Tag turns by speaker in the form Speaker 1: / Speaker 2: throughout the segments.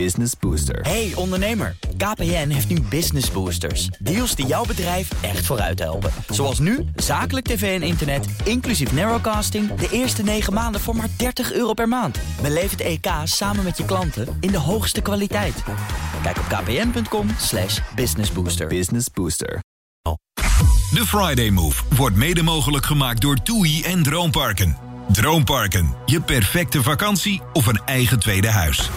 Speaker 1: Business Booster.
Speaker 2: Hey ondernemer, KPN heeft nu Business Boosters. Deals die jouw bedrijf echt vooruit helpen. Zoals nu, zakelijk tv en internet, inclusief narrowcasting... de eerste 9 maanden voor maar 30 euro per maand. Beleef het EK samen met je klanten in de hoogste kwaliteit. Kijk op kpn.com slash businessbooster.
Speaker 1: Business Booster.
Speaker 3: De Friday Move wordt mede mogelijk gemaakt door TUI en Droomparken. Droomparken, je perfecte vakantie of een eigen tweede huis.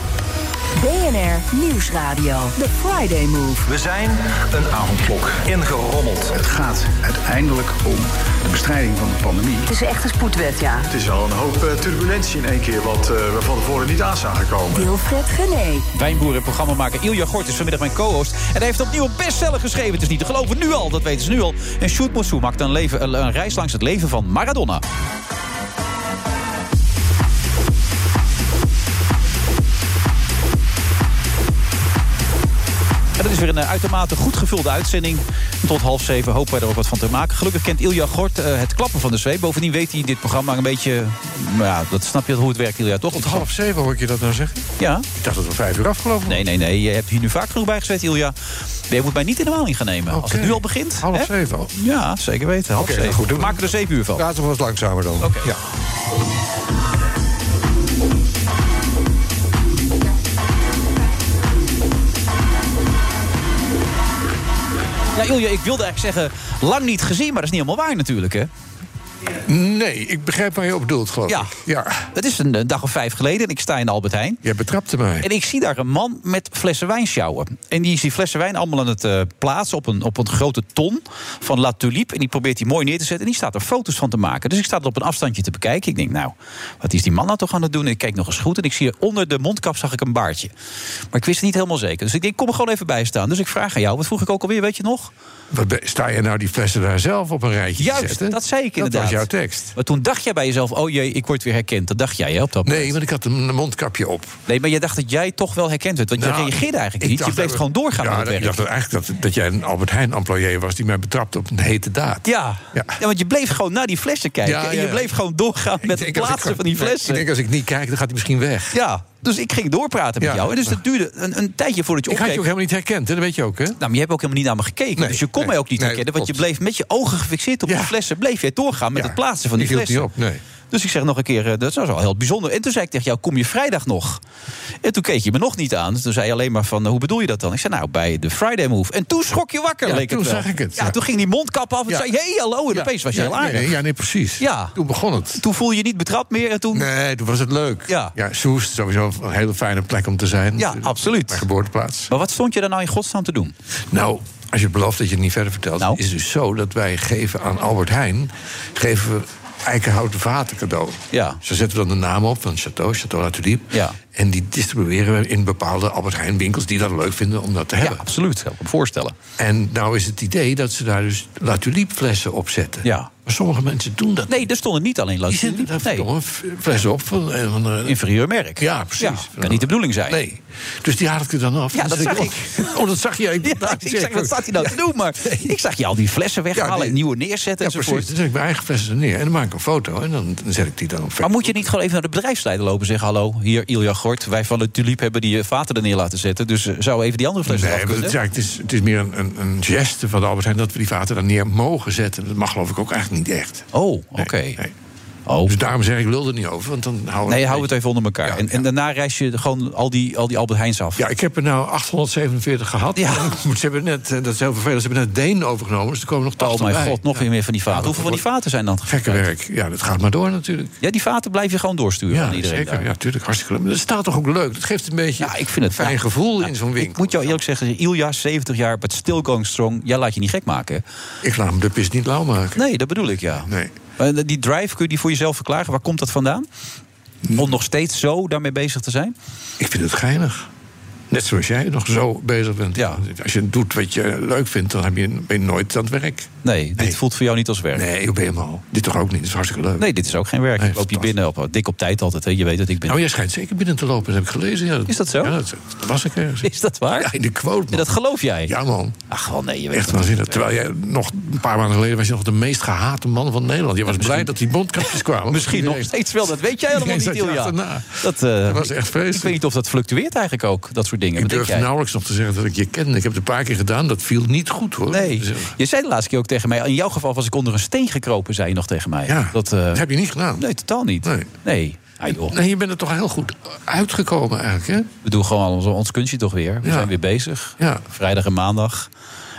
Speaker 4: BNR Nieuwsradio. The Friday Move.
Speaker 5: We zijn een avondklok ingerommeld.
Speaker 6: Het gaat uiteindelijk om de bestrijding van de pandemie.
Speaker 4: Het is echt een spoedwet, ja.
Speaker 5: Het is wel een hoop eh, turbulentie in één keer, wat eh, we van tevoren niet aan zagen komen.
Speaker 4: Wilfred Genee.
Speaker 7: Wijnboeren, programmamaker Ilja Gort is vanmiddag mijn co-host. En hij heeft opnieuw een bestseller geschreven. Het is niet te geloven, nu al, dat weten ze nu al. En Shoot Moussou maakt een, leven, een- een reis langs het leven van Maradona. En dat is weer een eh, uitermate goed gevulde uitzending. Tot half zeven hopen wij er ook wat van te maken. Gelukkig kent Ilja Gort eh, het klappen van de zweep. Bovendien weet hij dit programma een beetje... Nou ja, dat snap je hoe het werkt, Ilja, toch?
Speaker 8: Tot half zeven hoor ik je dat nou zeggen?
Speaker 7: Ja.
Speaker 8: Ik dacht dat we vijf uur afgelopen
Speaker 7: Nee, nee, nee. Je hebt hier nu vaak genoeg bij gezet, Ilja. Je moet mij niet in de maling gaan nemen. Nou, Als het
Speaker 8: Oké.
Speaker 7: nu al begint.
Speaker 8: Half
Speaker 7: hè?
Speaker 8: zeven al.
Speaker 7: Ja, zeker weten. Half
Speaker 8: Oké,
Speaker 7: zeven.
Speaker 8: nou goed, doen
Speaker 7: We
Speaker 8: we.
Speaker 7: maken er zeven uur van.
Speaker 8: Laten we wat langzamer dan.
Speaker 7: Oké.
Speaker 8: Ja.
Speaker 7: Ja, Ilja, ik wilde eigenlijk zeggen, lang niet gezien, maar dat is niet helemaal waar natuurlijk, hè?
Speaker 8: Nee, ik begrijp waar je op bedoelt, geloof
Speaker 7: Ja.
Speaker 8: ik. Ja.
Speaker 7: Dat is een, eh, dag of vijf geleden en ik sta in de Albert Heijn.
Speaker 8: Jij betrapte mij.
Speaker 7: En ik zie daar een man met flessen wijn sjouwen. En die is die flessen wijn allemaal aan het eh, plaatsen op een, op een grote ton van La Tulipe. En die probeert die mooi neer te zetten. En die staat er foto's van te maken. Dus ik sta er op een afstandje te bekijken. Ik denk, nou, wat is die man nou toch aan het doen? En ik kijk nog eens goed. En ik zie onder de mondkap zag ik een baardje. Maar ik wist het niet helemaal zeker. Dus ik denk, kom er gewoon even bij staan. Dus ik vraag aan jou, wat vroeg ik ook alweer, weet je nog?
Speaker 8: Wat be- Sta je nou die flessen daar zelf op een rijtje te
Speaker 7: Juist,
Speaker 8: zetten?
Speaker 7: dat zei ik inderdaad.
Speaker 8: Dat was jouw tekst.
Speaker 7: Maar toen dacht jij bij jezelf, oh jee, ik word weer herkend. Dat dacht jij hè, op dat moment.
Speaker 8: Nee, want ik had een mondkapje op.
Speaker 7: Nee, maar je dacht dat jij toch wel herkend werd. Want je
Speaker 8: Nou,
Speaker 7: reageerde eigenlijk
Speaker 8: ik
Speaker 7: niet. Je
Speaker 8: dacht
Speaker 7: bleef
Speaker 8: dat-
Speaker 7: gewoon doorgaan
Speaker 8: ja,
Speaker 7: met het
Speaker 8: dat-
Speaker 7: werk.
Speaker 8: Ik dacht dat eigenlijk dat, dat jij een Albert Heijn-employé was... die mij betrapte op een hete daad.
Speaker 7: Ja. ja.
Speaker 8: Ja.
Speaker 7: want je bleef gewoon naar die flessen kijken.
Speaker 8: Ja,
Speaker 7: En
Speaker 8: ja,
Speaker 7: je
Speaker 8: ja.
Speaker 7: bleef gewoon doorgaan
Speaker 8: Ik
Speaker 7: met het
Speaker 8: denk als ik
Speaker 7: plaatsen
Speaker 8: gewoon-
Speaker 7: van die
Speaker 8: Ik
Speaker 7: flessen.
Speaker 8: denk, als ik niet kijk, dan gaat hij misschien weg.
Speaker 7: ja, dus ik ging doorpraten met
Speaker 8: Ja.
Speaker 7: jou. En dus dat duurde een, een tijdje voordat je
Speaker 8: Ik had je
Speaker 7: opkeek.
Speaker 8: ook helemaal niet herkend, hè? dat weet je ook, hè?
Speaker 7: Nou, maar je hebt ook helemaal niet naar me gekeken.
Speaker 8: Nee,
Speaker 7: dus je kon
Speaker 8: nee,
Speaker 7: mij ook niet
Speaker 8: nee,
Speaker 7: herkennen. Want je
Speaker 8: klopt.
Speaker 7: bleef met je ogen gefixeerd op
Speaker 8: Ja.
Speaker 7: die flessen. Bleef jij doorgaan met
Speaker 8: Ja,
Speaker 7: het plaatsen van die
Speaker 8: ik hield
Speaker 7: flessen.
Speaker 8: niet op, nee.
Speaker 7: Dus ik zeg nog een keer, eh, dat was wel heel bijzonder. En toen zei ik tegen jou, kom je vrijdag nog? En toen keek je me nog niet aan. Dus Toen zei je alleen maar van, hoe bedoel je dat dan? Ik zei, nou, bij de Friday Move. En toen schrok je wakker,
Speaker 8: Ja,
Speaker 7: leek
Speaker 8: toen
Speaker 7: het wel.
Speaker 8: zag ik het,
Speaker 7: Ja,
Speaker 8: ja.
Speaker 7: toen ging die mondkap af en
Speaker 8: Ja.
Speaker 7: zei, hé, hey, hallo. En opeens was je
Speaker 8: ja,
Speaker 7: heel aardig.
Speaker 8: Nee, ja, nee, precies.
Speaker 7: Ja.
Speaker 8: Toen begon het.
Speaker 7: Toen voel je je niet betrapt meer en toen...
Speaker 8: Nee, toen was het leuk.
Speaker 7: Ja.
Speaker 8: Soest, sowieso een hele fijne plek om te zijn.
Speaker 7: Ja, absoluut.
Speaker 8: Mijn geboorteplaats.
Speaker 7: Maar wat stond je daar nou in godsnaam te doen?
Speaker 8: Nou, als je belooft dat je het niet verder vertelt...
Speaker 7: Nou.
Speaker 8: is het dus zo dat wij geven aan Albert Heijn... geven we eikenhouten vaten cadeau.
Speaker 7: Ja.
Speaker 8: Zo zetten we dan de naam op van Chateau, Chateau La Tulipe.
Speaker 7: Ja.
Speaker 8: En die distribueren we in bepaalde Albert Heijn winkels... die dat leuk vinden om dat te hebben.
Speaker 7: absoluut. Ik kan me voorstellen.
Speaker 8: En nou is het idee dat ze daar dus La Tulipe flessen op zetten.
Speaker 7: Ja.
Speaker 8: Maar sommige mensen doen dat
Speaker 7: Nee, er stonden niet alleen
Speaker 8: Die
Speaker 7: loodsen.
Speaker 8: zetten daar
Speaker 7: Nee,
Speaker 8: verdomme f- flessen op van een of andere-
Speaker 7: inferieur merk.
Speaker 8: Ja, precies.
Speaker 7: kan niet de bedoeling zijn.
Speaker 8: Nee. Dus die haal ik er dan af.
Speaker 7: Ja, dat
Speaker 8: Dan
Speaker 7: zag
Speaker 8: Oh, dat zag je. Ik,
Speaker 7: Ja,
Speaker 8: dacht,
Speaker 7: ik zeg, wat staat hij nou te doen? Maar ik zag je al die flessen weghalen
Speaker 8: Ja, nee.
Speaker 7: en nieuwe neerzetten
Speaker 8: Ja, precies.
Speaker 7: enzovoort.
Speaker 8: Dan zet ik mijn eigen flessen er neer en dan maak ik een foto en dan, dan zet ik die dan op
Speaker 7: Maar
Speaker 8: Facebook.
Speaker 7: moet je niet gewoon even naar de bedrijfsleider lopen en zeggen... hallo, hier Ilja Gort, wij van de Tulip hebben die eh, vaten er neer laten zetten... dus eh, zou even die andere flessen
Speaker 8: Nee,
Speaker 7: af
Speaker 8: maar het,
Speaker 7: kunnen?
Speaker 8: is eigenlijk- Dus het, is, het is meer een, een, een geste van de Albert Heijn... dat we die vaten daar neer mogen zetten. Dat mag geloof ik ook eigenlijk niet echt.
Speaker 7: Oh, oké.
Speaker 8: Nee, nee.
Speaker 7: Oh.
Speaker 8: Dus daarom zeg ik, ik lul er niet over, want dan houden
Speaker 7: Nee, hou het even onder elkaar.
Speaker 8: Ja,
Speaker 7: en, en
Speaker 8: ja.
Speaker 7: daarna reis je gewoon al die, al die Albert Heijns af.
Speaker 8: Ja, ik heb er nou 847 gehad.
Speaker 7: Ja.
Speaker 8: Ze hebben net, eh, dat is heel vervelend, ze hebben net Deen overgenomen... dus er komen nog 80
Speaker 7: oh mijn
Speaker 8: bij.
Speaker 7: god, nog
Speaker 8: Ja.
Speaker 7: weer meer van die vaten. Hoeveel van die vaten zijn dan
Speaker 8: Gekke werk. Ja, dat gaat maar door natuurlijk.
Speaker 7: Ja, die vaten blijf je gewoon doorsturen
Speaker 8: Ja,
Speaker 7: aan iedereen
Speaker 8: zeker.
Speaker 7: daar.
Speaker 8: Ja, natuurlijk. Hartstikke leuk. Maar dat staat toch ook leuk? Dat geeft een beetje
Speaker 7: Ja, ik vind het
Speaker 8: een fijn
Speaker 7: ja.
Speaker 8: gevoel
Speaker 7: Ja,
Speaker 8: in zo'n winkel.
Speaker 7: Ik moet jou eerlijk zeggen, Ilja, 70 jaar, but still going strong. Jij laat je niet gek maken.
Speaker 8: Ik laat hem de pis niet lauw maken.
Speaker 7: Nee, dat bedoel ik, ja.
Speaker 8: Nee.
Speaker 7: Maar eh, Die drive, kun je die voor jezelf verklaren? Waar komt dat vandaan? Om nog steeds zo daarmee bezig te zijn?
Speaker 8: Ik vind het geinig. Net zoals jij nog zo bezig bent.
Speaker 7: Ja.
Speaker 8: Als je doet wat je leuk vindt, dan heb je, ben je nooit aan het werk.
Speaker 7: Nee, dit
Speaker 8: Nee.
Speaker 7: voelt voor jou niet als werk. Nee,
Speaker 8: Nee, op helemaal. Dit toch ook niet. Dat is hartstikke leuk.
Speaker 7: dit is ook geen werk.
Speaker 8: Nee,
Speaker 7: Ik Loop je
Speaker 8: fantastisch.
Speaker 7: binnen, op, eh, dik op tijd altijd. Hè? Je weet dat ik ben.
Speaker 8: Nou, jij schijnt zeker binnen te lopen. Dat heb ik gelezen. Ja,
Speaker 7: Is dat zo?
Speaker 8: Ja, dat, dat was ik ergens.
Speaker 7: Is dat waar?
Speaker 8: Ja, in de quote,
Speaker 7: En
Speaker 8: man.
Speaker 7: dat geloof jij?
Speaker 8: Ja, man.
Speaker 7: Ach, wel nee, je weet
Speaker 8: Echt waanzinnig. Terwijl jij nog een paar maanden geleden was je nog de meest gehate man van Nederland. Je was blij dat die bondkapjes kwamen.
Speaker 7: Misschien nog
Speaker 8: Iedereen-
Speaker 7: steeds wel, dat weet jij helemaal niet,
Speaker 8: Iedereen zat je
Speaker 7: Ilja.
Speaker 8: achterna.
Speaker 7: Dat, eh,
Speaker 8: Dat was echt
Speaker 7: Ik
Speaker 8: vreselijk.
Speaker 7: weet niet of dat fluctueert eigenlijk ook, dat soort dingen.
Speaker 8: Ik
Speaker 7: Wat denk
Speaker 8: durf
Speaker 7: jij?
Speaker 8: nauwelijks nog te zeggen dat ik je kende. Ik heb het een paar keer gedaan, dat viel niet goed hoor.
Speaker 7: Nee,
Speaker 8: Dus, eh,
Speaker 7: je zei de laatste keer ook tegen mij... in jouw geval was ik onder een steen gekropen, zei je nog tegen mij.
Speaker 8: Ja,
Speaker 7: dat, eh,
Speaker 8: dat heb je niet gedaan.
Speaker 7: Nee, totaal niet. Nee.
Speaker 8: Nee.
Speaker 7: Ah, joh.
Speaker 8: Nee, je bent er toch heel goed uitgekomen eigenlijk, hè?
Speaker 7: We doen gewoon ons, ons kunstje toch weer. We
Speaker 8: Ja.
Speaker 7: zijn weer bezig.
Speaker 8: Ja.
Speaker 7: Vrijdag en maandag.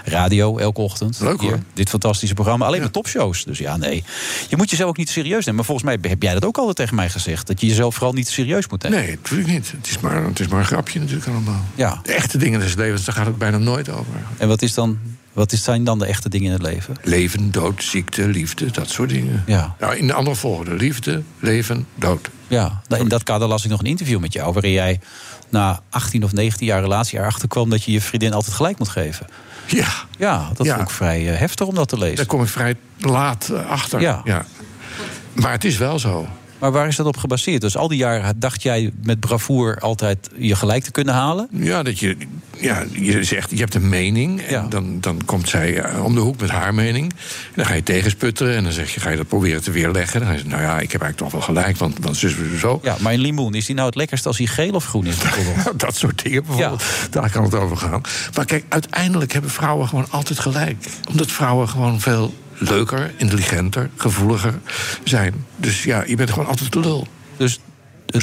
Speaker 7: Radio elke ochtend.
Speaker 8: Leuk, hoor.
Speaker 7: Dit fantastische programma. Alleen
Speaker 8: Ja.
Speaker 7: maar topshows. Dus ja, nee. Je moet jezelf ook niet serieus nemen. Maar volgens mij heb jij dat ook altijd tegen mij gezegd. Dat je jezelf vooral niet serieus moet nemen.
Speaker 8: Nee, natuurlijk niet. Het is maar, het is maar een grapje natuurlijk allemaal.
Speaker 7: Ja.
Speaker 8: De echte dingen des levens, daar gaat het bijna nooit over. eigenlijk.
Speaker 7: En wat, is dan, wat is- zijn dan de echte dingen in het leven?
Speaker 8: Leven, dood, ziekte, liefde, dat soort dingen.
Speaker 7: Ja.
Speaker 8: Nou, in de andere volgorde. Liefde, leven, dood.
Speaker 7: Ja, nou, in dat kader las ik nog een interview met jou... waarin jij na 18 of 19 jaar relatie erachter kwam... dat je je vriendin altijd gelijk moet geven.
Speaker 8: Ja,
Speaker 7: Ja, dat
Speaker 8: Ja.
Speaker 7: vond ik vrij eh, heftig om dat te lezen.
Speaker 8: daar kom ik vrij laat eh, achter.
Speaker 7: Ja.
Speaker 8: Maar het is wel zo.
Speaker 7: Maar waar is dat op gebaseerd? Dus al die jaren dacht jij met bravoer altijd je gelijk te kunnen halen?
Speaker 8: Ja, dat je, ja, je zegt, je hebt een mening. En
Speaker 7: Ja.
Speaker 8: dan, dan komt zij eh, om de hoek met haar mening. En dan ga je tegensputteren. En dan zeg je, ga je dat proberen te weerleggen. Dan zeg je, nou ja, ik heb eigenlijk toch wel gelijk. Want, want zus, zus, zo.
Speaker 7: Ja, maar een limoen, is die nou het lekkerst als hij geel of groen is bijvoorbeeld?
Speaker 8: Dat soort dingen bijvoorbeeld. Daar kan het over gaan. Maar kijk, uiteindelijk hebben vrouwen gewoon altijd gelijk. Omdat vrouwen gewoon veel leuker, intelligenter, gevoeliger zijn. Dus ja, je bent gewoon altijd de lul.
Speaker 7: Dus het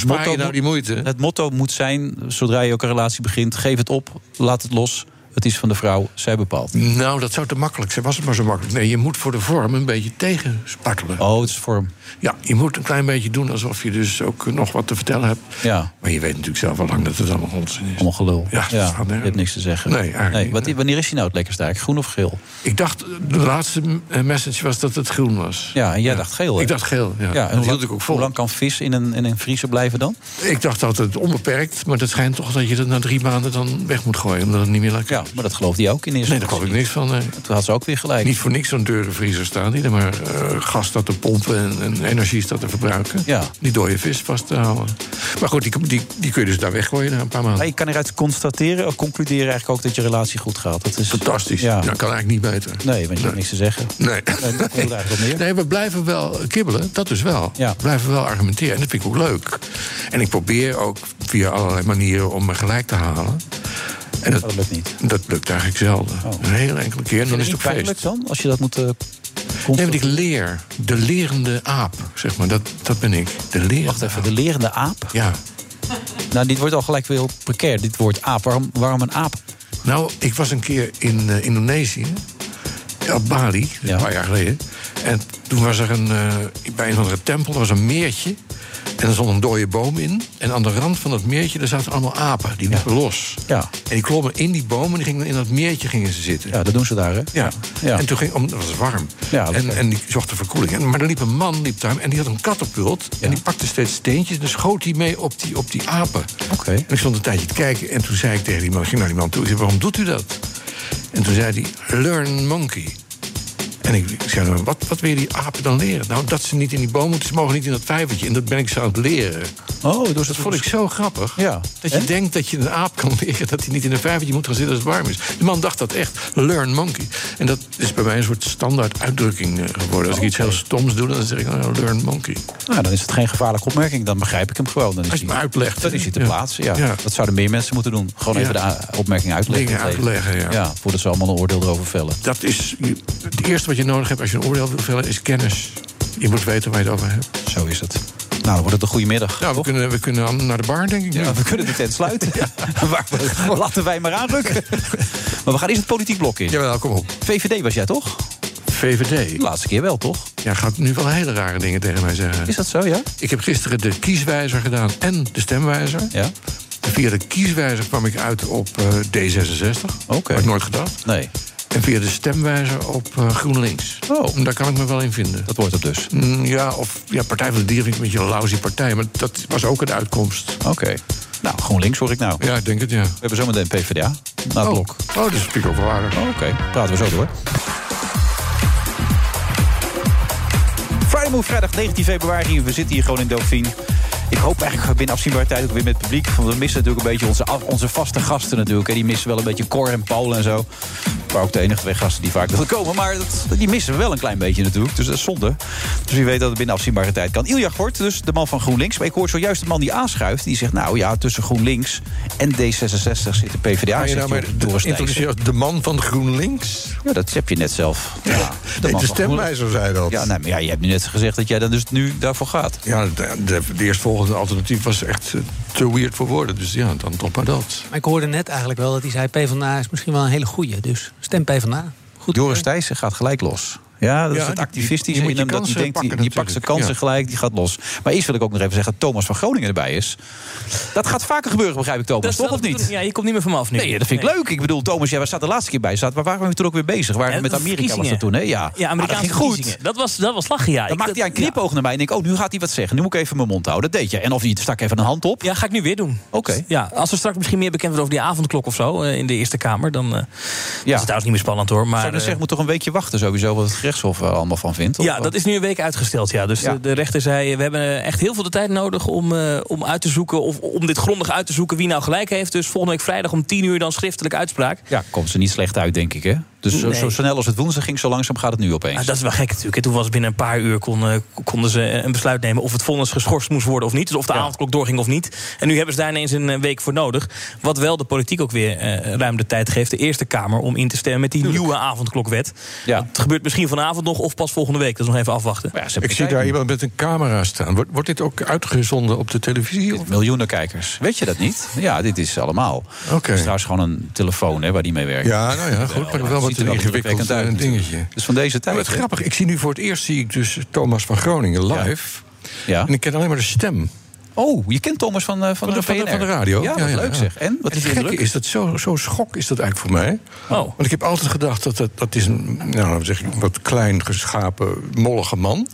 Speaker 8: Spaar je
Speaker 7: motto,
Speaker 8: nou
Speaker 7: moet-
Speaker 8: die moeite?
Speaker 7: het motto moet zijn, zodra je ook een relatie begint... geef het op, laat het los, het is van de vrouw, zij bepaalt.
Speaker 8: Nou, dat zou te makkelijk zijn. Was het maar zo makkelijk. Nee, je moet voor de vorm een beetje tegenspartelen.
Speaker 7: Oh, het is vorm.
Speaker 8: Ja, je moet een klein beetje doen alsof je dus ook nog wat te vertellen hebt.
Speaker 7: Ja.
Speaker 8: Maar je weet natuurlijk zelf al lang dat het allemaal onzin is.
Speaker 7: Allemaal gelul.
Speaker 8: Ja, dat staat
Speaker 7: je
Speaker 8: nergens.
Speaker 7: hebt niks te zeggen.
Speaker 8: Nee, eigenlijk niet,
Speaker 7: wat,
Speaker 8: nee.
Speaker 7: Wanneer is hij nou het lekkerst eigenlijk? Groen of geel?
Speaker 8: Ik dacht, de laatste eh, message was dat het groen was.
Speaker 7: Ja, en jij dacht geel, hè?
Speaker 8: Ik dacht geel, ja.
Speaker 7: en
Speaker 8: dat
Speaker 7: hoe,
Speaker 8: hield
Speaker 7: lang,
Speaker 8: ik ook
Speaker 7: hoe
Speaker 8: vol.
Speaker 7: lang kan vis in een, in een vriezer blijven dan?
Speaker 8: Ik dacht dat het onbeperkt, maar dat schijnt toch dat je dat na drie maanden dan weg moet gooien. Omdat het niet meer lekker
Speaker 7: Ja, maar dat geloofde hij ook in eerste
Speaker 8: Nee, daar kwam ik
Speaker 7: instantie.
Speaker 8: niks van. nee.
Speaker 7: Toen had ze ook weer gelijk.
Speaker 8: Niet voor niks zo'n deurenvriezer staan die er maar eh, gas staat te pompen en, en energie staat te verbruiken.
Speaker 7: Ja.
Speaker 8: Die dode vis vast te houden. Maar goed, die, die, die kun je dus daar weggooien na een paar maanden.
Speaker 7: Maar je kan eruit constateren, of concluderen eigenlijk ook dat je relatie goed gaat. Dat is
Speaker 8: Fantastisch.
Speaker 7: Ja.
Speaker 8: Dat kan eigenlijk niet beter.
Speaker 7: Nee, want je hebt niks te zeggen.
Speaker 8: Nee.
Speaker 7: Nee, dat komt er eigenlijk op neer.
Speaker 8: Nee, we blijven wel kibbelen, dat dus wel.
Speaker 7: Ja.
Speaker 8: We blijven wel argumenteren en dat vind ik ook leuk. En ik probeer ook via allerlei manieren om me gelijk te halen. En dat,
Speaker 7: Maar dat lukt niet. Vind
Speaker 8: dat lukt eigenlijk zelden. Een hele enkele keer en
Speaker 7: je
Speaker 8: dan
Speaker 7: het
Speaker 8: is
Speaker 7: niet
Speaker 8: het ook feest.
Speaker 7: pijnlijk dan, als je dat moet... eh,
Speaker 8: Nee,
Speaker 7: constateren?
Speaker 8: want ik leer. De lerende aap, zeg maar. Dat, dat ben ik. De lerende
Speaker 7: Wacht even,
Speaker 8: aap.
Speaker 7: de lerende aap?
Speaker 8: Ja.
Speaker 7: Nou, dit wordt al gelijk weer heel precair, dit woord aap. Waarom, waarom een aap?
Speaker 8: Nou, ik was een keer in eh, Indonesië, op Bali, dus
Speaker 7: Ja.
Speaker 8: een paar jaar geleden. En toen was er een, eh, bij een van de tempel was een meertje. En er stond een dode boom in. En aan de rand van dat meertje daar zaten allemaal apen. Die liepen los.
Speaker 7: Ja.
Speaker 8: En die klommen in die boom en die gingen in dat meertje gingen ze zitten.
Speaker 7: Ja, dat doen ze daar, hè?
Speaker 8: Ja.
Speaker 7: Ja.
Speaker 8: en toen ging, om, het was warm.
Speaker 7: Ja, dat
Speaker 8: en,
Speaker 7: klopt.
Speaker 8: en die zocht de verkoeling. En, maar er liep een man liep daar en die had een katapult. En die pakte steeds steentjes en dan schoot hij mee op die, op die apen.
Speaker 7: Oké.
Speaker 8: En ik stond een tijdje te kijken en toen zei ik tegen die man... ik ging naar die man toe, ik zei, waarom doet u dat? En toen zei hij, learn monkey. En ik, ik zei, nou, wat, wat wil je die apen dan leren? Nou, dat ze niet in die boom moeten, ze mogen niet in dat vijvertje. En dat ben ik ze aan het leren.
Speaker 7: Oh, dus
Speaker 8: Dat vond ik zo grappig.
Speaker 7: Ja.
Speaker 8: Dat je
Speaker 7: En?
Speaker 8: denkt dat je een aap kan leren dat hij niet in een vijvertje moet gaan zitten als het warm is. De man dacht dat echt. Learn monkey. En dat is bij mij een soort standaard uitdrukking eh, geworden. Als ik iets heel stoms doe, dan zeg ik nou, learn monkey.
Speaker 7: Nou, dan is het geen gevaarlijke opmerking, dan begrijp ik hem gewoon. Dan is
Speaker 8: Als je
Speaker 7: hij-
Speaker 8: me uitlegt,
Speaker 7: Dan
Speaker 8: hè?
Speaker 7: is hij te
Speaker 8: Ja.
Speaker 7: plaatsen, ja.
Speaker 8: Ja.
Speaker 7: Dat zouden meer mensen moeten doen. Gewoon
Speaker 8: Ja.
Speaker 7: even de a- opmerking uitleggen.
Speaker 8: Dingen uitleggen, ja.
Speaker 7: Ja, voordat ze allemaal een oordeel erover vellen.
Speaker 8: Dat is je- het eerste wat je nodig hebt als je een oordeel wil vellen, is kennis. Je moet weten waar je het over hebt.
Speaker 7: Zo is het. Nou, dan wordt het een goede middag.
Speaker 8: Nou, we
Speaker 7: toch?
Speaker 8: kunnen, we kunnen aan- naar de bar, denk ik. nu.
Speaker 7: Ja, we kunnen de tent sluiten. Waar we- laten wij maar aanrukken. maar we gaan eerst het politiek blok in.
Speaker 8: Jawel, kom op.
Speaker 7: VVD was jij toch?
Speaker 8: VVD.
Speaker 7: De laatste keer wel, toch?
Speaker 8: Ja, gaat nu wel hele rare dingen tegen mij zeggen.
Speaker 7: Is dat zo, ja?
Speaker 8: Ik heb gisteren de kieswijzer gedaan en de stemwijzer.
Speaker 7: Ja.
Speaker 8: Via de kieswijzer kwam ik uit op eh, D66.
Speaker 7: Oké.
Speaker 8: Had ik nooit gedacht.
Speaker 7: Nee,
Speaker 8: En via de stemwijzer op eh, GroenLinks.
Speaker 7: Oh.
Speaker 8: Daar kan ik me wel in vinden.
Speaker 7: dat wordt het dus.
Speaker 8: Mm, ja, of ja, Partij van de Dieren vind ik een beetje een lousy partij. Maar dat was ook een uitkomst.
Speaker 7: Oké. Nou, GroenLinks hoor ik nou.
Speaker 8: Ja, ik denk het, ja.
Speaker 7: We hebben zometeen PvdA na
Speaker 8: Oh,
Speaker 7: het blok.
Speaker 8: oh dat is vind ik ook wel aardig.
Speaker 7: Nou, oh, Oké, praten we zo door. Friday Move, vrijdag 19 februari. We zitten hier gewoon in Dauphine. Ik hoop eigenlijk binnen afzienbare tijd ook weer met het publiek. Want we missen natuurlijk een beetje onze, af- onze vaste gasten natuurlijk. hè. Die missen wel een beetje Cor en Paul en zo. waren ook de enige twee gasten die vaak wilden komen. Maar dat, die missen we wel een klein beetje natuurlijk. Dus dat is zonde. Dus wie weet dat het binnen afzienbare tijd kan. Ilja Gort, dus de man van GroenLinks. Maar ik hoor zojuist de man die aanschuift. Die zegt, nou ja, tussen GroenLinks en D66 zit de PvdA.
Speaker 8: Ga je
Speaker 7: zit
Speaker 8: nou maar
Speaker 7: Joris Dijsselbloem.
Speaker 8: introduceer als de man van GroenLinks?
Speaker 7: Ja, dat heb je net zelf. Ja, de
Speaker 8: Nee,
Speaker 7: man
Speaker 8: de
Speaker 7: van GroenLinks.
Speaker 8: stemwijzer zei dat.
Speaker 7: Ja, nee, maar ja, je hebt nu net gezegd dat jij dan dus nu daarvoor gaat.
Speaker 8: Ja, de, de, de eerstvolgende alternatief was echt eh, te weird voor woorden. Dus ja, dan toch maar dat.
Speaker 1: Maar ik hoorde net eigenlijk wel dat hij zei... PvdA is misschien wel een hele goeie, dus stem PvdA. Goed
Speaker 7: Joris Thijssen gaat gelijk los. Ja, dat
Speaker 8: Ja,
Speaker 7: is het
Speaker 8: die-
Speaker 7: activistische
Speaker 8: die moet
Speaker 7: in
Speaker 8: je
Speaker 7: hem, dat
Speaker 8: kansen
Speaker 7: hij denkt, die,
Speaker 8: pakken
Speaker 7: die pakt zijn
Speaker 8: natuurlijk,
Speaker 7: kansen gelijk, die gaat los. Maar eerst wil ik ook nog even zeggen, Thomas van Groningen erbij is. Dat gaat vaker gebeuren, begrijp ik, Thomas, toch
Speaker 9: wel
Speaker 7: of
Speaker 9: de
Speaker 7: niet?
Speaker 9: bedoeling. Ja, je komt niet meer van me af nu.
Speaker 7: Nee, dat vind ik leuk. Ik bedoel, Thomas, jij staat de laatste keer bij. Staat, waar waren we toen ook weer bezig? Waar,
Speaker 9: Ja,
Speaker 7: met
Speaker 9: de
Speaker 7: Amerika was dat
Speaker 9: verkiezingen.
Speaker 7: toen, hè? Ja,
Speaker 9: Ja,
Speaker 7: Maar
Speaker 9: Amerikaanse
Speaker 7: dat ging goed.
Speaker 9: verkiezingen. Dat was, dat was lachen, ja.
Speaker 7: Dan
Speaker 9: Ik-
Speaker 7: maakte hij een knipoog naar mij en ik, oh, nu gaat hij wat zeggen. Nu moet ik even mijn mond houden. Dat deed je. En of niet, stak even een hand op.
Speaker 9: Ja, ga ik nu weer doen.
Speaker 7: Oké.
Speaker 9: Ja, als we straks misschien meer bekend worden over die avondklok of zo... eh, in de Eerste Kamer, dan eh, is
Speaker 7: Ja.
Speaker 9: het trouwens niet meer spannend, hoor. Maar,
Speaker 7: Zou ik dus dan
Speaker 9: eh,
Speaker 7: zeggen, moet toch een weekje wachten sowieso... wat het gerechtshof er allemaal van vindt? Of-
Speaker 9: Ja, dat is nu een week uitgesteld. Ja. Dus
Speaker 7: Ja.
Speaker 9: De, de rechter zei, eh, we hebben eh, echt heel veel de tijd nodig om, eh, om uit te zoeken, of om dit grondig uit te zoeken wie nou gelijk heeft. Dus volgende week vrijdag om 10 uur dan schriftelijk uitspraak.
Speaker 7: Ja, komt ze niet slecht uit, denk ik, hè? Dus zo,
Speaker 9: Nee.
Speaker 7: zo snel als het woensdag ging, zo langzaam gaat het nu opeens.
Speaker 9: Ah, dat is wel gek natuurlijk. hè. Toen was het binnen een paar uur kon, eh, konden ze eh, een besluit nemen of het vonnis geschorst moest worden of niet. Dus of de avondklok doorging of niet. En nu hebben ze daar ineens een eh, week voor nodig. Wat wel de politiek ook weer eh, ruim de tijd geeft, de Eerste Kamer, om in te stemmen met die nieuwe avondklokwet.
Speaker 7: Ja.
Speaker 9: Dat gebeurt misschien vanavond nog of pas volgende week. Dat is nog even afwachten.
Speaker 7: Maar ja, ze
Speaker 8: Ik
Speaker 7: hebben
Speaker 8: zie
Speaker 7: kijkers.
Speaker 8: daar iemand met een camera staan. Wordt, wordt dit ook uitgezonden op de televisie? of-
Speaker 7: Miljoenen kijkers. Weet je dat niet? Ja, dit is allemaal. Het is trouwens gewoon een telefoon hè, waar die mee werkt.
Speaker 8: Ja, nou ja, goed. Maar wel
Speaker 7: het
Speaker 8: wat
Speaker 7: ziet
Speaker 8: een
Speaker 7: er
Speaker 8: ingewikkeld
Speaker 7: indrukwekkend
Speaker 8: eh,
Speaker 7: uit natuurlijk.
Speaker 8: dingetje.
Speaker 7: Dus van deze tijd.
Speaker 8: Ja, wat
Speaker 7: hè?
Speaker 8: grappig. Ik zie nu voor het eerst zie ik dus Thomas van Groningen live.
Speaker 7: Ja.
Speaker 8: En ik ken alleen maar de stem.
Speaker 7: Oh, je kent Thomas van, eh, van, de,
Speaker 8: van,
Speaker 7: PNR.
Speaker 8: van de radio.
Speaker 7: Ja, dat is leuk zeg. En, wat
Speaker 8: het
Speaker 7: is je
Speaker 8: gekke
Speaker 7: indruk?
Speaker 8: is dat zo, zo schok is dat eigenlijk voor mij.
Speaker 9: Oh.
Speaker 8: Want ik heb altijd gedacht dat dat, dat is een nou, zeg ik, wat klein geschapen, mollige man.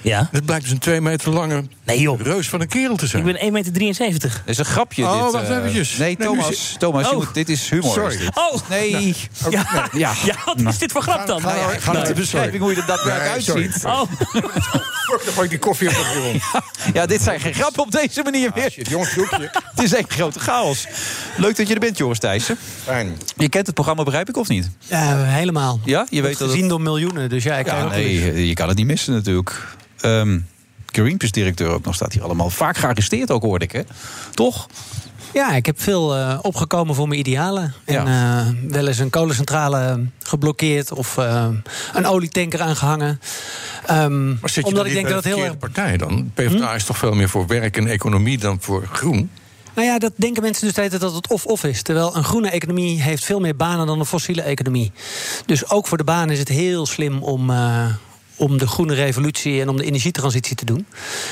Speaker 9: Ja.
Speaker 8: Het blijkt dus een twee meter lange
Speaker 9: Nee joh.
Speaker 8: reus van een kerel te zijn.
Speaker 9: Ik ben 1,73 meter.
Speaker 7: Dat is een grapje
Speaker 8: Oh,
Speaker 7: dit.
Speaker 8: wacht
Speaker 7: eh,
Speaker 8: eventjes.
Speaker 7: Nee,
Speaker 8: Nee, nu
Speaker 7: Thomas.
Speaker 8: zie-
Speaker 7: Thomas, je
Speaker 9: Oh.
Speaker 7: moet, dit is humor.
Speaker 8: Sorry.
Speaker 7: is dit.
Speaker 9: Oh!
Speaker 7: Nee.
Speaker 9: Ja.
Speaker 7: Ja.
Speaker 9: Ja. wat is dit voor grap dan?
Speaker 8: nou,
Speaker 9: Nou ja,
Speaker 8: ga nou,
Speaker 7: Nou,
Speaker 8: sorry.
Speaker 7: beschrijving hoe je er daadwerkelijk
Speaker 8: Nee, sorry.
Speaker 7: uitziet.
Speaker 9: Oh,
Speaker 8: Dan gooi ik die koffie op de grond.
Speaker 7: Ja, dit zijn geen grappen op deze manier meer.
Speaker 8: Ah, Shit, jongens, doekje.
Speaker 7: Het is echt grote chaos. Leuk dat je er bent, Joris Thijssen.
Speaker 8: Fijn.
Speaker 7: Je kent het programma, begrijp ik, of niet?
Speaker 1: Ja, Eh, helemaal.
Speaker 7: Ja, je
Speaker 1: Wordt
Speaker 7: weet dat
Speaker 1: gezien door miljoenen, dus ja, ik krijg
Speaker 7: Ja,
Speaker 1: ook wel eens-
Speaker 7: nee, je kan het niet missen natuurlijk. Ehm Greenpeace-directeur ook nog staat hier allemaal. Vaak gearresteerd ook, hoorde ik, hè? Toch?
Speaker 8: Oh,
Speaker 1: Ja, ik heb veel eh, opgekomen voor mijn idealen. En eh, wel eens een kolencentrale geblokkeerd of eh, een olietanker aangehangen. Ehm,
Speaker 8: Maar zit je
Speaker 1: omdat
Speaker 8: dan
Speaker 1: ik
Speaker 8: niet
Speaker 1: denk
Speaker 8: bij
Speaker 1: dat
Speaker 8: de
Speaker 1: het heel erg
Speaker 8: verkeerde partij dan? PvdA is toch veel meer voor werk en economie dan voor groen?
Speaker 1: Nou ja, dat denken mensen dus de hele tijd dat het of-of is. Terwijl een groene economie heeft veel meer banen dan een fossiele economie. Dus ook voor de banen is het heel slim om, eh, om de groene revolutie en om de energietransitie te doen.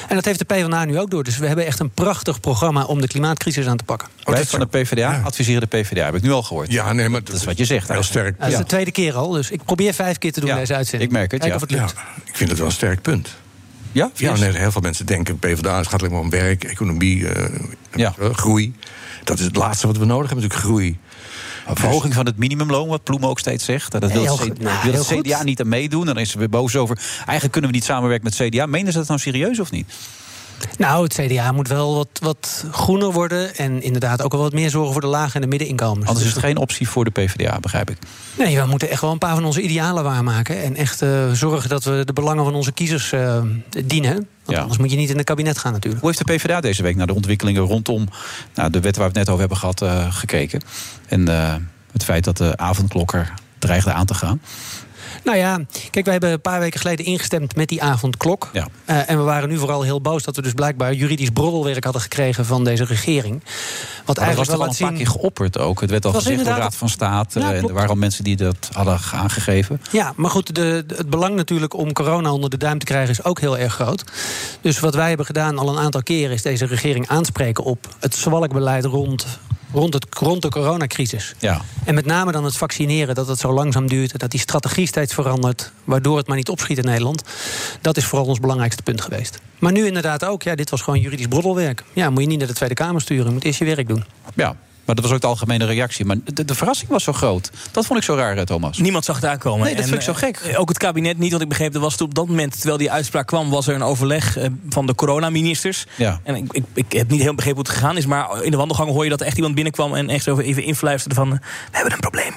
Speaker 1: En dat heeft de PvdA nu ook door. Dus we hebben echt een prachtig programma om de klimaatcrisis aan te pakken.
Speaker 7: Wij van de PvdA adviseren de PvDA, heb ik nu al gehoord.
Speaker 8: Ja, nee, maar
Speaker 7: Dat is wat je zegt.
Speaker 8: Heel
Speaker 7: eigenlijk.
Speaker 8: sterk.
Speaker 1: Dat is
Speaker 7: Ja.
Speaker 1: de tweede keer al. Dus ik probeer vijf keer te doen
Speaker 7: Ja,
Speaker 1: deze uitzending.
Speaker 7: ik merk het,
Speaker 1: Kijken
Speaker 7: ja.
Speaker 1: of het lukt.
Speaker 8: Ja, ik vind het wel een sterk punt.
Speaker 7: Ja,
Speaker 8: Ja,
Speaker 7: Yes.
Speaker 8: nee, heel veel mensen denken, PvdA het gaat alleen maar om werk, economie, eh,
Speaker 7: Ja.
Speaker 8: eh, groei. Dat is het laatste wat we nodig hebben, natuurlijk groei.
Speaker 7: Verhoging van het minimumloon, wat Ploem ook steeds zegt. Dat wil,
Speaker 1: Dus- heel
Speaker 7: het,
Speaker 1: goed.
Speaker 7: C-
Speaker 1: Nou,
Speaker 7: wil het
Speaker 1: heel goed.
Speaker 7: CDA niet aan meedoen. Dan is ze weer boos over. Eigenlijk kunnen we niet samenwerken met CDA. Menen ze dat nou serieus of niet?
Speaker 1: Nou, het CDA moet wel wat, wat groener worden. En inderdaad ook wel wat meer zorgen voor de lage en de middeninkomens.
Speaker 7: Anders
Speaker 1: Dus
Speaker 7: is het geen optie voor de PvdA, begrijp ik.
Speaker 1: Nee, we moeten echt wel een paar van onze idealen waarmaken. En echt eh, zorgen dat we de belangen van onze kiezers eh, dienen. Want
Speaker 7: Ja.
Speaker 1: anders moet je niet in het kabinet gaan natuurlijk.
Speaker 7: Hoe heeft de PvdA deze week naar de ontwikkelingen rondom nou, de wet waar we het net over hebben gehad eh, gekeken? En eh, het feit dat de avondklokker dreigde aan te gaan.
Speaker 1: Nou ja, kijk, wij hebben een paar weken geleden ingestemd met die avondklok.
Speaker 7: Ja.
Speaker 1: Eh, en we waren nu vooral heel boos dat we dus blijkbaar juridisch broddelwerk hadden gekregen van deze regering. Wat
Speaker 7: Maar dat was toch
Speaker 1: eigenlijk
Speaker 7: al
Speaker 1: wel
Speaker 7: een paar
Speaker 1: laat
Speaker 7: keer
Speaker 1: zien.
Speaker 7: geopperd ook. Het werd al
Speaker 1: Was
Speaker 7: gezegd door de Raad
Speaker 1: inderdaad-
Speaker 7: van State.
Speaker 1: Ja,
Speaker 7: eh, en er
Speaker 1: klopt.
Speaker 7: waren al mensen die dat hadden ge- aangegeven.
Speaker 1: Ja, maar goed, de, de- het belang natuurlijk om corona onder de duim te krijgen is ook heel erg groot. Dus wat wij hebben gedaan al een aantal keren is deze regering aanspreken op het zwalkbeleid rond, rond, het, rond de coronacrisis.
Speaker 7: Ja.
Speaker 1: En met name dan het vaccineren, dat het zo langzaam duurt... dat die strategie steeds verandert, waardoor het maar niet opschiet in Nederland. Dat is vooral ons belangrijkste punt geweest. Maar nu inderdaad ook, ja, dit was gewoon juridisch broddelwerk. Ja, moet je niet naar de Tweede Kamer sturen, je moet eerst je werk doen.
Speaker 7: ja. Maar dat was ook de algemene reactie. Maar de, de verrassing was zo groot. Dat vond ik zo raar, eh, Thomas.
Speaker 9: Niemand zag het aankomen.
Speaker 7: Nee, dat
Speaker 9: En,
Speaker 7: vind ik zo
Speaker 9: eh,
Speaker 7: gek.
Speaker 9: eh, Ook het kabinet niet, want ik begreep, er was toen op dat moment, terwijl die uitspraak kwam, was er een overleg eh, van de coronaministers.
Speaker 7: Ja.
Speaker 9: En ik, ik, ik heb niet heel begrepen hoe het gegaan is, maar in de wandelgang hoor je dat er echt iemand binnenkwam en echt zo even influisterde van, eh, we hebben een probleem.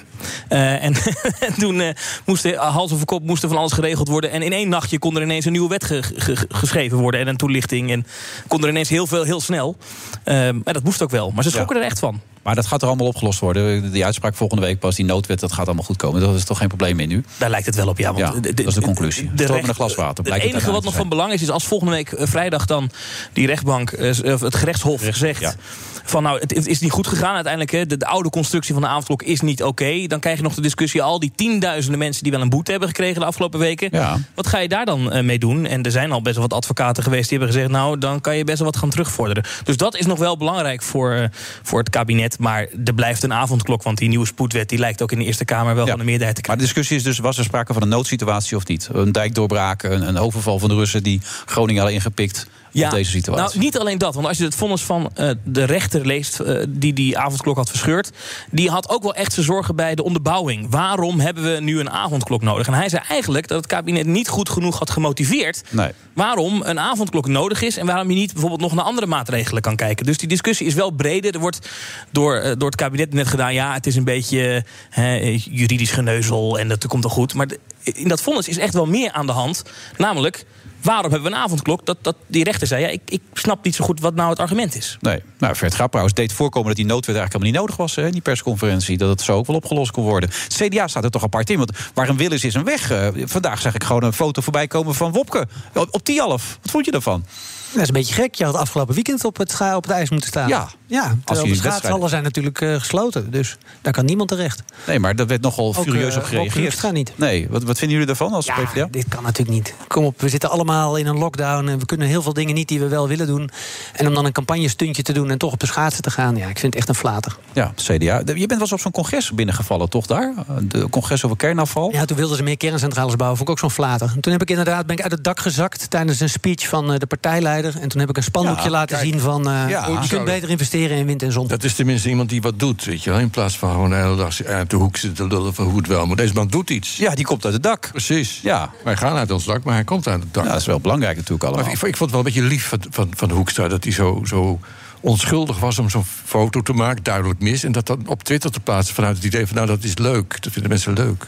Speaker 9: Eh, en, en toen eh, moesten hals over kop moesten van alles geregeld worden. En in één nachtje kon er ineens een nieuwe wet ge- ge- ge- geschreven worden en een toelichting. En kon er ineens heel veel, heel snel. Eh, maar dat moest ook wel. Maar ze schrokken er echt van.
Speaker 7: Maar dat gaat er allemaal opgelost worden. Die uitspraak volgende week pas, die noodwet, dat gaat allemaal goed komen. Dat is toch geen probleem meer nu?
Speaker 9: Daar lijkt het wel op, ja. Want
Speaker 7: Ja, dat is de conclusie. Stroom met een glas water, blijkt
Speaker 9: Het
Speaker 7: het
Speaker 9: enige wat
Speaker 7: uiteindelijk
Speaker 9: nog
Speaker 7: te
Speaker 9: van belang is, is als volgende week eh, vrijdag dan die rechtbank, eh, z- of het gerechtshof zegt...
Speaker 7: ja.
Speaker 9: van nou, het, het is niet goed gegaan uiteindelijk. Hè, de, de oude constructie van de avondklok is niet oké. Dan krijg je nog de discussie al die tienduizenden mensen... die wel een boete hebben gekregen de afgelopen weken.
Speaker 7: Ja.
Speaker 9: Wat ga je daar dan eh, mee doen? En er zijn al best wel wat advocaten geweest die hebben gezegd... nou, dan kan je best wel wat gaan terugvorderen. Dus dat is nog wel belangrijk voor, eh, voor het kabinet. Maar er blijft een avondklok, want die nieuwe spoedwet... die lijkt ook in de Eerste Kamer wel
Speaker 7: Ja.
Speaker 9: van de meerderheid te
Speaker 7: Maar
Speaker 9: krijgen.
Speaker 7: de discussie is dus, was er sprake van een noodsituatie of niet? Een dijkdoorbraak, een, een overval van de Russen die Groningen hadden ingepikt op deze situatie.
Speaker 9: Nou, niet alleen dat. Want als je het vonnis van eh, de rechter leest... eh, die die avondklok had verscheurd... die had ook wel echt zijn zorgen bij de onderbouwing. Waarom hebben we nu een avondklok nodig? En hij zei eigenlijk dat het kabinet niet goed genoeg had gemotiveerd...
Speaker 7: Nee.
Speaker 9: waarom een avondklok nodig is... en waarom je niet bijvoorbeeld nog naar andere maatregelen kan kijken. Dus die discussie is wel breder. Er wordt door, eh, door het kabinet net gedaan... ja, het is een beetje eh, juridisch geneuzel en dat komt wel goed. Maar de- in dat vonnis is echt wel meer aan de hand. Namelijk, waarom hebben we een avondklok? Dat, dat die rechter zei, ja, ik, ik snap niet zo goed wat nou het argument is.
Speaker 7: Nee, nou, Vert Grapperhaus deed voorkomen dat die noodwet eigenlijk helemaal niet nodig was, hè, in die persconferentie. Dat het zo ook wel opgelost kon worden. Het CDA staat er toch apart in, want waar een wil is, is een weg. Eh, vandaag zag ik gewoon een foto voorbij komen van Wopke op, op Tialf. Wat vond je daarvan?
Speaker 1: Dat is een beetje gek. Je had afgelopen weekend op het, scha- op het ijs moeten staan.
Speaker 7: Ja. Als
Speaker 1: ja
Speaker 7: jullie
Speaker 1: terwijl de schaatshallen
Speaker 7: wedstrijden-
Speaker 1: zijn natuurlijk eh, gesloten. Dus daar kan niemand terecht.
Speaker 7: Nee, maar daar werd nogal
Speaker 1: Ook,
Speaker 7: furieus
Speaker 1: eh,
Speaker 7: op gereageerd.
Speaker 1: Wopke Hoekstra niet.
Speaker 7: Nee, wat, wat vinden jullie daarvan als PvdA?
Speaker 1: dit kan natuurlijk niet. Kom op, we zitten allemaal in een lockdown en we kunnen heel veel dingen niet die we wel willen doen. En om dan een campagnestuntje te doen en toch op de schaatsen te gaan, ja, ik vind het echt een flater.
Speaker 7: Ja, CDA. De- Je bent wel eens op zo'n congres binnengevallen, toch daar? De congres over kernafval.
Speaker 1: Ja, toen wilden ze meer kerncentrales bouwen, vond ik ook zo'n flater. En toen heb ik inderdaad ben ik uit het dak gezakt tijdens een speech van eh, de partijleider. En toen heb ik een spandoekje
Speaker 7: Ja,
Speaker 1: laten zien van eh,
Speaker 7: Ja.
Speaker 1: je kunt beter investeren in wind en zon.
Speaker 8: Dat is tenminste iemand die wat doet, weet je wel. In plaats van gewoon de hele dag uit de hoek zitten lullen van hoe het wel. Maar deze man doet iets.
Speaker 7: Ja, die komt uit het dak.
Speaker 8: Precies.
Speaker 7: Ja.
Speaker 8: Wij gaan uit ons dak, maar hij komt uit het dak.
Speaker 7: Ja, dat is wel belangrijk natuurlijk allemaal.
Speaker 8: Maar ik, ik vond het wel een beetje lief van, van, van Hoekstra... dat hij zo, zo onschuldig was om zo'n foto te maken, duidelijk mis... en dat dan op Twitter te plaatsen vanuit het idee van... nou, dat is leuk, dat vinden mensen leuk.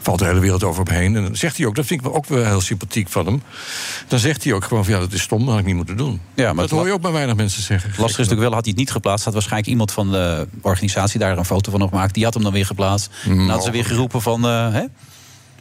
Speaker 8: Valt de hele wereld over hem heen. En dan zegt hij ook, dat vind ik wel ook wel heel sympathiek van hem... dan zegt hij ook gewoon van, ja, dat is stom, dat had ik niet moeten doen.
Speaker 7: Ja, maar
Speaker 8: dat
Speaker 7: het
Speaker 8: hoor je
Speaker 7: la-
Speaker 8: ook maar weinig mensen zeggen.
Speaker 7: Lastig is natuurlijk wel, had hij het niet geplaatst... had waarschijnlijk iemand van de organisatie daar een foto van gemaakt. Die had hem dan weer geplaatst. En dan had ze weer geroepen van... eh, hè?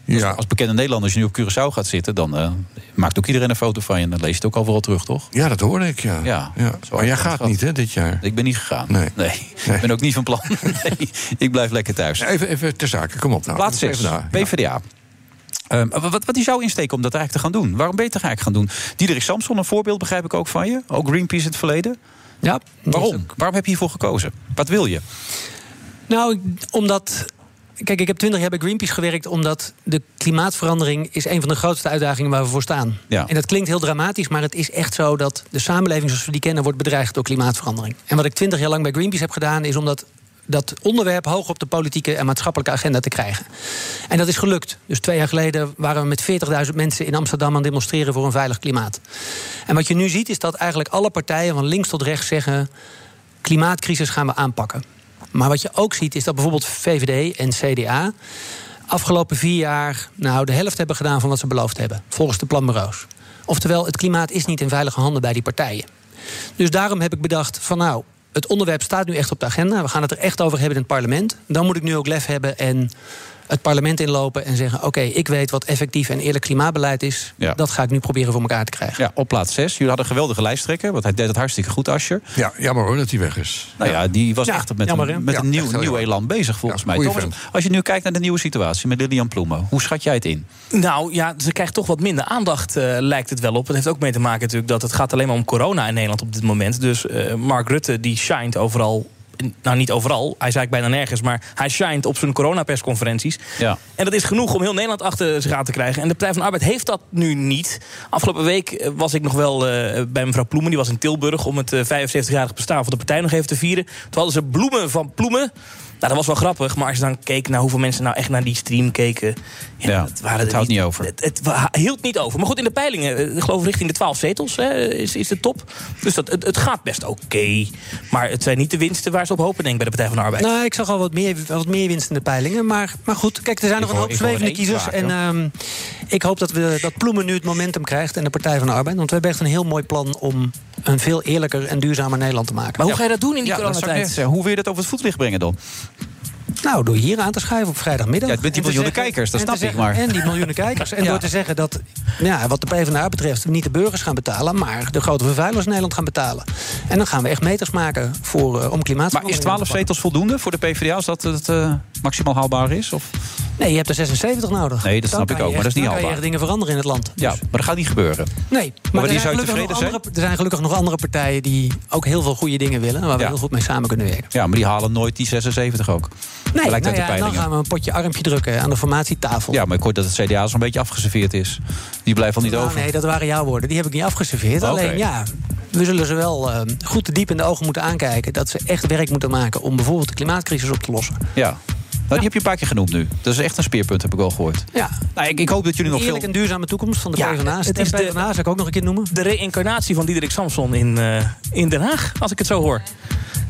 Speaker 8: Ja,
Speaker 7: Als bekende Nederlander, als je nu op Curaçao gaat zitten... dan eh, maakt ook iedereen een foto van je. En dan lees je het ook overal terug, toch?
Speaker 8: ja dat hoorde ik, ja.
Speaker 7: Ja, zo
Speaker 8: Maar jij
Speaker 7: had ik
Speaker 8: gaat
Speaker 7: het
Speaker 8: niet, hè, dit jaar.
Speaker 7: Ik ben niet gegaan.
Speaker 8: Nee.
Speaker 7: Ik ben ook niet van plan. Nee, ik blijf lekker thuis.
Speaker 8: Even, even ter zake, kom op nou.
Speaker 7: Plaats 6,
Speaker 8: Even daar, ja.
Speaker 7: PvdA. Ehm, wat, wat, wat is jouw insteek om dat eigenlijk te gaan doen? Waarom ben je het eigenlijk gaan doen? Diederik Samson, een voorbeeld begrijp ik ook van je. Ook Greenpeace in het verleden.
Speaker 1: Ja,
Speaker 7: Waarom? Waarom heb je hiervoor gekozen? Wat wil je?
Speaker 1: Nou, ik- omdat. Kijk, ik heb twintig jaar bij Greenpeace gewerkt, omdat de klimaatverandering is een van de grootste uitdagingen waar we voor staan.
Speaker 7: Ja.
Speaker 1: En dat klinkt heel dramatisch, maar het is echt zo dat de samenleving zoals we die kennen wordt bedreigd door klimaatverandering. En wat ik twintig jaar lang bij Greenpeace heb gedaan, is om dat, dat onderwerp hoog op de politieke en maatschappelijke agenda te krijgen. En dat is gelukt. Dus twee jaar geleden waren we met 40.000 mensen in Amsterdam aan het demonstreren voor een veilig klimaat. En wat je nu ziet, is dat eigenlijk alle partijen van links tot rechts zeggen klimaatcrisis gaan we aanpakken. Maar wat je ook ziet is dat bijvoorbeeld VVD en CDA afgelopen vier jaar nou de helft hebben gedaan van wat ze beloofd hebben, volgens de planbureaus. Oftewel, het klimaat is niet in veilige handen bij die partijen. Dus daarom heb ik bedacht van nou, het onderwerp staat nu echt op de agenda. We gaan het er echt over hebben in het parlement. Dan moet ik nu ook lef hebben en het parlement inlopen en zeggen: oké, ik weet wat effectief en eerlijk klimaatbeleid is.
Speaker 7: Ja.
Speaker 1: Dat ga ik nu proberen voor elkaar te krijgen.
Speaker 7: Ja, op plaats 6. Jullie hadden een geweldige lijsttrekker, want hij deed het hartstikke goed, Asscher.
Speaker 8: Ja, jammer hoor dat hij weg is.
Speaker 7: Nou ja, die was
Speaker 1: Ja,
Speaker 7: echt met
Speaker 1: jammer, hè?
Speaker 7: een, met
Speaker 8: Ja,
Speaker 7: een nieuw,
Speaker 8: echt heel
Speaker 7: nieuw
Speaker 8: jammer.
Speaker 7: elan bezig, volgens
Speaker 8: Ja,
Speaker 7: mij.
Speaker 8: goeie
Speaker 7: Thomas,
Speaker 8: vent.
Speaker 7: als je nu kijkt naar de nieuwe situatie met Lilian Ploemen, hoe schat jij het in?
Speaker 9: Nou ja, ze krijgt toch wat minder aandacht, eh, lijkt het wel op. Het heeft ook mee te maken natuurlijk dat het gaat alleen maar om corona in Nederland op dit moment. Dus eh, Mark Rutte die shined overal nou niet overal, hij is eigenlijk bijna nergens, maar hij shined op zijn coronapersconferenties.
Speaker 7: Ja.
Speaker 9: En dat is genoeg om heel Nederland achter zich aan te krijgen. En de Partij van de Arbeid heeft dat nu niet. Afgelopen week eh, was ik nog wel eh, bij mevrouw Ploemen. Die was in Tilburg om het eh, 75-jarig bestaan van de partij nog even te vieren. Toen hadden ze bloemen van Ploemen. Nou, dat was wel grappig. Maar als je dan keek naar hoeveel mensen nou echt naar die stream keken. Ja,
Speaker 7: Ja,
Speaker 9: dat waren
Speaker 7: het
Speaker 9: er
Speaker 7: houdt
Speaker 9: niet
Speaker 7: niet over.
Speaker 9: het, het wa- hield niet over. Maar goed, in de peilingen, eh, ik geloof richting de 12 zetels, hè, is, is de top. Dus dat, het, het gaat best oké. Maar het zijn niet de winsten waar ze op hopen, denk ik, bij de Partij van de Arbeid.
Speaker 1: Nou, ik zag al wat meer, wat meer winst in de peilingen. Maar, maar goed, kijk, er zijn nog een
Speaker 7: hoor-
Speaker 1: hoop
Speaker 7: ik hoor
Speaker 1: zwevende
Speaker 7: één
Speaker 1: kiezers.
Speaker 7: vaak,
Speaker 1: En
Speaker 7: hoor.
Speaker 1: ehm, ik hoop dat, we, dat Ploemen nu het momentum krijgt en de Partij van de Arbeid. Want we hebben echt een heel mooi plan om een veel eerlijker en duurzamer Nederland te maken.
Speaker 9: Maar hoe ga je dat doen in die
Speaker 7: Ja, dat zou ik net
Speaker 9: coronatijd?
Speaker 7: zeggen. Hoe wil je dat over het voetlicht brengen dan?
Speaker 1: Nou, door hier aan te schuiven op vrijdagmiddag.
Speaker 7: Ja, met die
Speaker 1: En te
Speaker 7: miljoenen
Speaker 1: zeggen-
Speaker 7: kijkers, dat
Speaker 1: en te
Speaker 7: snap ik,
Speaker 1: zeggen-
Speaker 7: maar.
Speaker 1: En die miljoenen kijkers. En
Speaker 7: Ja.
Speaker 1: door te zeggen dat, ja, wat de PvdA betreft, niet de burgers gaan betalen... maar de grote vervuilers in Nederland gaan betalen. En dan gaan we echt meters maken voor, eh, om
Speaker 7: Maar is
Speaker 1: klimaatverandering
Speaker 7: 12
Speaker 1: aan te pakken.
Speaker 7: zetels voldoende voor de PvdA als dat het eh, maximaal haalbaar is? Of?
Speaker 1: Nee, je hebt er 76 nodig.
Speaker 7: Nee, dat
Speaker 1: Dan
Speaker 7: snap ik
Speaker 1: kan je
Speaker 7: ook, maar dat is
Speaker 1: echt-
Speaker 7: niet
Speaker 1: dan kan je
Speaker 7: haalbaar.
Speaker 1: echt dingen veranderen in het land.
Speaker 7: Ja, maar dat gaat niet gebeuren.
Speaker 1: Nee,
Speaker 7: Maar
Speaker 1: maar,
Speaker 7: die
Speaker 1: er,
Speaker 7: zou
Speaker 1: zijn
Speaker 7: je
Speaker 1: gelukkig nog
Speaker 7: tevreden zijn?
Speaker 1: andere, er zijn gelukkig nog andere partijen die ook heel veel goede dingen willen... waar we
Speaker 7: Ja.
Speaker 1: heel goed mee samen kunnen werken.
Speaker 7: Ja, maar die halen nooit die 76 ook.
Speaker 1: Nee,
Speaker 7: Blijkt uit
Speaker 1: nou
Speaker 7: de
Speaker 1: ja, en dan
Speaker 7: peilingen.
Speaker 1: gaan we een potje armpje drukken aan de formatietafel.
Speaker 7: Ja, maar ik hoor dat het CDA zo'n beetje afgeserveerd is. Die blijft al niet
Speaker 1: Nou,
Speaker 7: over.
Speaker 1: nee, dat waren jouw woorden. Die heb ik niet afgeserveerd.
Speaker 7: Oké.
Speaker 1: Alleen ja, we zullen ze wel eh, goed diep in de ogen moeten aankijken... dat ze echt werk moeten maken om bijvoorbeeld de klimaatcrisis op te lossen.
Speaker 7: Ja. Nou, die heb je een paar keer genoemd nu. Dat is echt een speerpunt, heb ik al gehoord.
Speaker 1: Ja,
Speaker 7: Nou, ik, ik hoop dat jullie nog veel...
Speaker 1: eerlijk en duurzame toekomst van de
Speaker 9: Ja,
Speaker 1: PvdA.
Speaker 9: het is
Speaker 1: Stem
Speaker 9: de-
Speaker 1: PvdA, zou ik ook nog een keer noemen.
Speaker 9: De reïncarnatie van Diederik Samson in, eh, in Den Haag, als ik het zo hoor.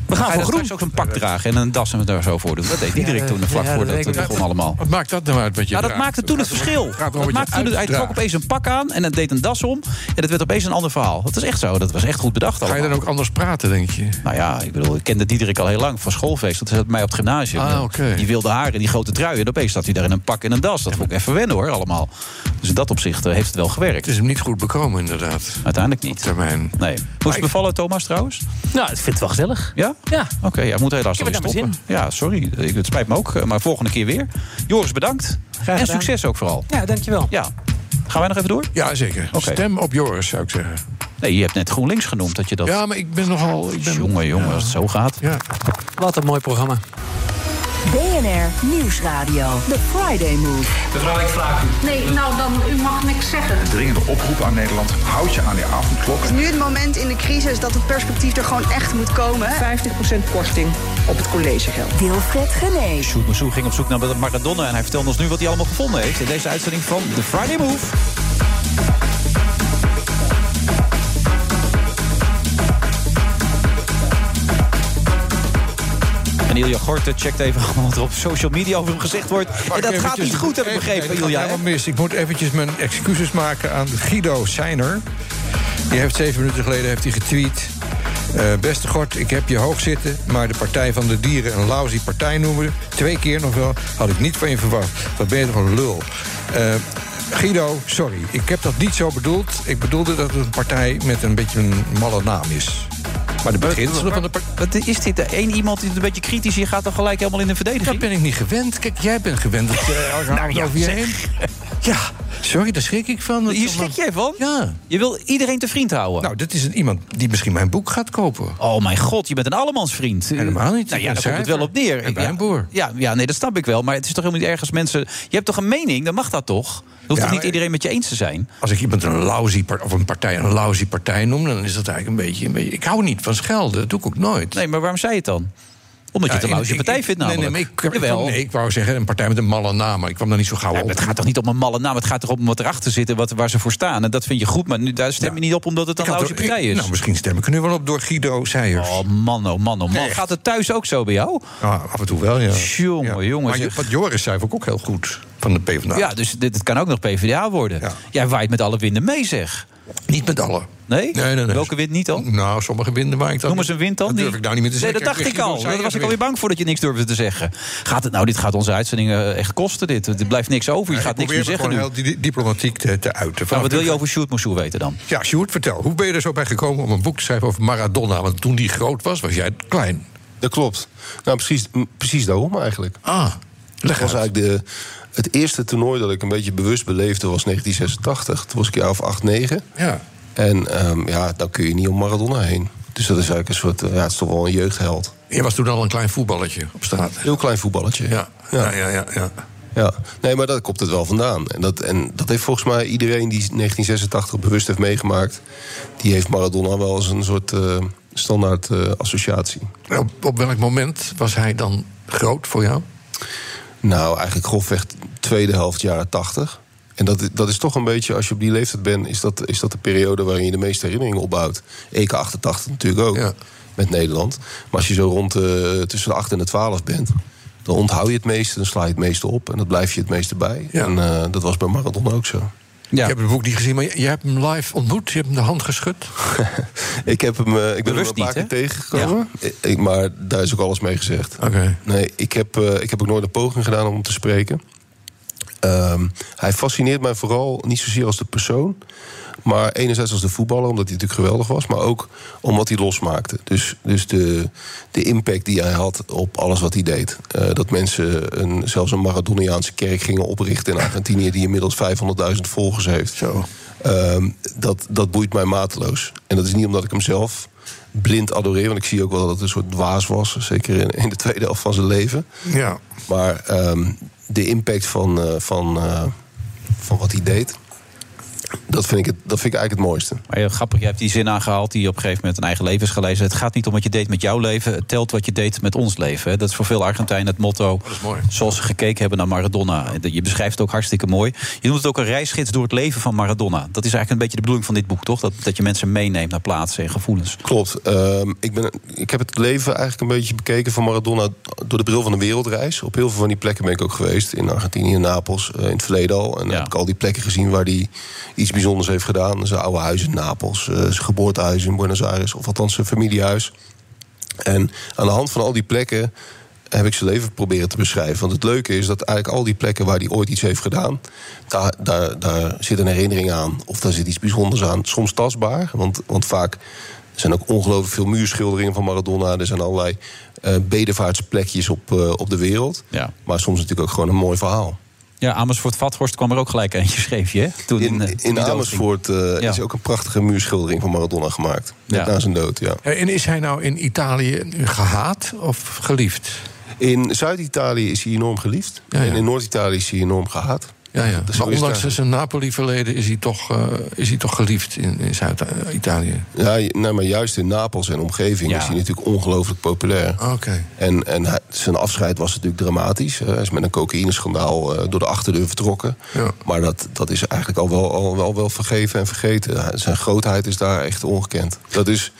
Speaker 9: We gaan
Speaker 7: Ga je
Speaker 9: voor
Speaker 7: dat
Speaker 9: groen.
Speaker 7: straks ook een pak dragen en een das en daar zo voor doen? Dat deed Diederik
Speaker 1: eh,
Speaker 7: toen, vlak
Speaker 1: ja, dat
Speaker 7: voordat
Speaker 1: weet ik
Speaker 7: het
Speaker 1: niet.
Speaker 7: begon allemaal.
Speaker 8: Wat maakt dat nou uit wat je
Speaker 7: Ja, dat
Speaker 8: draagt?
Speaker 7: maakte toen het
Speaker 8: gaat om-
Speaker 7: verschil.
Speaker 8: gaat om
Speaker 7: Dat
Speaker 8: wat je
Speaker 7: maakte toen, hij trok
Speaker 8: uitdraagt.
Speaker 7: opeens een pak aan en het deed een das om. En dat werd opeens een ander verhaal. Dat is echt zo, dat was echt goed bedacht
Speaker 8: Ga je
Speaker 7: allemaal.
Speaker 8: dan ook anders praten, denk je?
Speaker 7: Nou ja, ik bedoel, ik kende Diederik al heel lang van schoolfeest. Dat zat bij mij op het gymnasium.
Speaker 8: Ah, oké.
Speaker 7: Die wilde haar en die grote trui. En opeens zat hij daar in een pak en een das. Dat vond ik even wennen hoor, allemaal. Dus in dat opzicht eh, heeft het wel gewerkt.
Speaker 8: Het is hem niet goed bekomen, inderdaad.
Speaker 7: Uiteindelijk
Speaker 8: Op
Speaker 7: niet.
Speaker 8: termijn.
Speaker 7: Nee. Hoe is het bevallen, Thomas, trouwens?
Speaker 9: Nou, ik vind het wel gezellig.
Speaker 7: Ja?
Speaker 9: Ja.
Speaker 7: Oké, ja, ik moet helaas
Speaker 9: Ik
Speaker 7: alweer
Speaker 9: heb er
Speaker 7: stoppen.
Speaker 9: naar
Speaker 7: Ja, sorry. Ik, het spijt me ook. eh, Maar volgende keer weer. Joris, bedankt. en
Speaker 1: gedaan.
Speaker 7: succes ook vooral.
Speaker 1: Ja, dankjewel.
Speaker 7: Ja. Gaan wij nog even door?
Speaker 8: Ja, zeker.
Speaker 7: Oké.
Speaker 8: Stem op Joris, zou ik zeggen.
Speaker 7: Nee, je hebt net GroenLinks genoemd dat je dat...
Speaker 8: Ja, maar ik ben nogal... Ik ben,
Speaker 7: Jongen, jongen, als het zo gaat.
Speaker 8: Ja.
Speaker 1: Wat een mooi programma.
Speaker 4: BNR Nieuwsradio. The Friday Move.
Speaker 5: Mevrouw, ik vraag u.
Speaker 10: Nee, nou dan, u mag niks zeggen.
Speaker 5: Dringende oproep aan Nederland. Houd je aan die avondklok.
Speaker 11: nu het moment in de crisis dat het perspectief er gewoon echt moet komen. 50% korting op het collegegeld.
Speaker 4: Wilfred Genee.
Speaker 7: Sjoerd Massou ging op zoek naar Maradona... en hij vertelde ons nu wat hij allemaal gevonden heeft... in deze uitzending van The Friday Move. En Ilja Gorten checkt even wat er op social media over hem gezegd wordt. En dat gaat niet goed, heb ik begrepen,
Speaker 8: Ilja.
Speaker 7: Ilja. hè?
Speaker 8: helemaal mis. Ik moet eventjes mijn excuses maken aan Guido Seiner. Die heeft zeven minuten geleden heeft hij getweet. eh, beste Gort, ik heb je hoog zitten, maar de Partij van de Dieren een lousy partij noemen. Twee keer nog wel, had ik niet van je verwacht. Wat ben je toch een lul. Eh, Guido, sorry, ik heb dat niet zo bedoeld. Ik bedoelde dat het een partij met een beetje een malle naam is. Maar de beginselen van de partij...
Speaker 7: Wat is dit? Eén iemand die het een beetje kritisch is, je gaat dan gelijk helemaal in de
Speaker 8: Dat
Speaker 7: verdediging. Nou
Speaker 8: ben ik niet gewend. Kijk, jij bent gewend dat je elke avond over je heen... Ja, sorry, daar schrik ik van. Dat
Speaker 7: Hier
Speaker 8: is
Speaker 7: schrik
Speaker 8: allemaal-
Speaker 7: jij van?
Speaker 8: Ja.
Speaker 7: Je wil iedereen te vriend houden.
Speaker 8: Nou, dit is een, iemand die misschien mijn boek gaat kopen.
Speaker 7: Oh mijn god, je bent een allemansvriend.
Speaker 8: Helemaal niet.
Speaker 7: Nou
Speaker 8: Ik
Speaker 7: ja,
Speaker 8: ben
Speaker 7: daar komt het wel
Speaker 8: schrijver.
Speaker 7: op neer.
Speaker 8: Ik ben
Speaker 7: Ja,
Speaker 8: een boer.
Speaker 7: Ja, ja, nee, dat snap ik wel. Maar het is toch helemaal niet ergens mensen... Je hebt toch een mening? Dan mag dat toch? Dan hoeft
Speaker 8: Ja,
Speaker 7: toch niet
Speaker 8: maar-
Speaker 7: iedereen met je eens te zijn?
Speaker 8: Als ik iemand een lousy par- of een partij een lousy partij noem, dan is dat eigenlijk een beetje, een beetje. Ik hou niet van schelden, dat doe ik ook nooit.
Speaker 7: Nee, maar waarom zei je het dan? Omdat je het
Speaker 8: Ja, ik-
Speaker 7: een lousje
Speaker 8: ik-
Speaker 7: partij
Speaker 8: ik-
Speaker 7: vindt
Speaker 8: nee,
Speaker 7: namelijk.
Speaker 8: nee, maar ik, ik,
Speaker 7: Jawel.
Speaker 8: nee, ik wou zeggen een partij met een malle naam, maar ik kwam daar niet zo gauw
Speaker 7: Ja,
Speaker 8: op.
Speaker 7: maar het gaat toch niet om een malle naam? Het gaat erom wat erachter zit en wat, waar ze voor staan. En dat vind je goed, maar nu, daar stem
Speaker 8: Ja.
Speaker 7: je niet op omdat het
Speaker 8: Ik
Speaker 7: een
Speaker 8: had
Speaker 7: lousje
Speaker 8: er-
Speaker 7: partij
Speaker 8: ik-
Speaker 7: is.
Speaker 8: Nou, misschien stem ik er nu wel op door Guido Seijers.
Speaker 7: Oh man, oh man, oh man.
Speaker 8: Echt.
Speaker 7: Gaat het thuis ook zo bij jou?
Speaker 8: Ah, af en toe wel, ja.
Speaker 7: Jongen,
Speaker 8: Ja.
Speaker 7: jongen,
Speaker 8: Maar
Speaker 7: zeg.
Speaker 8: wat Joris zei, vond ik ook heel goed van de PvdA.
Speaker 7: Ja, dus dit, het kan ook nog PvdA worden.
Speaker 8: Ja.
Speaker 7: Jij waait met alle winden mee, zeg.
Speaker 8: Niet met allen.
Speaker 7: Nee? Welke wind niet dan?
Speaker 8: Nou, sommige winden waar ik dan.
Speaker 7: Noem eens een wind dan.
Speaker 8: Dat durf
Speaker 7: die-
Speaker 8: ik nou niet meer te zeggen.
Speaker 7: Nee, dat dacht ik al.
Speaker 8: Guido
Speaker 7: Daar was ik
Speaker 8: Seijers
Speaker 7: alweer
Speaker 8: weer.
Speaker 7: bang voor dat je niks durfde te zeggen. Gaat het nou, dit gaat onze uitzendingen echt kosten, dit. Er blijft niks over, je
Speaker 8: Nou, Ik
Speaker 7: gaat niks
Speaker 8: probeer
Speaker 7: meer
Speaker 8: me
Speaker 7: zeggen nu.
Speaker 8: gewoon heel di- diplomatiek te, te uiten.
Speaker 7: Nou,
Speaker 8: Vanaf
Speaker 7: wat wil
Speaker 8: nu-
Speaker 7: je over Sjoerd Moussou weten dan?
Speaker 8: Ja, Sjoerd, vertel. Hoe ben je er zo bij gekomen om een boek te schrijven over Maradona? Want toen die groot was, was jij klein.
Speaker 12: Dat klopt. Nou, precies, m- precies daarom eigenlijk.
Speaker 8: Ah,
Speaker 12: Dat was eigenlijk de, het eerste toernooi dat ik een beetje bewust beleefde was 1986. Toen was ik een jaar of 8, 9.
Speaker 8: Ja.
Speaker 12: En ehm, ja, dan kun je niet om Maradona heen. Dus dat is eigenlijk een soort, eh, ja, het is toch wel een jeugdheld.
Speaker 8: Je was toen al een klein voetballetje op straat.
Speaker 12: Heel klein voetballetje.
Speaker 8: Ah, Ja, ja, ja. ja, ja.
Speaker 12: Ja, nee, maar daar komt het wel vandaan. En dat, en dat heeft volgens mij iedereen die 1986 bewust heeft meegemaakt... die heeft Maradona wel als een soort eh, standaard eh, associatie.
Speaker 8: Op, op welk moment was hij dan groot voor jou?
Speaker 12: Nou, eigenlijk grofweg tweede helft jaren 80. En dat, dat is toch een beetje, als je op die leeftijd bent... is dat, is dat de periode waarin je de meeste herinneringen opbouwt. EK 88 natuurlijk ook, met Nederland. Maar als je zo rond eh, tussen de 8 en de 12 bent... dan onthoud je het meeste, dan sla je het meeste op... en dat blijf je het meeste bij. En eh, dat was bij Maradona ook zo.
Speaker 8: Ik heb het boek niet gezien, maar j- jij hebt hem live ontmoet. Je hebt hem de hand geschud.
Speaker 12: Ik, heb hem, eh, ik ben hem
Speaker 8: Bewust
Speaker 12: een paar
Speaker 8: niet,
Speaker 12: keer
Speaker 8: hè?
Speaker 12: tegengekomen. Ik- Ik, maar daar is ook alles mee gezegd.
Speaker 8: Oké.
Speaker 12: Nee, ik heb, eh, ik heb ook nooit een poging gedaan om hem te spreken. Ehm, hij fascineert mij vooral niet zozeer als de persoon. Maar enerzijds als de voetballer, omdat hij natuurlijk geweldig was. Maar ook om wat hij losmaakte. Dus, dus de, de impact die hij had op alles wat hij deed. Eh, dat mensen een, zelfs een Maradoniaanse kerk gingen oprichten in Argentinië... die inmiddels 500.000 volgers heeft. Ehm, dat, dat boeit mij mateloos. En dat is niet omdat ik hem zelf blind adoreer. Want ik zie ook wel dat het een soort dwaas was. Zeker in, in de tweede helft van zijn leven.
Speaker 8: Ja.
Speaker 12: Maar ehm, de impact van, eh, van, eh, van wat hij deed, dat vind ik, het, dat vind ik eigenlijk het mooiste.
Speaker 7: Maar heel grappig, je hebt die zin aangehaald die je op een gegeven moment een eigen leven is gelezen. Het gaat niet om wat je deed met jouw leven, het telt wat je deed met ons leven. hè. Dat is voor veel Argentijnen het motto. Zoals ze gekeken hebben naar Maradona. Je beschrijft het ook hartstikke mooi. Je noemt het ook een reisgids door het leven van Maradona. Dat is eigenlijk een beetje de bedoeling van dit boek, toch? Dat, dat je mensen meeneemt naar plaatsen en gevoelens.
Speaker 12: Klopt. Ehm, ik, ben, ik heb het leven eigenlijk een beetje bekeken van Maradona door de bril van de wereldreis. Op heel veel van die plekken ben ik ook geweest. In Argentinië, Napels, eh, in het verleden al. En heb ik al die plekken gezien waar hij iets bijzonders heeft gedaan. Zijn oude huis in Napels, eh, zijn geboortehuis in Buenos Aires, of althans zijn familiehuis. En aan de hand van al die plekken heb ik zijn leven proberen te beschrijven. Want het leuke is dat eigenlijk al die plekken waar hij ooit iets heeft gedaan... daar, daar, daar zit een herinnering aan. Of daar zit iets bijzonders aan. Soms tastbaar, want, want vaak zijn ook ongelooflijk veel muurschilderingen van Maradona. Er zijn allerlei eh, bedevaartsplekjes op, eh, op de wereld. Maar soms natuurlijk ook gewoon een mooi verhaal.
Speaker 7: Ja, Amersfoort Vathorst kwam er ook gelijk eentje, schreef je. hè? Toen, in eh, toen die
Speaker 12: In
Speaker 7: doodging.
Speaker 12: Amersfoort eh,
Speaker 7: Ja.
Speaker 12: is ook een prachtige muurschildering van Maradona gemaakt. Net na zijn dood, ja.
Speaker 8: Eh, En is hij nou in Italië gehaat of geliefd?
Speaker 12: In Zuid-Italië is hij enorm geliefd. En in Noord-Italië is hij enorm gehaat.
Speaker 8: Ja, ja.
Speaker 12: Dus zo
Speaker 8: maar
Speaker 12: is het
Speaker 8: ondanks
Speaker 12: eigenlijk.
Speaker 8: zijn Napoli-verleden is hij toch, eh, is hij toch geliefd in, in Zuid-Italië.
Speaker 12: Ja, je- nou, maar juist in Napels en omgeving is hij natuurlijk ongelooflijk populair.
Speaker 8: Oké.
Speaker 12: En, en hij- zijn afscheid was natuurlijk dramatisch. Hij is met een cocaïneschandaal eh, door de achterdeur vertrokken. Maar dat, dat is eigenlijk al wel, al wel, wel vergeven en vergeten. Hij- Zijn grootheid is daar echt ongekend. Dat is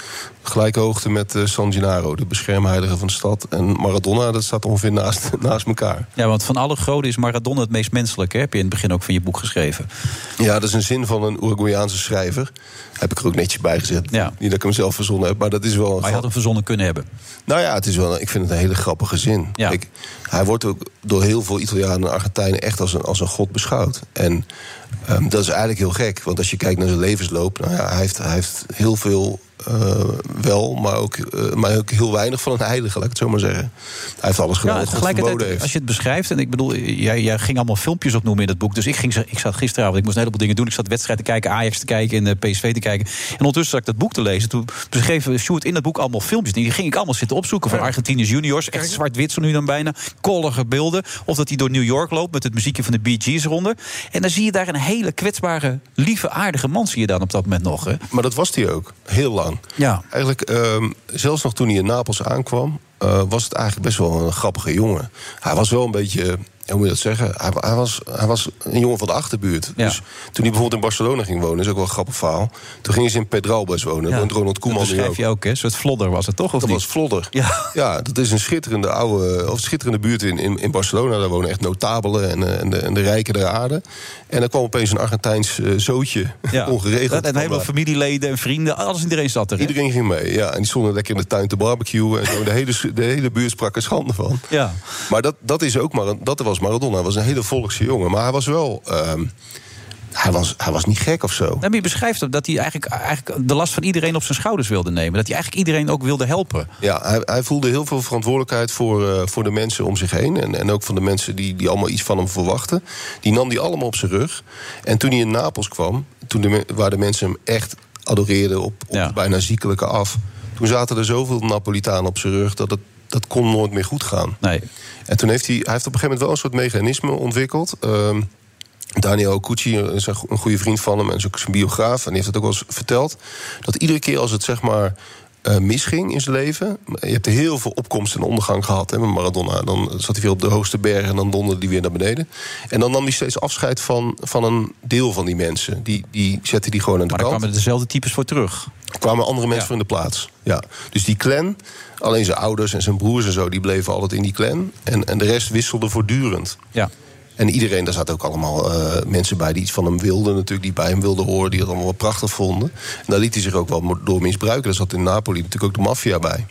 Speaker 12: gelijke hoogte met eh, San Gennaro, de beschermheilige van de stad. En Maradona, dat staat ongeveer naast, naast elkaar.
Speaker 7: Ja, want van alle goden is Maradona het meest menselijk, hè? heb je in het begin ook van je boek geschreven.
Speaker 12: Ja, dat is een zin van een Uruguayaanse schrijver. Heb ik er ook netjes bij gezet. Niet dat ik hem zelf verzonnen heb, maar dat is wel... Een
Speaker 7: Maar je had hem verzonnen kunnen hebben.
Speaker 12: Nou ja, het is wel, ik vind het een hele grappige zin. Ik, hij wordt ook door heel veel Italianen en Argentijnen echt als een, als een god beschouwd. En ehm, dat is eigenlijk heel gek, want als je kijkt naar zijn levensloop, nou ja, hij, heeft, hij heeft heel veel eh, wel, maar ook, eh, maar ook heel weinig van een heilige, laat ik het zo maar zeggen. Hij heeft alles gedaan
Speaker 7: Ja,
Speaker 12: wat God verboden
Speaker 7: tegelijkertijd,
Speaker 12: heeft.
Speaker 7: als je het beschrijft, en ik bedoel, jij, jij ging allemaal filmpjes opnoemen in dat boek. Dus ik, ging, ze- ik zat gisteravond, ik moest een heleboel dingen doen. Ik zat wedstrijden te kijken, Ajax te kijken en eh, PSV te kijken. En ondertussen zat ik dat boek te lezen. Toen beschreef Sjoerd in dat boek allemaal filmpjes. Die ging ik allemaal zitten opzoeken van Argentinië juniors. Echt zwart-wit zo nu dan bijna. Kollige beelden. Of dat hij door New York loopt met het muziekje van de Bee Gees eronder. En dan zie je daar een hele kwetsbare, lieve, aardige man zie je dan op dat moment nog. Hè?
Speaker 12: Maar dat was hij ook, heel lang.
Speaker 7: Ja.
Speaker 12: Eigenlijk, ehm, zelfs nog toen hij in Napels aankwam, eh, was het eigenlijk best wel een grappige jongen. Hij was wel een beetje, eh, hoe moet je dat zeggen? Hij, wa- hij, was, hij was een jongen van de achterbuurt. Dus toen hij bijvoorbeeld in Barcelona ging wonen, is ook wel een grappig verhaal. Toen gingen ze in Pedralbes wonen,
Speaker 7: Ja.
Speaker 12: woont Ronald Koeman
Speaker 7: dat
Speaker 12: nu ook.
Speaker 7: beschrijf je ook, hè? Een soort vlodder was het toch? Of
Speaker 12: Dat
Speaker 7: niet?
Speaker 12: was Vlodder.
Speaker 7: Ja.
Speaker 12: dat is een schitterende, oude, of schitterende buurt in, in, in Barcelona. Daar wonen echt notabelen en, eh, en, de, en de rijken der aarde. En er kwam opeens een Argentijns eh, zootje, ongeregeld.
Speaker 7: En een
Speaker 12: kwam
Speaker 7: heleboel
Speaker 12: daar.
Speaker 7: familieleden en vrienden, alles iedereen zat er. hè?
Speaker 12: Iedereen ging mee, ja. En die stonden lekker in de tuin te barbecuen. En zo. De, hele, de hele buurt sprak er schande van.
Speaker 7: Ja.
Speaker 12: Maar dat, dat, is ook Mar dat was Maradona. Hij was een hele volkse jongen. Maar hij was wel... ehm, hij, was, hij was niet gek of zo.
Speaker 7: Nou, maar je beschrijft hem dat hij eigenlijk, eigenlijk de last van iedereen op zijn schouders wilde nemen. Dat hij eigenlijk iedereen ook wilde helpen.
Speaker 12: Ja, hij, hij voelde heel veel verantwoordelijkheid voor, eh, voor de mensen om zich heen. En, en ook van de mensen die, die allemaal iets van hem verwachten. Die nam die allemaal op zijn rug. En toen hij in Napels kwam, toen de, me- waar de mensen hem echt adoreerden op, op de bijna ziekelijke af. Toen zaten er zoveel Napolitanen op zijn rug dat het dat kon nooit meer goed gaan.
Speaker 7: Nee.
Speaker 12: En toen heeft hij, hij heeft op een gegeven moment wel een soort mechanisme ontwikkeld. Ehm, Daniel Cucci is een go- een goede vriend van hem en is ook zijn biograaf. En die heeft het ook wel eens verteld. Dat iedere keer als het zeg maar eh, misging in zijn leven. Je hebt heel veel opkomst en ondergang gehad hè, met Maradona. Dan zat hij weer op de hoogste bergen en dan donderde hij weer naar beneden. En dan nam hij steeds afscheid van, van een deel van die mensen. Die, die zette die gewoon aan de
Speaker 7: Maar daar
Speaker 12: kant.
Speaker 7: kwamen dezelfde types voor terug.
Speaker 12: Er kwamen andere mensen voor in de plaats. Ja. Dus die clan, alleen zijn ouders en zijn broers en zo, die bleven altijd in die clan. En, en de rest wisselde voortdurend.
Speaker 7: Ja.
Speaker 12: En iedereen, daar zaten ook allemaal eh, mensen bij die iets van hem wilden, natuurlijk, die bij hem wilden horen, die het allemaal wel prachtig vonden. En daar liet hij zich ook wel mo- door misbruiken. Daar zat in Napoli natuurlijk ook de maffia bij.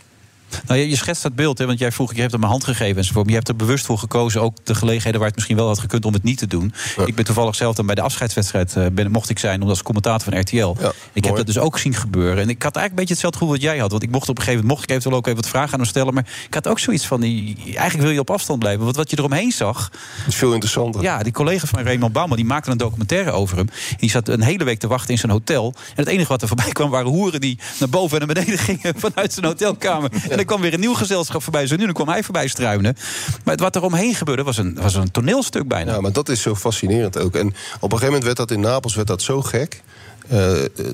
Speaker 7: Nou, je, je schetst dat beeld, hè, want jij vroeg, je hebt hem een hand gegeven enzovoort. Maar je hebt er bewust voor gekozen, ook de gelegenheden waar het misschien wel had gekund om het niet te doen. Ik ben toevallig zelf dan bij de afscheidswedstrijd, eh, ben, mocht ik zijn, omdat als commentator van RTL. ik heb dat dus ook zien gebeuren. En ik had eigenlijk een beetje hetzelfde gevoel wat jij had. Want ik mocht op een gegeven moment, mocht ik eventueel ook even wat vragen aan hem stellen. Maar ik had ook zoiets van, die, eigenlijk wil je op afstand blijven. Want wat je eromheen zag...
Speaker 12: is veel interessanter.
Speaker 7: Ja, die collega van Raymond Bouwman, die maakte een documentaire over hem. En die zat een hele week te wachten in zijn hotel. En het enige wat er voorbij kwam, waren hoeren die naar boven en naar beneden gingen vanuit zijn hotelkamer. En er kwam weer een nieuw gezelschap voorbij. Zo nu, dan kwam hij voorbij struinen. Maar het- wat er omheen gebeurde, was een, was een toneelstuk bijna.
Speaker 12: Ja, maar dat is zo fascinerend ook. En op een gegeven moment werd dat in Napels werd dat zo gek. eh,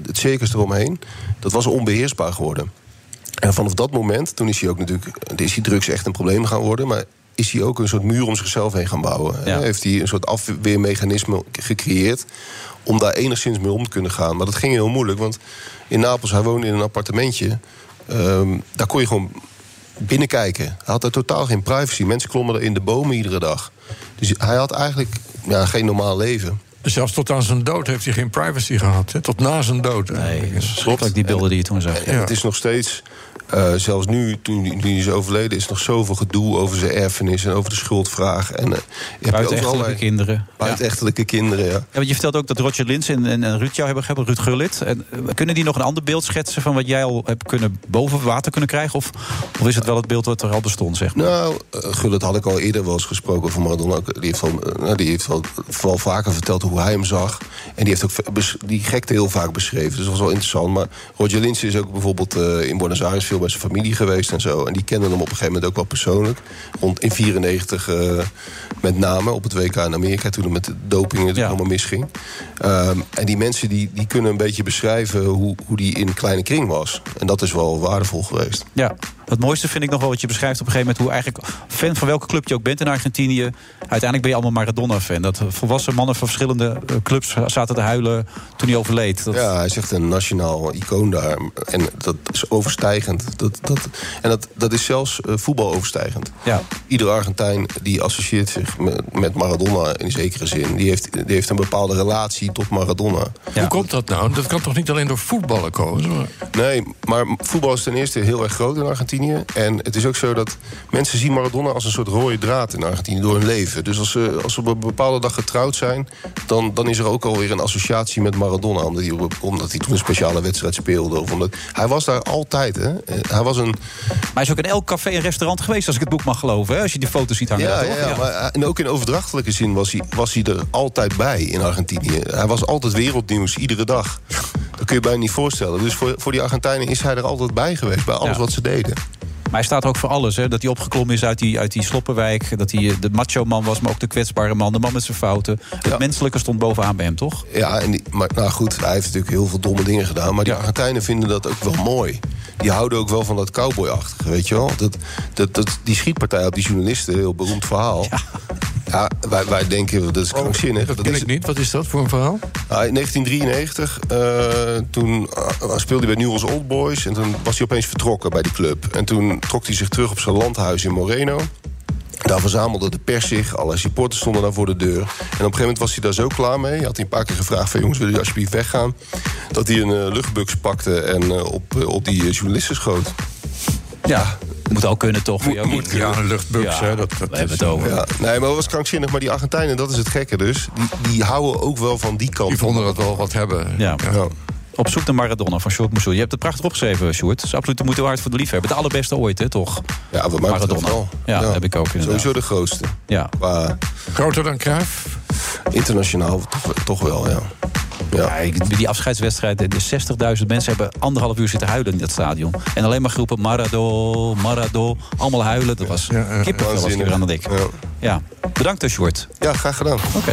Speaker 12: het circus eromheen. Dat was onbeheersbaar geworden. En vanaf dat moment, toen is hij ook natuurlijk. Is die drugs echt een probleem gaan worden. Maar is hij ook een soort muur om zichzelf heen gaan bouwen. Hè? Heeft hij een soort afweermechanisme gecreëerd. om daar enigszins mee om te kunnen gaan. Maar dat ging heel moeilijk, want in Napels, hij woonde in een appartementje. ehm, daar kon je gewoon binnenkijken. Hij had daar totaal geen privacy. Mensen klommen er in de bomen iedere dag. Dus hij had eigenlijk ja, geen normaal leven.
Speaker 8: Zelfs tot aan zijn dood heeft hij geen privacy gehad. Hè? Tot na zijn dood. Nee,
Speaker 7: schrikkelijk die beelden die je toen zag.
Speaker 12: En Het is nog steeds, eh, zelfs nu, toen hij- toen hij is overleden, is nog zoveel gedoe over zijn erfenis en over de schuldvraag. En, eh, je hebt
Speaker 7: Buitenechtelijke
Speaker 12: overal eh,
Speaker 7: kinderen.
Speaker 12: Buitenechtelijke kinderen, ja.
Speaker 7: Ja, want je vertelt ook dat Roger Lins en, en, en Ruud jou hebben geholpen, Ruud Gullit. En, eh, kunnen die nog een ander beeld schetsen van wat jij al hebt kunnen boven water kunnen krijgen? Of, of is het wel het beeld wat er al bestond, zeg maar?
Speaker 12: Nou, eh, Gullit had ik al eerder wel eens gesproken over Maradona. Ook, Die heeft, al, eh, nou, die heeft wel, vooral vaker verteld hoe hij hem zag. En die heeft ook ve- bes- die gekte heel vaak beschreven. Dus dat was wel interessant. Maar Roger Lins is ook bijvoorbeeld eh, in Buenos Aires veel bij zijn familie geweest en zo. En die kenden hem op een gegeven moment ook wel persoonlijk. Rond in 94 eh, met name op het WK in Amerika. Toen het met de doping natuurlijk allemaal misging. Ehm, en die mensen die, die kunnen een beetje beschrijven hoe, hoe die in een kleine kring was. En dat is wel waardevol geweest.
Speaker 7: Ja, het mooiste vind ik nog wel wat je beschrijft op een gegeven moment. Hoe eigenlijk, fan van welke club je ook bent in Argentinië. Uiteindelijk ben je allemaal Maradona-fan. Dat volwassen mannen van verschillende eh, clubs zaten te huilen toen hij overleed. Dat,
Speaker 12: Ja, hij is echt een nationaal icoon daar. En dat is overstijgend. Dat, dat, en dat, dat is zelfs eh, voetbal overstijgend.
Speaker 7: Ja.
Speaker 12: Iedere Argentijn die associeert zich met, met Maradona in zekere zin. Die heeft, die heeft een bepaalde relatie tot Maradona.
Speaker 8: Hoe komt dat nou? Dat kan toch niet alleen door voetballen komen?
Speaker 12: Nee, maar voetbal is ten eerste heel erg groot in Argentinië. En het is ook zo dat mensen zien Maradona als een soort rode draad in Argentinië door hun leven. Dus als ze, als ze op een bepaalde dag getrouwd zijn, dan, dan is er ook alweer een associatie met Maradona. Omdat hij, op- omdat hij toen een speciale wedstrijd speelde. Of omdat, hij was daar altijd. Hè? Eh, Hij was een,
Speaker 7: Maar hij is ook in elk café en restaurant geweest, als ik het boek mag geloven. Hè? Als je die foto's ziet hangen.
Speaker 12: ja,
Speaker 7: daar, toch?
Speaker 12: ja, ja, Maar, eh, en ook in overdrachtelijke zin was hij, was hij er altijd bij in Argentinië. Hij was altijd wereldnieuws, iedere dag. Dat kun je bijna niet voorstellen. Dus voor, voor die Argentijnen is hij er altijd bij geweest, bij alles
Speaker 7: Ja.
Speaker 12: wat ze deden.
Speaker 7: Maar hij staat er ook voor alles. Hè? Dat hij opgeklommen is uit die, uit die sloppenwijk. Dat hij eh, de macho man was, maar ook de kwetsbare man. De man met zijn fouten. Het menselijke stond bovenaan bij hem, toch?
Speaker 12: Ja, en die, maar nou goed, hij heeft natuurlijk heel veel domme dingen gedaan. Maar die Argentijnen vinden dat ook wel mooi. Die houden ook wel van dat cowboyachtige, weet je wel? Dat, dat, dat, die schietpartij op die journalisten, heel beroemd verhaal. Ja, wij, wij denken, dat is krankzinnig.
Speaker 8: Dat ken ik niet. Wat is dat voor een verhaal?
Speaker 12: Ja, Ah, in 1993, eh, toen eh, speelde hij bij Newell's Old Boys... en toen was hij opeens vertrokken bij die club. En toen trok hij zich terug op zijn landhuis in Moreno. Daar verzamelde de pers zich, alle supporters stonden daar voor de deur. En op een gegeven moment was hij daar zo klaar mee. Hij had hij een paar keer gevraagd van jongens, wil je alsjeblieft weggaan? Dat hij een eh, luchtbuks pakte en eh, op, eh, op die eh, journalisten schoot.
Speaker 7: Ja, moet ook kunnen toch? Moet,
Speaker 12: ja, een luchtbuks,
Speaker 7: hè, dat, we hebben het over.
Speaker 12: Ja, nee, maar dat was krankzinnig. Maar die Argentijnen, dat is het gekke dus. Die, die houden ook wel van die kant. Die
Speaker 8: vonden dat wel wat hebben.
Speaker 7: Ja. Op zoek naar Maradona van Sjoerd Moesel. Je hebt het prachtig opgeschreven, Sjoerd. Het is absoluut de moeite waard voor de liefhebber. De allerbeste ooit, hè, toch?
Speaker 12: Ja, wat mij betreft
Speaker 7: Maradona.
Speaker 12: wel.
Speaker 7: Ja, dat heb ik ook inderdaad.
Speaker 12: Sowieso de grootste.
Speaker 7: Ja.
Speaker 12: Qua-
Speaker 8: Groter dan Cruijff?
Speaker 12: Internationaal toch, toch wel, ja.
Speaker 7: Ja, ik- die afscheidswedstrijd, de 60.000 mensen hebben anderhalf uur zitten huilen in dat stadion. En alleen maar groepen Marado, Marado, allemaal huilen. Dat was kippenvel als je
Speaker 12: Waanzinnig.
Speaker 7: eraan dat ik. Ja, bedankt dus, Short.
Speaker 12: Ja, graag gedaan.
Speaker 7: Oké.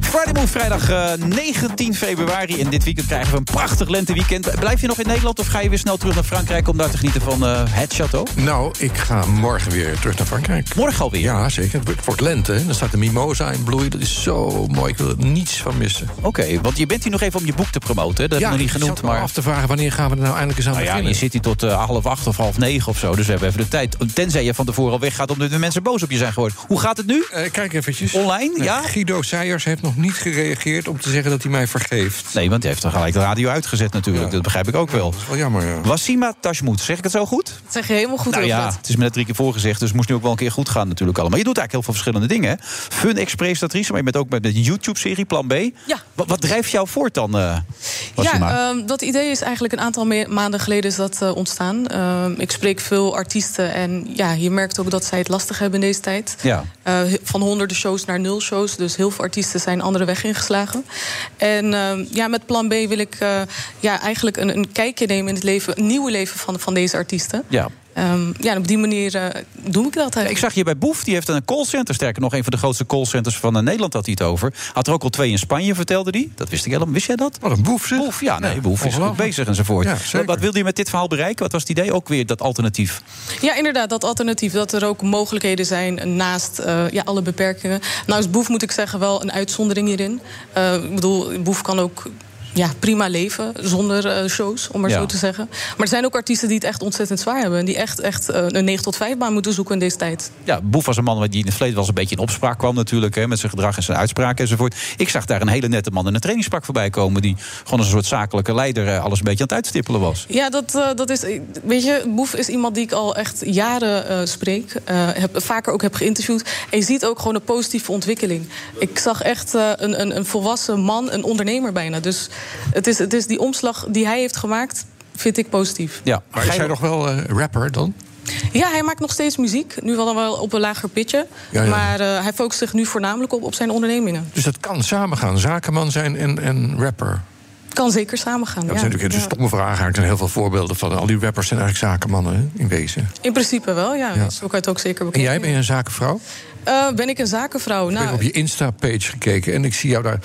Speaker 7: Friday Move, vrijdag eh, 19 februari. En dit weekend krijgen we een prachtig lenteweekend. Blijf je nog in Nederland of ga je weer snel terug naar Frankrijk... om daar te genieten van eh, het château?
Speaker 8: Nou, ik ga morgen weer terug naar Frankrijk.
Speaker 7: Morgen alweer?
Speaker 8: Ja, zeker. Het wordt- wordt lente. hè. Dan staat de mimosa in bloei. Dat is zo mooi. Ik wil er niets van missen.
Speaker 7: Oké, want je bent hier nog even om je boek te promoten. Hè? Dat heb ik nog niet genoemd, maar...
Speaker 8: af te vragen wanneer gaan we er nou eindelijk eens aan
Speaker 7: Nou ja, je
Speaker 8: beginnen.
Speaker 7: zit hier tot eh, half acht of half negen of zo. Dus we hebben even de tijd. Tenzij je van tevoren al weggaat omdat de mensen boos op je zijn geworden. Hoe gaat het nu?
Speaker 8: Eh, kijk eventjes.
Speaker 7: Online,
Speaker 8: Nee,
Speaker 7: ja?
Speaker 8: Guido Seijers heeft nog niet gereageerd om te zeggen dat hij mij vergeeft.
Speaker 7: Nee, want hij heeft er gelijk de radio uitgezet natuurlijk. Dat begrijp ik ook wel. Dat is
Speaker 8: wel jammer,
Speaker 7: Wassima Tashmoet, zeg ik het zo goed?
Speaker 13: Dat zeg je helemaal goed
Speaker 7: nou
Speaker 13: over
Speaker 7: ja,
Speaker 13: het.
Speaker 7: het is me net drie keer voorgezegd, dus het moest nu ook wel een keer goed gaan natuurlijk allemaal. Je doet eigenlijk heel veel verschillende dingen. hè? Fun Express, dat maar je bent ook met een YouTube-serie, Plan B.
Speaker 13: Ja.
Speaker 7: Wat, wat drijft jou voort dan, eh Wassima?
Speaker 13: Ja, ehm, dat idee is eigenlijk een aantal me- maanden geleden is dat eh, ontstaan. Ehm, ik spreek veel artiesten en ja, je merkt ook dat zij het lastig hebben in deze tijd.
Speaker 7: ja.
Speaker 13: Eh, he- van honderden shows naar nul shows. Dus heel veel artiesten zijn andere weg ingeslagen. En ehm, ja, met plan B wil ik eh, ja, eigenlijk een, een kijkje nemen in het leven, een nieuwe leven van, van deze artiesten.
Speaker 7: ja.
Speaker 13: Ehm, ja, en op die manier eh, doe ik dat
Speaker 7: Ik
Speaker 13: eigenlijk.
Speaker 7: zag hier bij Boef, die heeft een callcenter. Sterker nog, een van de grootste callcenters van eh, Nederland had hij het over. Had er ook al twee in Spanje, vertelde die. Dat wist ik helemaal. Wist jij dat?
Speaker 8: Wat een Boef, zeg.
Speaker 7: Boef, ja, nee,
Speaker 8: Ja,
Speaker 7: Boef is goed
Speaker 8: ongelooflijk.
Speaker 7: bezig enzovoort.
Speaker 8: Ja,
Speaker 7: wat, wat wilde je met dit verhaal bereiken? Wat was het idee? Ook weer dat alternatief.
Speaker 13: Ja, inderdaad, dat alternatief. Dat er ook mogelijkheden zijn naast eh, ja, alle beperkingen. Nou is Boef, moet ik zeggen, wel een uitzondering hierin. Eh, ik bedoel, Boef kan ook ja, prima leven zonder eh, shows, om maar
Speaker 14: Ja.
Speaker 13: zo te zeggen. Maar er zijn ook artiesten die het echt ontzettend zwaar hebben. en Die echt, echt eh, een 9 tot 5 baan moeten zoeken in deze tijd.
Speaker 7: Ja, Boef was een man die in het verleden wel eens een beetje in opspraak kwam natuurlijk. Hè, met zijn gedrag en zijn uitspraken enzovoort. Ik zag daar een hele nette man in een trainingspak voorbij komen. Die gewoon als een soort zakelijke leider eh, alles een beetje aan het uitstippelen was.
Speaker 13: Ja, dat, eh, dat is. Weet je, Boef is iemand die ik al echt jaren eh, spreek. eh, heb, vaker ook heb geïnterviewd. En je ziet ook gewoon een positieve ontwikkeling. Ik zag echt eh, een, een, een volwassen man, een ondernemer bijna. Dus het is, het is die omslag die hij heeft gemaakt, vind ik positief.
Speaker 7: Ja,
Speaker 8: maar is hij nog wel eh, rapper dan?
Speaker 13: Ja, hij maakt nog steeds muziek. Nu wel, wel op een lager pitje.
Speaker 8: Ja, ja.
Speaker 13: Maar eh, hij focust zich nu voornamelijk op, op zijn ondernemingen.
Speaker 8: Dus dat kan samengaan. Zakenman zijn en, en rapper.
Speaker 13: Kan zeker samengaan.
Speaker 8: Dat
Speaker 13: ja.
Speaker 8: zijn natuurlijk een
Speaker 13: Ja.
Speaker 8: stomme vraag. eigenlijk. Er zijn heel veel voorbeelden van. Al die rappers zijn eigenlijk zakenmannen hè, in wezen.
Speaker 13: In principe wel, ja.
Speaker 8: Ja.
Speaker 13: Zo kan je het ook zeker
Speaker 8: En
Speaker 13: bekijken.
Speaker 8: jij ben je een zakenvrouw?
Speaker 13: Eh, ben ik een zakenvrouw?
Speaker 8: Ik
Speaker 13: Nou,
Speaker 8: ben op je Insta-page gekeken en ik zie jou daar,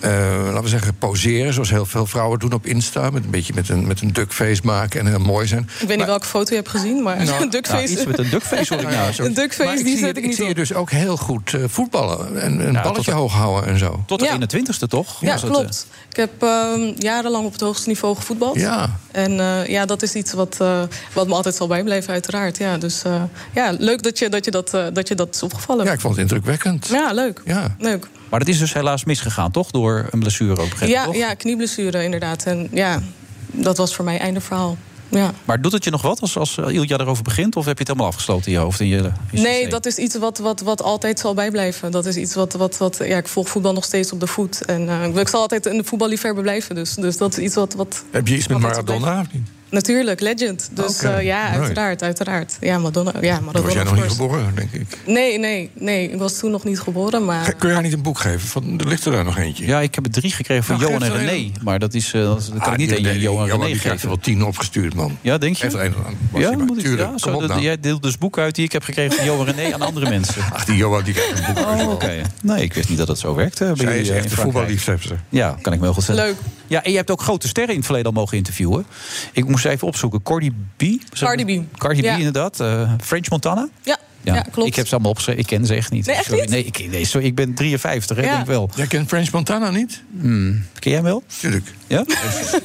Speaker 8: eh, laten we zeggen, poseren. Zoals heel veel vrouwen doen op Insta. Met een beetje met een, met een duckface maken en heel mooi zijn.
Speaker 13: Ik weet niet welke foto je hebt gezien, maar
Speaker 8: Nou,
Speaker 13: een duckface. een duckface,
Speaker 8: Maar
Speaker 13: die
Speaker 8: zie je-
Speaker 13: zet ik niet
Speaker 8: zie
Speaker 13: op.
Speaker 8: je dus ook heel goed eh, voetballen. En een
Speaker 7: Ja,
Speaker 8: balletje
Speaker 7: tot-
Speaker 8: hoog houden en zo.
Speaker 7: Tot de
Speaker 13: Ja.
Speaker 7: 21ste toch?
Speaker 13: Ja,
Speaker 7: Was dat, eh,
Speaker 13: klopt. Ik heb ehm, jarenlang op het hoogste niveau gevoetbald.
Speaker 7: Ja.
Speaker 13: En eh, ja, dat is iets wat, eh, wat me altijd zal bijblijven, uiteraard. Ja, dus eh, ja, leuk dat je dat, je dat, eh, dat je dat is opgevallen.
Speaker 7: Ja, ik vond het indrukwekkend.
Speaker 13: Ja, leuk.
Speaker 8: Ja.
Speaker 13: leuk.
Speaker 7: Maar dat is dus helaas misgegaan, toch? Door een blessure ook. begreep ik,
Speaker 13: Ja,
Speaker 7: toch?
Speaker 13: ja, knieblessure inderdaad. En ja, dat was voor mij einde verhaal. Ja.
Speaker 7: Maar doet het je nog wat als, als eh, Ilja erover begint? Of heb je het helemaal afgesloten in je hoofd? In je, in je
Speaker 13: Nee,
Speaker 7: systeem?
Speaker 13: dat is iets wat, wat, wat altijd zal bijblijven. Dat is iets wat, wat, wat ja, ik volg voetbal nog steeds op de voet. En eh, ik zal altijd een voetballiefhebber blijven. Dus, dus dat is iets wat, wat
Speaker 8: Heb je iets met Maradona of niet?
Speaker 13: Natuurlijk, legend. Dus
Speaker 8: Oké,
Speaker 13: eh, ja,
Speaker 8: mooi.
Speaker 13: uiteraard, uiteraard. Ja, Madonna. Ja,
Speaker 8: Toen
Speaker 13: Madonna
Speaker 8: was jij
Speaker 13: of
Speaker 8: nog niet
Speaker 13: course.
Speaker 8: geboren, denk ik.
Speaker 13: Nee, nee, nee. Ik was toen nog niet geboren, maar...
Speaker 8: Kun je haar niet een boek geven? Van, er ligt er daar nog eentje.
Speaker 7: Ja, ik heb er drie gekregen van
Speaker 8: Nou,
Speaker 7: Johan en
Speaker 8: geef ze
Speaker 7: René.
Speaker 8: een.
Speaker 7: Maar dat, is, eh, dat dat kan ik niet
Speaker 8: Ah, die-
Speaker 7: aan je-
Speaker 8: die-
Speaker 7: Johan en
Speaker 8: Johan,
Speaker 7: René
Speaker 8: die krijgt er
Speaker 7: geven.
Speaker 8: wel tien opgestuurd, man.
Speaker 7: Ja, denk je?
Speaker 8: Even een aan.
Speaker 7: Ja, moet ik-
Speaker 8: tuurlijk.
Speaker 7: ja
Speaker 8: Kom
Speaker 7: zo,
Speaker 8: op
Speaker 7: dat-
Speaker 8: nou.
Speaker 7: jij deelt dus boeken uit die ik heb gekregen van Johan en René aan andere mensen.
Speaker 8: Ach, die Johan die krijgt een boek.
Speaker 7: Oh, oké. Nee, ik wist niet dat het zo werkte. eh, bij
Speaker 8: Zij
Speaker 7: jullie,
Speaker 8: is
Speaker 7: eh,
Speaker 8: echt
Speaker 7: in
Speaker 8: een
Speaker 7: Frankrijk.
Speaker 8: voetballiefhebster.
Speaker 7: Ja, kan ik me heel goed stellen.
Speaker 13: Leuk.
Speaker 7: Ja, en je hebt ook grote sterren in het verleden al mogen interviewen. Ik moest even opzoeken. Cardi B?
Speaker 13: Cardi B.
Speaker 7: Cardi B,
Speaker 13: Ja.
Speaker 7: inderdaad. Eh, French Montana?
Speaker 13: Ja, ja. klopt.
Speaker 7: Ik heb ze allemaal opgeschreven. Ik ken ze echt niet.
Speaker 13: Nee, echt
Speaker 7: sorry.
Speaker 13: niet?
Speaker 7: Nee, ik, nee, sorry, ik ben 53, hè,
Speaker 13: Ja.
Speaker 7: denk ik wel. Hmm.
Speaker 8: Jij kent French Montana niet?
Speaker 7: Ken jij hem wel?
Speaker 8: Tuurlijk.
Speaker 7: Ja?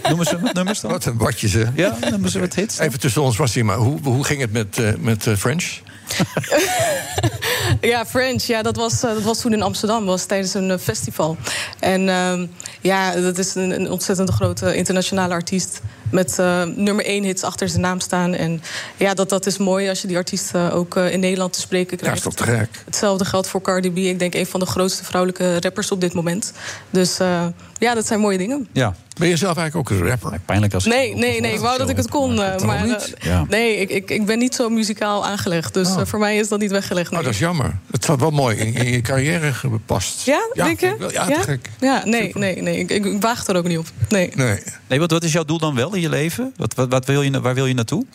Speaker 7: Noemen ze wat nummers dan?
Speaker 8: Wat een watje, ze.
Speaker 7: Ja, noemen ze wat hits.
Speaker 8: Even tussen ons, was hij maar. Hoe, hoe ging het met, eh, met eh, French?
Speaker 13: Ja, French. Ja, dat was, eh, dat was toen in Amsterdam. Dat was tijdens een eh, festival. En ehm, ja, dat is een, een ontzettend grote internationale artiest. met eh, nummer één hits achter zijn naam staan. En ja, dat, dat is mooi als je die artiesten ook eh, in Nederland te spreken
Speaker 8: Dat is
Speaker 13: krijgt.
Speaker 8: toch te gek?
Speaker 13: Hetzelfde geldt voor Cardi B. Ik denk een van de grootste vrouwelijke rappers op dit moment. Dus eh, ja, dat zijn mooie dingen.
Speaker 7: Ja.
Speaker 8: Ben je zelf eigenlijk ook een rapper?
Speaker 7: Pijnlijk als
Speaker 13: Nee, nee, nee. Ik wou dat ik het kon. eh,
Speaker 8: kan
Speaker 13: maar
Speaker 8: ook
Speaker 13: eh,
Speaker 8: niet. Ja.
Speaker 13: nee, ik, ik, ik ben niet zo muzikaal aangelegd. Dus eh, voor mij is dat niet weggelegd.
Speaker 8: Oh, dat is jammer. Het staat wel mooi in, in je carrière gepast.
Speaker 13: Ja, denk je?
Speaker 8: ik wel. Ja, te gek.
Speaker 13: Ja, nee, nee, nee. Ik, ik, ik waag er ook niet op. Nee.
Speaker 8: Nee.
Speaker 7: nee wat, wat is jouw doel dan wel in je leven? Wat, wat, wat wil je, na- waar wil je naartoe?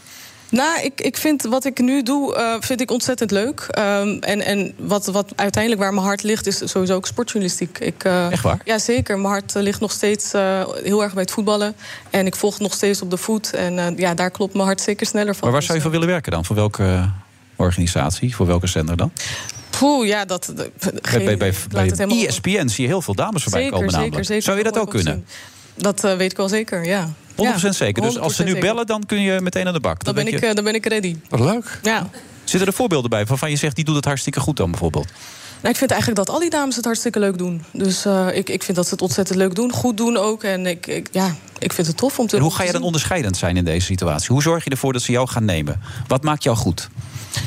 Speaker 13: Nou, ik, ik vind wat ik nu doe, eh, vind ik ontzettend leuk. Ehm, en en wat, wat uiteindelijk waar mijn hart ligt, is sowieso ook sportjournalistiek. Ik, eh,
Speaker 7: Echt waar?
Speaker 13: Ja, zeker. Mijn hart eh, ligt nog steeds eh, heel erg bij het voetballen. En ik volg het nog steeds op de voet. En eh, ja, daar klopt mijn hart zeker sneller van. Dus,
Speaker 7: Maar waar zou je voor willen werken dan? Voor welke eh, organisatie? Voor welke zender dan?
Speaker 13: eh, Poeh, ja, dat... dat-
Speaker 7: Bij,
Speaker 13: geen-
Speaker 7: bij, bij, E
Speaker 13: laat
Speaker 7: bij
Speaker 13: het helemaal-
Speaker 7: ESPN zie je heel veel dames voorbij
Speaker 13: Zeker,
Speaker 7: komen
Speaker 13: zeker,
Speaker 7: namelijk.
Speaker 13: zeker.
Speaker 7: zou je dat ook
Speaker 13: Mooi
Speaker 7: kunnen? 100%
Speaker 13: Dat eh, weet ik wel zeker, ja. Ja,
Speaker 7: zeker. Dus als ze
Speaker 13: 100%
Speaker 7: nu
Speaker 13: zeker.
Speaker 7: bellen, dan kun je meteen aan de bak.
Speaker 13: Dan ben,
Speaker 7: denk
Speaker 13: ik,
Speaker 7: je-
Speaker 13: eh, dan ben ik ready.
Speaker 8: Wat leuk.
Speaker 13: Ja.
Speaker 7: Zitten er voorbeelden bij waarvan je zegt... die doet het hartstikke goed dan bijvoorbeeld?
Speaker 13: Nou, ik vind eigenlijk dat al die dames het hartstikke leuk doen. Dus eh, ik, ik vind dat ze het ontzettend leuk doen. Goed doen ook. En ik, ik, ja, ik vind het tof om te
Speaker 7: En hoe
Speaker 13: om
Speaker 7: ga
Speaker 13: te
Speaker 7: je dan
Speaker 13: zien.
Speaker 7: onderscheidend zijn in deze situatie? Hoe zorg je ervoor dat ze jou gaan nemen? Wat maakt jou goed?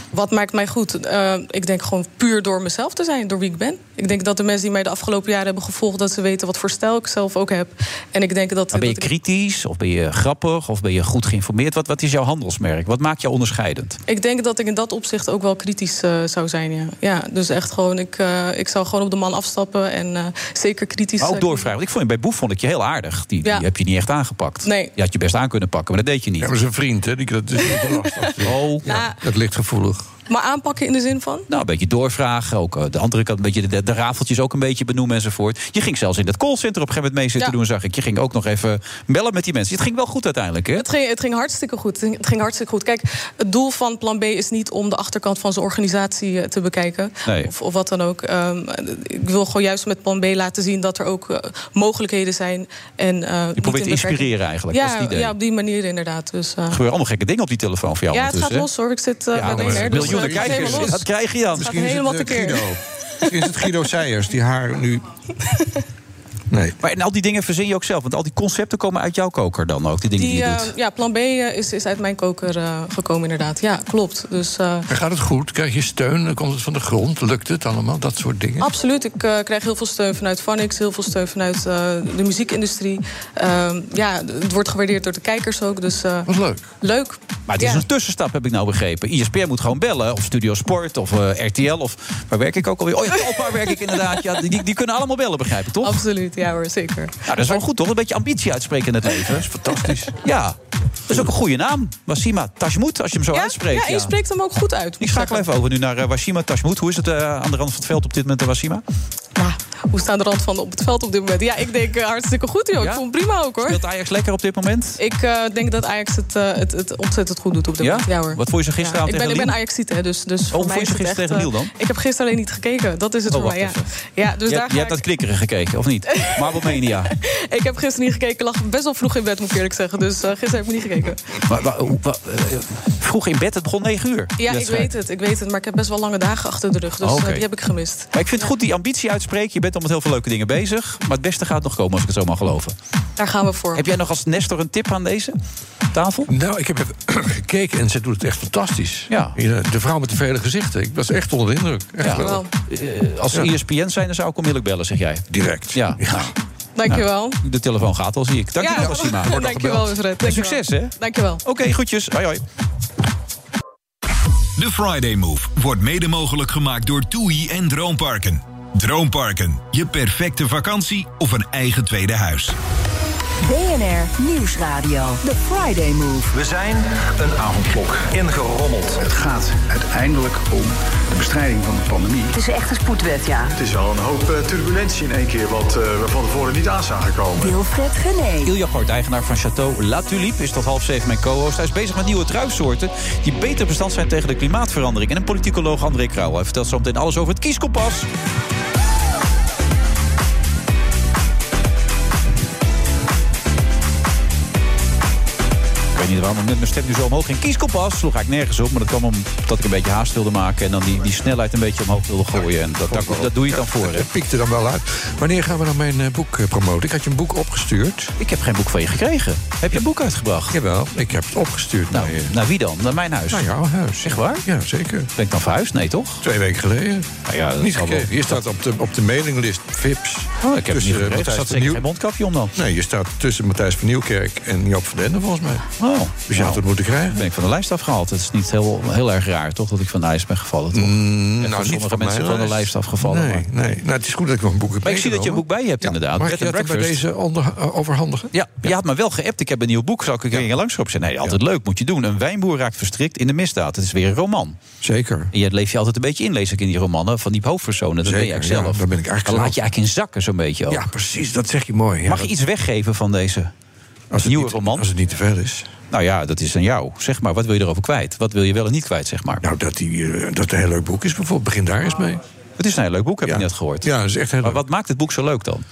Speaker 13: Wat maakt mij goed? Eh, ik denk gewoon puur door mezelf te zijn, door wie ik ben. Ik denk dat de mensen die mij de afgelopen jaren hebben gevolgd... dat ze weten wat voor stijl ik zelf ook heb. En ik denk dat...
Speaker 7: Maar ben je
Speaker 13: dat ik-
Speaker 7: kritisch, of ben je grappig, of ben je goed geïnformeerd? Wat, wat is jouw handelsmerk? Wat maakt jou onderscheidend?
Speaker 13: Ik denk dat ik in dat opzicht ook wel kritisch eh, zou zijn. Ja. ja, dus echt gewoon, ik, eh, ik zou gewoon op de man afstappen en eh, zeker kritisch.
Speaker 7: Maar ook
Speaker 13: eh,
Speaker 7: doorvragen. Want ik vond je bij Boef vond ik je heel aardig. Die, die
Speaker 13: Ja.
Speaker 7: heb je niet echt aangepakt.
Speaker 13: Nee.
Speaker 7: Je had je best aan kunnen pakken, maar dat deed je niet. Ja,
Speaker 8: maar zijn vriend, hè? Die, dat is
Speaker 7: Oh,
Speaker 13: Nou,
Speaker 8: dat ligt gevoelig.
Speaker 13: Maar aanpakken in de zin van?
Speaker 7: Nou, een beetje doorvragen. Ook eh, de andere kant, een beetje de, de, de rafeltjes ook een beetje benoemen enzovoort. Je ging zelfs in dat callcenter op een gegeven moment mee zitten
Speaker 13: Ja.
Speaker 7: doen, zag ik. Je ging ook nog even bellen met die mensen. Het ging wel goed uiteindelijk, hè?
Speaker 13: Het ging, het ging hartstikke goed. Het ging hartstikke goed. Kijk, het doel van plan B is niet om de achterkant van zijn organisatie eh, te bekijken.
Speaker 7: Nee.
Speaker 13: Of, of wat dan ook. Ehm, ik wil gewoon juist met plan B laten zien dat er ook eh, mogelijkheden zijn. En, eh, niet
Speaker 7: probeert te
Speaker 13: in beperking-
Speaker 7: inspireren eigenlijk,
Speaker 13: Ja,
Speaker 7: dat is het idee.
Speaker 13: ja, op die manier inderdaad. Dus, eh,
Speaker 7: Er gebeuren allemaal gekke dingen op die telefoon voor jou.
Speaker 13: ja, het gaat
Speaker 7: ondertussen, hè?
Speaker 13: los hoor. Ik zit eh
Speaker 7: Ja, maar
Speaker 13: bij BNR. Dus,
Speaker 7: miljoenen
Speaker 13: eh, het gaat
Speaker 7: kijkers.
Speaker 13: helemaal los.
Speaker 7: Dat krijg je dan.
Speaker 13: Het gaat
Speaker 7: Misschien is het,
Speaker 13: helemaal
Speaker 7: eh,
Speaker 13: tekeer.
Speaker 7: Guido.
Speaker 8: Misschien is het Guido Seijers die haar nu... Nee.
Speaker 7: Maar en al die dingen verzin je ook zelf. Want al die concepten komen uit jouw koker dan ook. Die dingen die,
Speaker 13: Die,
Speaker 7: je
Speaker 13: eh,
Speaker 7: doet.
Speaker 13: ja, plan B eh, is, is uit mijn koker eh, gekomen inderdaad. Ja, klopt. Dus, eh,
Speaker 8: En gaat het goed? Krijg je steun? Dan komt het van de grond? Lukt het allemaal? Dat soort dingen.
Speaker 13: Absoluut. Ik eh, krijg heel veel steun vanuit Phonics, heel veel steun vanuit eh, de muziekindustrie. Ehm, ja, het wordt gewaardeerd door de kijkers ook. Dus, eh,
Speaker 8: Wat leuk.
Speaker 13: Leuk.
Speaker 7: Maar het is
Speaker 13: Ja.
Speaker 7: een tussenstap, heb ik nou begrepen. ISPN moet gewoon bellen, of Studio Sport, of eh, RTL, of waar werk ik ook alweer? Oh ja, Alpa werk ik inderdaad. Ja, die, die kunnen allemaal bellen, begrijp ik, toch?
Speaker 13: Absoluut, ja hoor, zeker.
Speaker 7: Nou, dat is wel goed, toch? Een beetje ambitie uitspreken in het leven. Dat is fantastisch. Ja, dat is ook een goede naam. Wasima Tashmoet, als je hem zo uitspreekt.
Speaker 13: Ja, en je spreekt hem ook goed uit.
Speaker 7: Ik schakel even over nu naar eh, Wasima Tashmoet. Hoe is het eh, aan de rand van het veld op dit moment, eh, Wasima?
Speaker 13: Hoe staan de rand van op het veld op dit moment? Ja, ik denk eh, hartstikke goed, joh.
Speaker 7: Ja?
Speaker 13: Ik vond het prima ook, hoor.
Speaker 7: Speelt Ajax lekker op dit moment?
Speaker 13: Ik eh, denk dat Ajax het, eh, het, het ontzettend goed doet op dit
Speaker 7: Ja?
Speaker 13: moment. Ja, hoor.
Speaker 7: Wat vond je ze gisteravond
Speaker 13: Ja, ik ben,
Speaker 7: tegen
Speaker 13: Ik ben
Speaker 7: Lille?
Speaker 13: Ajaxiet, hè, dus, dus voor
Speaker 7: hoe
Speaker 13: mij
Speaker 7: vond je
Speaker 13: is het
Speaker 7: gisteren
Speaker 13: echt,
Speaker 7: tegen
Speaker 13: eh,
Speaker 7: Lille
Speaker 13: Ik heb gisteren alleen niet gekeken. Dat is het
Speaker 7: Oh,
Speaker 13: voor mij, ja.
Speaker 7: wacht
Speaker 13: Ja, dus
Speaker 7: je
Speaker 13: daar
Speaker 7: je
Speaker 13: ga
Speaker 7: hebt dat klikkeren gekeken, of niet? Marble Mania.
Speaker 13: Ik heb gisteren niet gekeken. Ik lag best wel vroeg in bed, moet ik eerlijk zeggen. Dus eh, gisteren heb ik niet gekeken.
Speaker 7: Maar- maar- hoe- wa- eh, vroeg in bed, het begon 9 uur. die
Speaker 13: Ja, ik
Speaker 7: wedstrijd.
Speaker 13: weet het. Ik weet het. Maar ik heb best wel lange dagen achter de rug. Dus eh,
Speaker 7: Oh, Oké.
Speaker 13: die heb ik gemist.
Speaker 7: Maar ik vind het goed die ambitie uitspreken. Je bent al met heel veel leuke dingen bezig. Maar het beste gaat nog komen, als ik het zo mag geloven.
Speaker 13: Daar gaan we voor.
Speaker 7: Heb jij nog als Nestor een tip aan deze tafel?
Speaker 8: Nou, ik heb even gekeken en ze doet het echt fantastisch.
Speaker 7: Ja.
Speaker 8: Ja, De vrouw met de vele gezichten. Ik was echt onder de indruk. Echt
Speaker 7: Ja.
Speaker 8: wel.
Speaker 7: Eh, Als ze
Speaker 8: Ja.
Speaker 7: ESPN zijn, dan zou ik onmiddellijk bellen, zeg jij.
Speaker 8: Direct.
Speaker 7: Ja.
Speaker 13: Dankjewel.
Speaker 7: Nou, de telefoon gaat al, zie ik. Dankjewel,
Speaker 13: Ja.
Speaker 7: Cosima. Wordt nog
Speaker 13: Dankjewel,
Speaker 7: gebeld.
Speaker 13: Fred.
Speaker 7: En
Speaker 13: Dankjewel.
Speaker 7: succes, hè? Oké,
Speaker 13: Dankjewel.
Speaker 7: goedjes. Hoi, hoi.
Speaker 3: De Friday Move wordt mede mogelijk gemaakt door TUI en Droomparken. Droomparken, je perfecte vakantie of een eigen tweede huis.
Speaker 4: BNR Nieuwsradio. The Friday Move.
Speaker 6: We zijn een avondklok ingerommeld. Het gaat uiteindelijk om de bestrijding van de pandemie.
Speaker 5: Het is echt een spoedwet, ja. Het is al een hoop eh, turbulentie in één keer, wat eh, we van tevoren niet aan zagen komen.
Speaker 4: Wilfred Genee.
Speaker 7: Ilja Kort, eigenaar van Chateau La Tulipe, is tot half zeven mijn co-host. Hij is bezig met nieuwe druifsoorten die beter bestand zijn tegen de klimaatverandering. En een politicoloog André Krauw. Hij vertelt zo meteen alles over het kieskompas. Ik weet weet niet waarom, want met mijn stem nu zo omhoog ging. Kieskompas sloeg ik nergens op, maar dat kwam omdat ik een beetje haast wilde maken... en dan die, die snelheid een beetje omhoog wilde gooien. En dat, dat,
Speaker 8: eh,
Speaker 7: dat doe je het dan voor, hè?
Speaker 8: Het piekte dan wel uit. Wanneer gaan we dan mijn eh, boek eh, promoten? Ik had je een boek opgestuurd.
Speaker 7: Ik heb geen boek van je gekregen. Heb je een boek uitgebracht?
Speaker 8: Jawel, ik heb het opgestuurd eh,
Speaker 7: nou, naar wie dan? Naar mijn huis?
Speaker 8: Naar jouw huis.
Speaker 7: Echt waar?
Speaker 8: Ja, zeker.
Speaker 7: Ben ik dan verhuisd? Nee, toch?
Speaker 8: Twee weken geleden.
Speaker 7: Nou ja, dat
Speaker 8: Niet
Speaker 7: zal wel-
Speaker 8: gekregen. Je staat op de, op de mailinglist VIPs.
Speaker 7: Oh, ik heb het niet
Speaker 8: eh,
Speaker 7: gekregen. Er
Speaker 8: Matthijs
Speaker 7: zat
Speaker 8: van
Speaker 7: zeker
Speaker 8: Nieuw-
Speaker 7: geen mondkapje om dan.
Speaker 8: Nee, je staat tussen Matthijs van Nieuwkerk en Joop van Denden, volgens mij.
Speaker 7: Oh,
Speaker 8: Dus je had het moeten krijgen.
Speaker 7: ben ik van de lijst afgehaald. Het is niet heel, heel erg raar, toch, dat ik van de lijst ben gevallen. Toch? En voor
Speaker 8: nou, niet
Speaker 7: sommige
Speaker 8: van
Speaker 7: mensen
Speaker 8: mijn
Speaker 7: van de
Speaker 8: lijst.
Speaker 7: lijst afgevallen.
Speaker 8: Nee,
Speaker 7: maar.
Speaker 8: nee. Nou, het is goed dat ik nog een boek heb
Speaker 7: Maar ik zie dat je een boek
Speaker 8: meegenomen.
Speaker 7: bij je hebt, inderdaad.
Speaker 8: Mag
Speaker 7: Bed
Speaker 8: ik je
Speaker 7: and
Speaker 8: dat dan bij
Speaker 7: Breakfast.
Speaker 8: deze onder- eh, overhandigen?
Speaker 7: Ja, je had me wel geappt. Ik heb een nieuw boek. Zou ik er ja. langs op zijn? Nee, altijd leuk. Moet je doen. Een wijnboer raakt verstrikt in de misdaad. Het is weer een roman.
Speaker 8: Zeker.
Speaker 7: En je leef je altijd een beetje in, lees ik in die romannen. Van die hoofdpersonen. Dat ben
Speaker 8: Zeker,
Speaker 7: je eigenlijk
Speaker 8: ja,
Speaker 7: zelf.
Speaker 8: daar ben ik eigenlijk
Speaker 7: Dan
Speaker 8: zelf.
Speaker 7: laat je eigenlijk in zakken zo'n beetje ook.
Speaker 8: Ja, precies. Dat zeg je mooi. Ja,
Speaker 7: Mag je
Speaker 8: dat-
Speaker 7: iets weggeven van deze nieuwe roman? Als
Speaker 8: het niet te veel is.
Speaker 7: Nou ja, dat is aan jou. Zeg maar, wat wil je erover kwijt? Wat wil je wel en niet kwijt, zeg maar?
Speaker 8: Nou, dat, die, eh, dat het een heel leuk boek is bijvoorbeeld. Begin daar eens mee.
Speaker 7: Het is een heel leuk boek, heb ik net gehoord.
Speaker 8: Ja, is echt heel Eh,
Speaker 7: Maar wat maakt het boek zo leuk dan?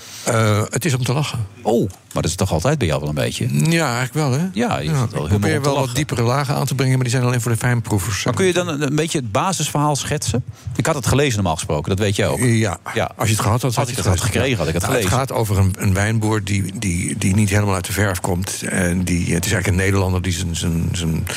Speaker 8: het is om te lachen.
Speaker 7: Oh, maar dat is toch altijd bij jou wel een beetje?
Speaker 8: Ja, eigenlijk wel, hè?
Speaker 7: Ja, je zit wel
Speaker 8: ik
Speaker 7: humor om
Speaker 8: probeer
Speaker 7: te
Speaker 8: wel
Speaker 7: lachen.
Speaker 8: wat diepere lagen aan te brengen, maar die zijn alleen voor de fijnproevers.
Speaker 7: Maar kun je dan een, een beetje het basisverhaal schetsen? Ik had het gelezen normaal gesproken, dat weet je ook.
Speaker 8: Ja,
Speaker 7: ja.
Speaker 8: Als je het gehad had,
Speaker 7: had
Speaker 8: je
Speaker 7: ik het had
Speaker 8: gelezen.
Speaker 7: gekregen, had ik het
Speaker 8: Nou,
Speaker 7: gelezen.
Speaker 8: Het gaat over een, een wijnboer die, die, die niet helemaal uit de verf komt. En die, het is eigenlijk een Nederlander die zijn, zijn, zijn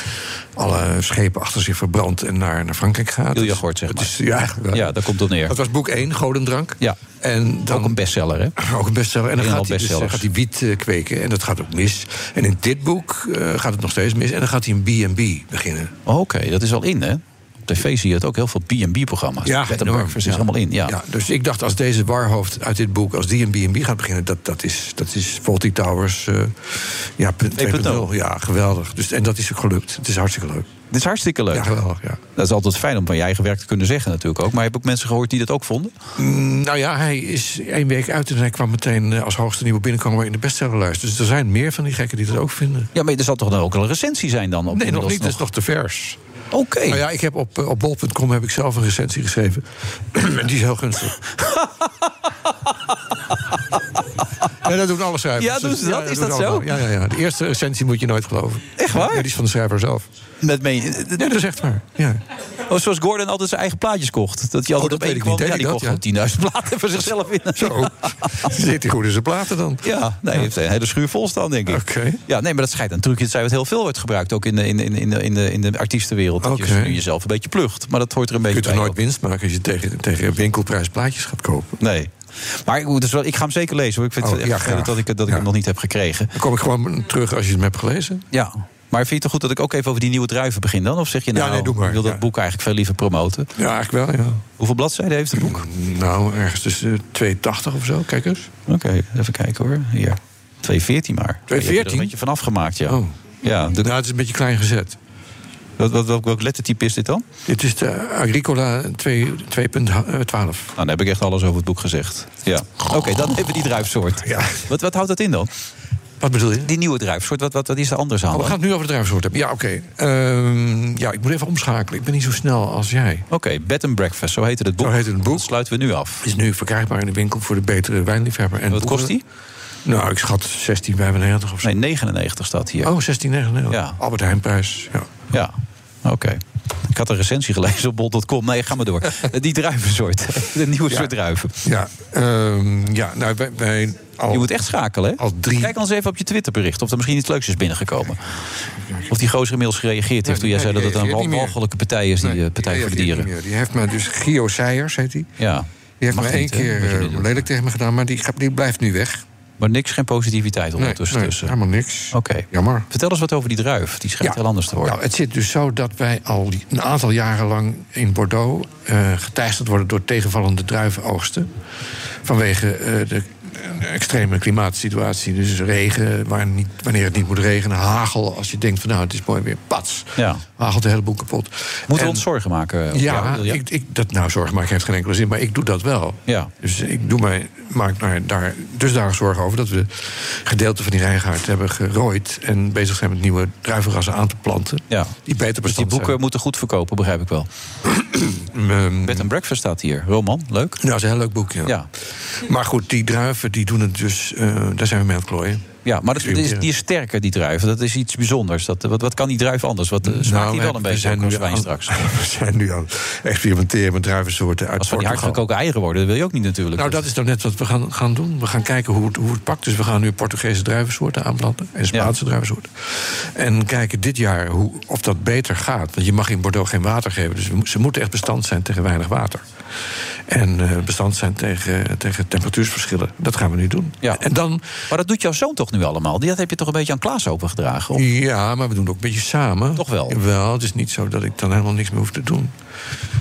Speaker 8: alle schepen achter zich verbrandt en naar, naar Frankrijk gaat. Dus
Speaker 7: Wil je gehoord, zeg maar.
Speaker 8: is- ja, eigenlijk wel.
Speaker 7: ja, daar komt het op neer.
Speaker 8: Dat was boek 1, Godendrank.
Speaker 7: Ja.
Speaker 8: En dan,
Speaker 7: Ook een bestseller, hè?
Speaker 8: Ook een bestseller. En dan
Speaker 7: Helemaal
Speaker 8: gaat hij, dus, eh,
Speaker 7: bestsellers.
Speaker 8: gaat hij wiet eh, kweken en dat gaat ook mis. En in dit boek eh, gaat het nog steeds mis. En dan gaat hij een B&B beginnen.
Speaker 7: Oké, dat is al in, hè? Op tv zie je het ook heel veel B&B-programma's.
Speaker 8: Ja,
Speaker 7: Bed and
Speaker 8: enorm.
Speaker 7: Breakfast is
Speaker 8: Ja.
Speaker 7: allemaal in, ja.
Speaker 8: Ja, dus ik dacht, als deze warhoofd uit dit boek, als die een B&B gaat beginnen, dat, dat is, dat is Fawlty Towers eh ja, punt 2.0.
Speaker 7: 2.0.
Speaker 8: Ja, geweldig. Dus, en dat is ook gelukt. Het is hartstikke leuk.
Speaker 7: Dit is hartstikke leuk.
Speaker 8: Ja, geweldig, ja.
Speaker 7: Dat is altijd fijn om van je eigen werk te kunnen zeggen natuurlijk ook. Maar heb ik ook mensen gehoord die dat ook vonden?
Speaker 8: Mm, nou ja, hij is één week uit en hij kwam meteen eh, als hoogste nieuwe binnenkomer in de bestsellerlijst. Dus er zijn meer van die gekken die dat ook vinden.
Speaker 7: Ja, maar er zal toch dan ook wel een recensie zijn dan? Op
Speaker 8: Nee, nog
Speaker 7: inmiddels
Speaker 8: niet. Dat is nog te vers.
Speaker 7: Oké.
Speaker 8: Nou ja, ik heb op, eh, op bol.com heb ik zelf een recensie geschreven. en die is heel gunstig. Ja, dat doen alle schrijvers.
Speaker 7: Ja, doen ze dat? Is dat
Speaker 8: doen
Speaker 7: zo?
Speaker 8: allemaal. Ja, ja, ja. De eerste recensie moet je nooit geloven. Echt waar? die is van de schrijver zelf.
Speaker 7: Met me...
Speaker 8: Ja, dat is echt waar. Ja. Oh,
Speaker 7: Oh, zoals Gordon altijd zijn eigen plaatjes kocht. Dat hij altijd
Speaker 8: dat
Speaker 7: op
Speaker 8: weet
Speaker 7: één
Speaker 8: ik
Speaker 7: kwam.
Speaker 8: niet. Deed
Speaker 7: ja,
Speaker 8: ik
Speaker 7: die
Speaker 8: dat, ja?
Speaker 7: kocht gewoon 10.000 platen voor zichzelf in.
Speaker 8: Zo. Zit hij goed in zijn Dus platen dan?
Speaker 7: Ja, nee, hij heeft een hele schuur vol staan, denk ik. Ja, nee, maar dat schijnt een trucje dat zij het heel veel wordt gebruikt. Ook in de, in de, in de, in de, in de artiestenwereld. Dat
Speaker 8: Oké.
Speaker 7: je dus nu jezelf een beetje plucht. Maar dat hoort er een beetje
Speaker 8: Je kunt er
Speaker 7: bij
Speaker 8: nooit winst maken als je tegen, tegen winkelprijs plaatjes gaat kopen.
Speaker 7: Nee. Maar ik, moet dus wel, ik ga hem zeker lezen. Hoor. Ik vind
Speaker 8: Oh,
Speaker 7: het echt
Speaker 8: ja,
Speaker 7: vervelend
Speaker 8: graag.
Speaker 7: dat ik, dat ik hem nog niet heb gekregen.
Speaker 8: Dan kom ik gewoon terug als je hem hebt gelezen.
Speaker 7: Ja. Maar vind je het toch goed dat ik ook even over die nieuwe druiven begin dan? Of zeg je nou,
Speaker 8: nee, doe maar.
Speaker 7: ik wil dat
Speaker 8: Ja.
Speaker 7: boek eigenlijk veel liever promoten?
Speaker 8: Ja, eigenlijk wel, ja.
Speaker 7: Hoeveel bladzijden heeft het boek?
Speaker 8: Nou, ergens tussen 280 of zo. Kijk eens.
Speaker 7: Oké, even kijken hoor. Hier. 214 maar. Je hebt er
Speaker 8: 214?
Speaker 7: Een beetje van afgemaakt, ja.
Speaker 8: Oh.
Speaker 7: Ja, de-
Speaker 8: Nou, het is een beetje klein gezet.
Speaker 7: wat, wat, welk, welk lettertype is dit dan?
Speaker 8: Dit is de Agricola 2 eh, 2.12.
Speaker 7: Nou, dan heb ik echt alles over het boek gezegd. Ja. Oké, dan even die druifsoort. Wat, wat houdt dat in dan?
Speaker 8: Wat bedoel je?
Speaker 7: Die nieuwe druifsoort, wat, wat, wat is er anders aan?
Speaker 8: Oh, we
Speaker 7: dan?
Speaker 8: gaan het nu over de druivensoort hebben. Ja, oké. Ehm, ja, ik moet even omschakelen. Ik ben niet zo snel als jij.
Speaker 7: Oké, Bed and Breakfast, zo heette het boek.
Speaker 8: Zo heet het boek.
Speaker 7: Dat sluiten we nu af.
Speaker 8: Is nu verkrijgbaar in de winkel voor de betere wijnliefhebber. En
Speaker 7: Wat kost die?
Speaker 8: Nou, ik schat 16,95 of zo.
Speaker 7: Nee, 99 staat hier.
Speaker 8: Oh, 16,99.
Speaker 7: Ja.
Speaker 8: Albert Heijnprijs. Ja.
Speaker 7: Ja, oké. Ik had een recensie gelezen op bol.com. Nee, ga maar door. die druivensoort, de nieuwe soort druiven.
Speaker 8: Ja, ehm, ja nou, wij, wij al...
Speaker 7: Je moet echt schakelen, hè?
Speaker 8: Al drie-
Speaker 7: Kijk anders even op je Twitterbericht of er misschien iets leuks is binnengekomen. Of die gozer inmiddels gereageerd heeft toen jij zei
Speaker 8: nee,
Speaker 7: dat het
Speaker 8: die
Speaker 7: een
Speaker 8: reageert niet meer.
Speaker 7: walgelijke partij is, die eh, Partij
Speaker 8: Nee,
Speaker 7: voor de
Speaker 8: die heeft
Speaker 7: Dieren.
Speaker 8: niet meer. Die heeft me dus... Gio Seijers heet die.
Speaker 7: Ja.
Speaker 8: Die heeft
Speaker 7: Mag
Speaker 8: me één
Speaker 7: niet, hè,
Speaker 8: keer
Speaker 7: wat je nu
Speaker 8: eh,
Speaker 7: doet.
Speaker 8: lelijk tegen me gedaan, maar die, gaat- die blijft nu weg.
Speaker 7: Maar niks, geen positiviteit
Speaker 8: Nee,
Speaker 7: ondertussen.
Speaker 8: nee,
Speaker 7: tussen.
Speaker 8: helemaal niks.
Speaker 7: Oké.
Speaker 8: Jammer.
Speaker 7: Vertel eens wat over die druif. Die schijnt
Speaker 8: Ja.
Speaker 7: heel anders te worden.
Speaker 8: Nou, het zit dus zo dat wij al die- een aantal jaren lang in Bordeaux eh geteisterd worden door tegenvallende druivenoogsten. Vanwege eh, de eh, extreme klimaatsituatie. Dus regen, waar niet, wanneer het niet moet regenen. Hagel, als je denkt van nou het is mooi weer. Pats.
Speaker 7: ja.
Speaker 8: Hagelt de hele boel kapot.
Speaker 7: Moeten we
Speaker 8: En-
Speaker 7: ons zorgen maken? over
Speaker 8: ja,
Speaker 7: eh, jou?
Speaker 8: Ik, ik, dat nou zorgen maken heeft geen enkele zin, maar ik doe dat wel.
Speaker 7: Ja.
Speaker 8: Dus ik doe mij, maak mij daar dusdanig zorgen over dat we gedeelten van die rijngaard hebben gerooid en bezig zijn met nieuwe druivenrassen aan te planten.
Speaker 7: ja.
Speaker 8: Die beter
Speaker 7: Dus die
Speaker 8: bestand
Speaker 7: boeken moeten goed verkopen, begrijp ik wel.
Speaker 8: zijn. Ehm,
Speaker 7: Bed and Breakfast staat hier. Roman, leuk.
Speaker 8: ja, dat is een heel leuk boek. Ja.
Speaker 7: Ja.
Speaker 8: Maar goed, die druiven die doen het dus. eh, daar zijn we mee aan het klooien.
Speaker 7: Ja, maar dat, die, is, die is sterker, die druif. Dat is iets bijzonders. Dat, wat, wat kan die druif anders? Wat
Speaker 8: Nou,
Speaker 7: eh, smaakt die wel een beetje
Speaker 8: zijn
Speaker 7: ook als
Speaker 8: nu
Speaker 7: wijn
Speaker 8: aan-
Speaker 7: straks?
Speaker 8: We zijn nu aan het experimenteren met druivensoorten uit
Speaker 7: Als van die
Speaker 8: Portugal.
Speaker 7: hardgekoken eieren worden, dat wil je ook niet natuurlijk.
Speaker 8: Nou, dat is dan net wat we gaan, gaan doen. We gaan kijken hoe het, hoe het pakt. Dus we gaan nu Portugese druivensoorten aanplanten en Spaanse druivensoorten. En kijken dit jaar hoe, of dat beter gaat. Want je mag in Bordeaux geen water geven. Dus we mo- ze moeten echt bestand zijn tegen weinig water. En eh, bestand zijn tegen, tegen temperatuursverschillen. Dat gaan we nu doen.
Speaker 7: Ja.
Speaker 8: En dan,
Speaker 7: maar dat doet jouw zoon toch nu allemaal? Die- Dat heb je toch een beetje aan Klaas opengedragen? Of?
Speaker 8: Ja, maar we doen het ook een beetje samen. Toch wel? Wel, het is niet zo dat ik dan helemaal niks meer hoef te doen.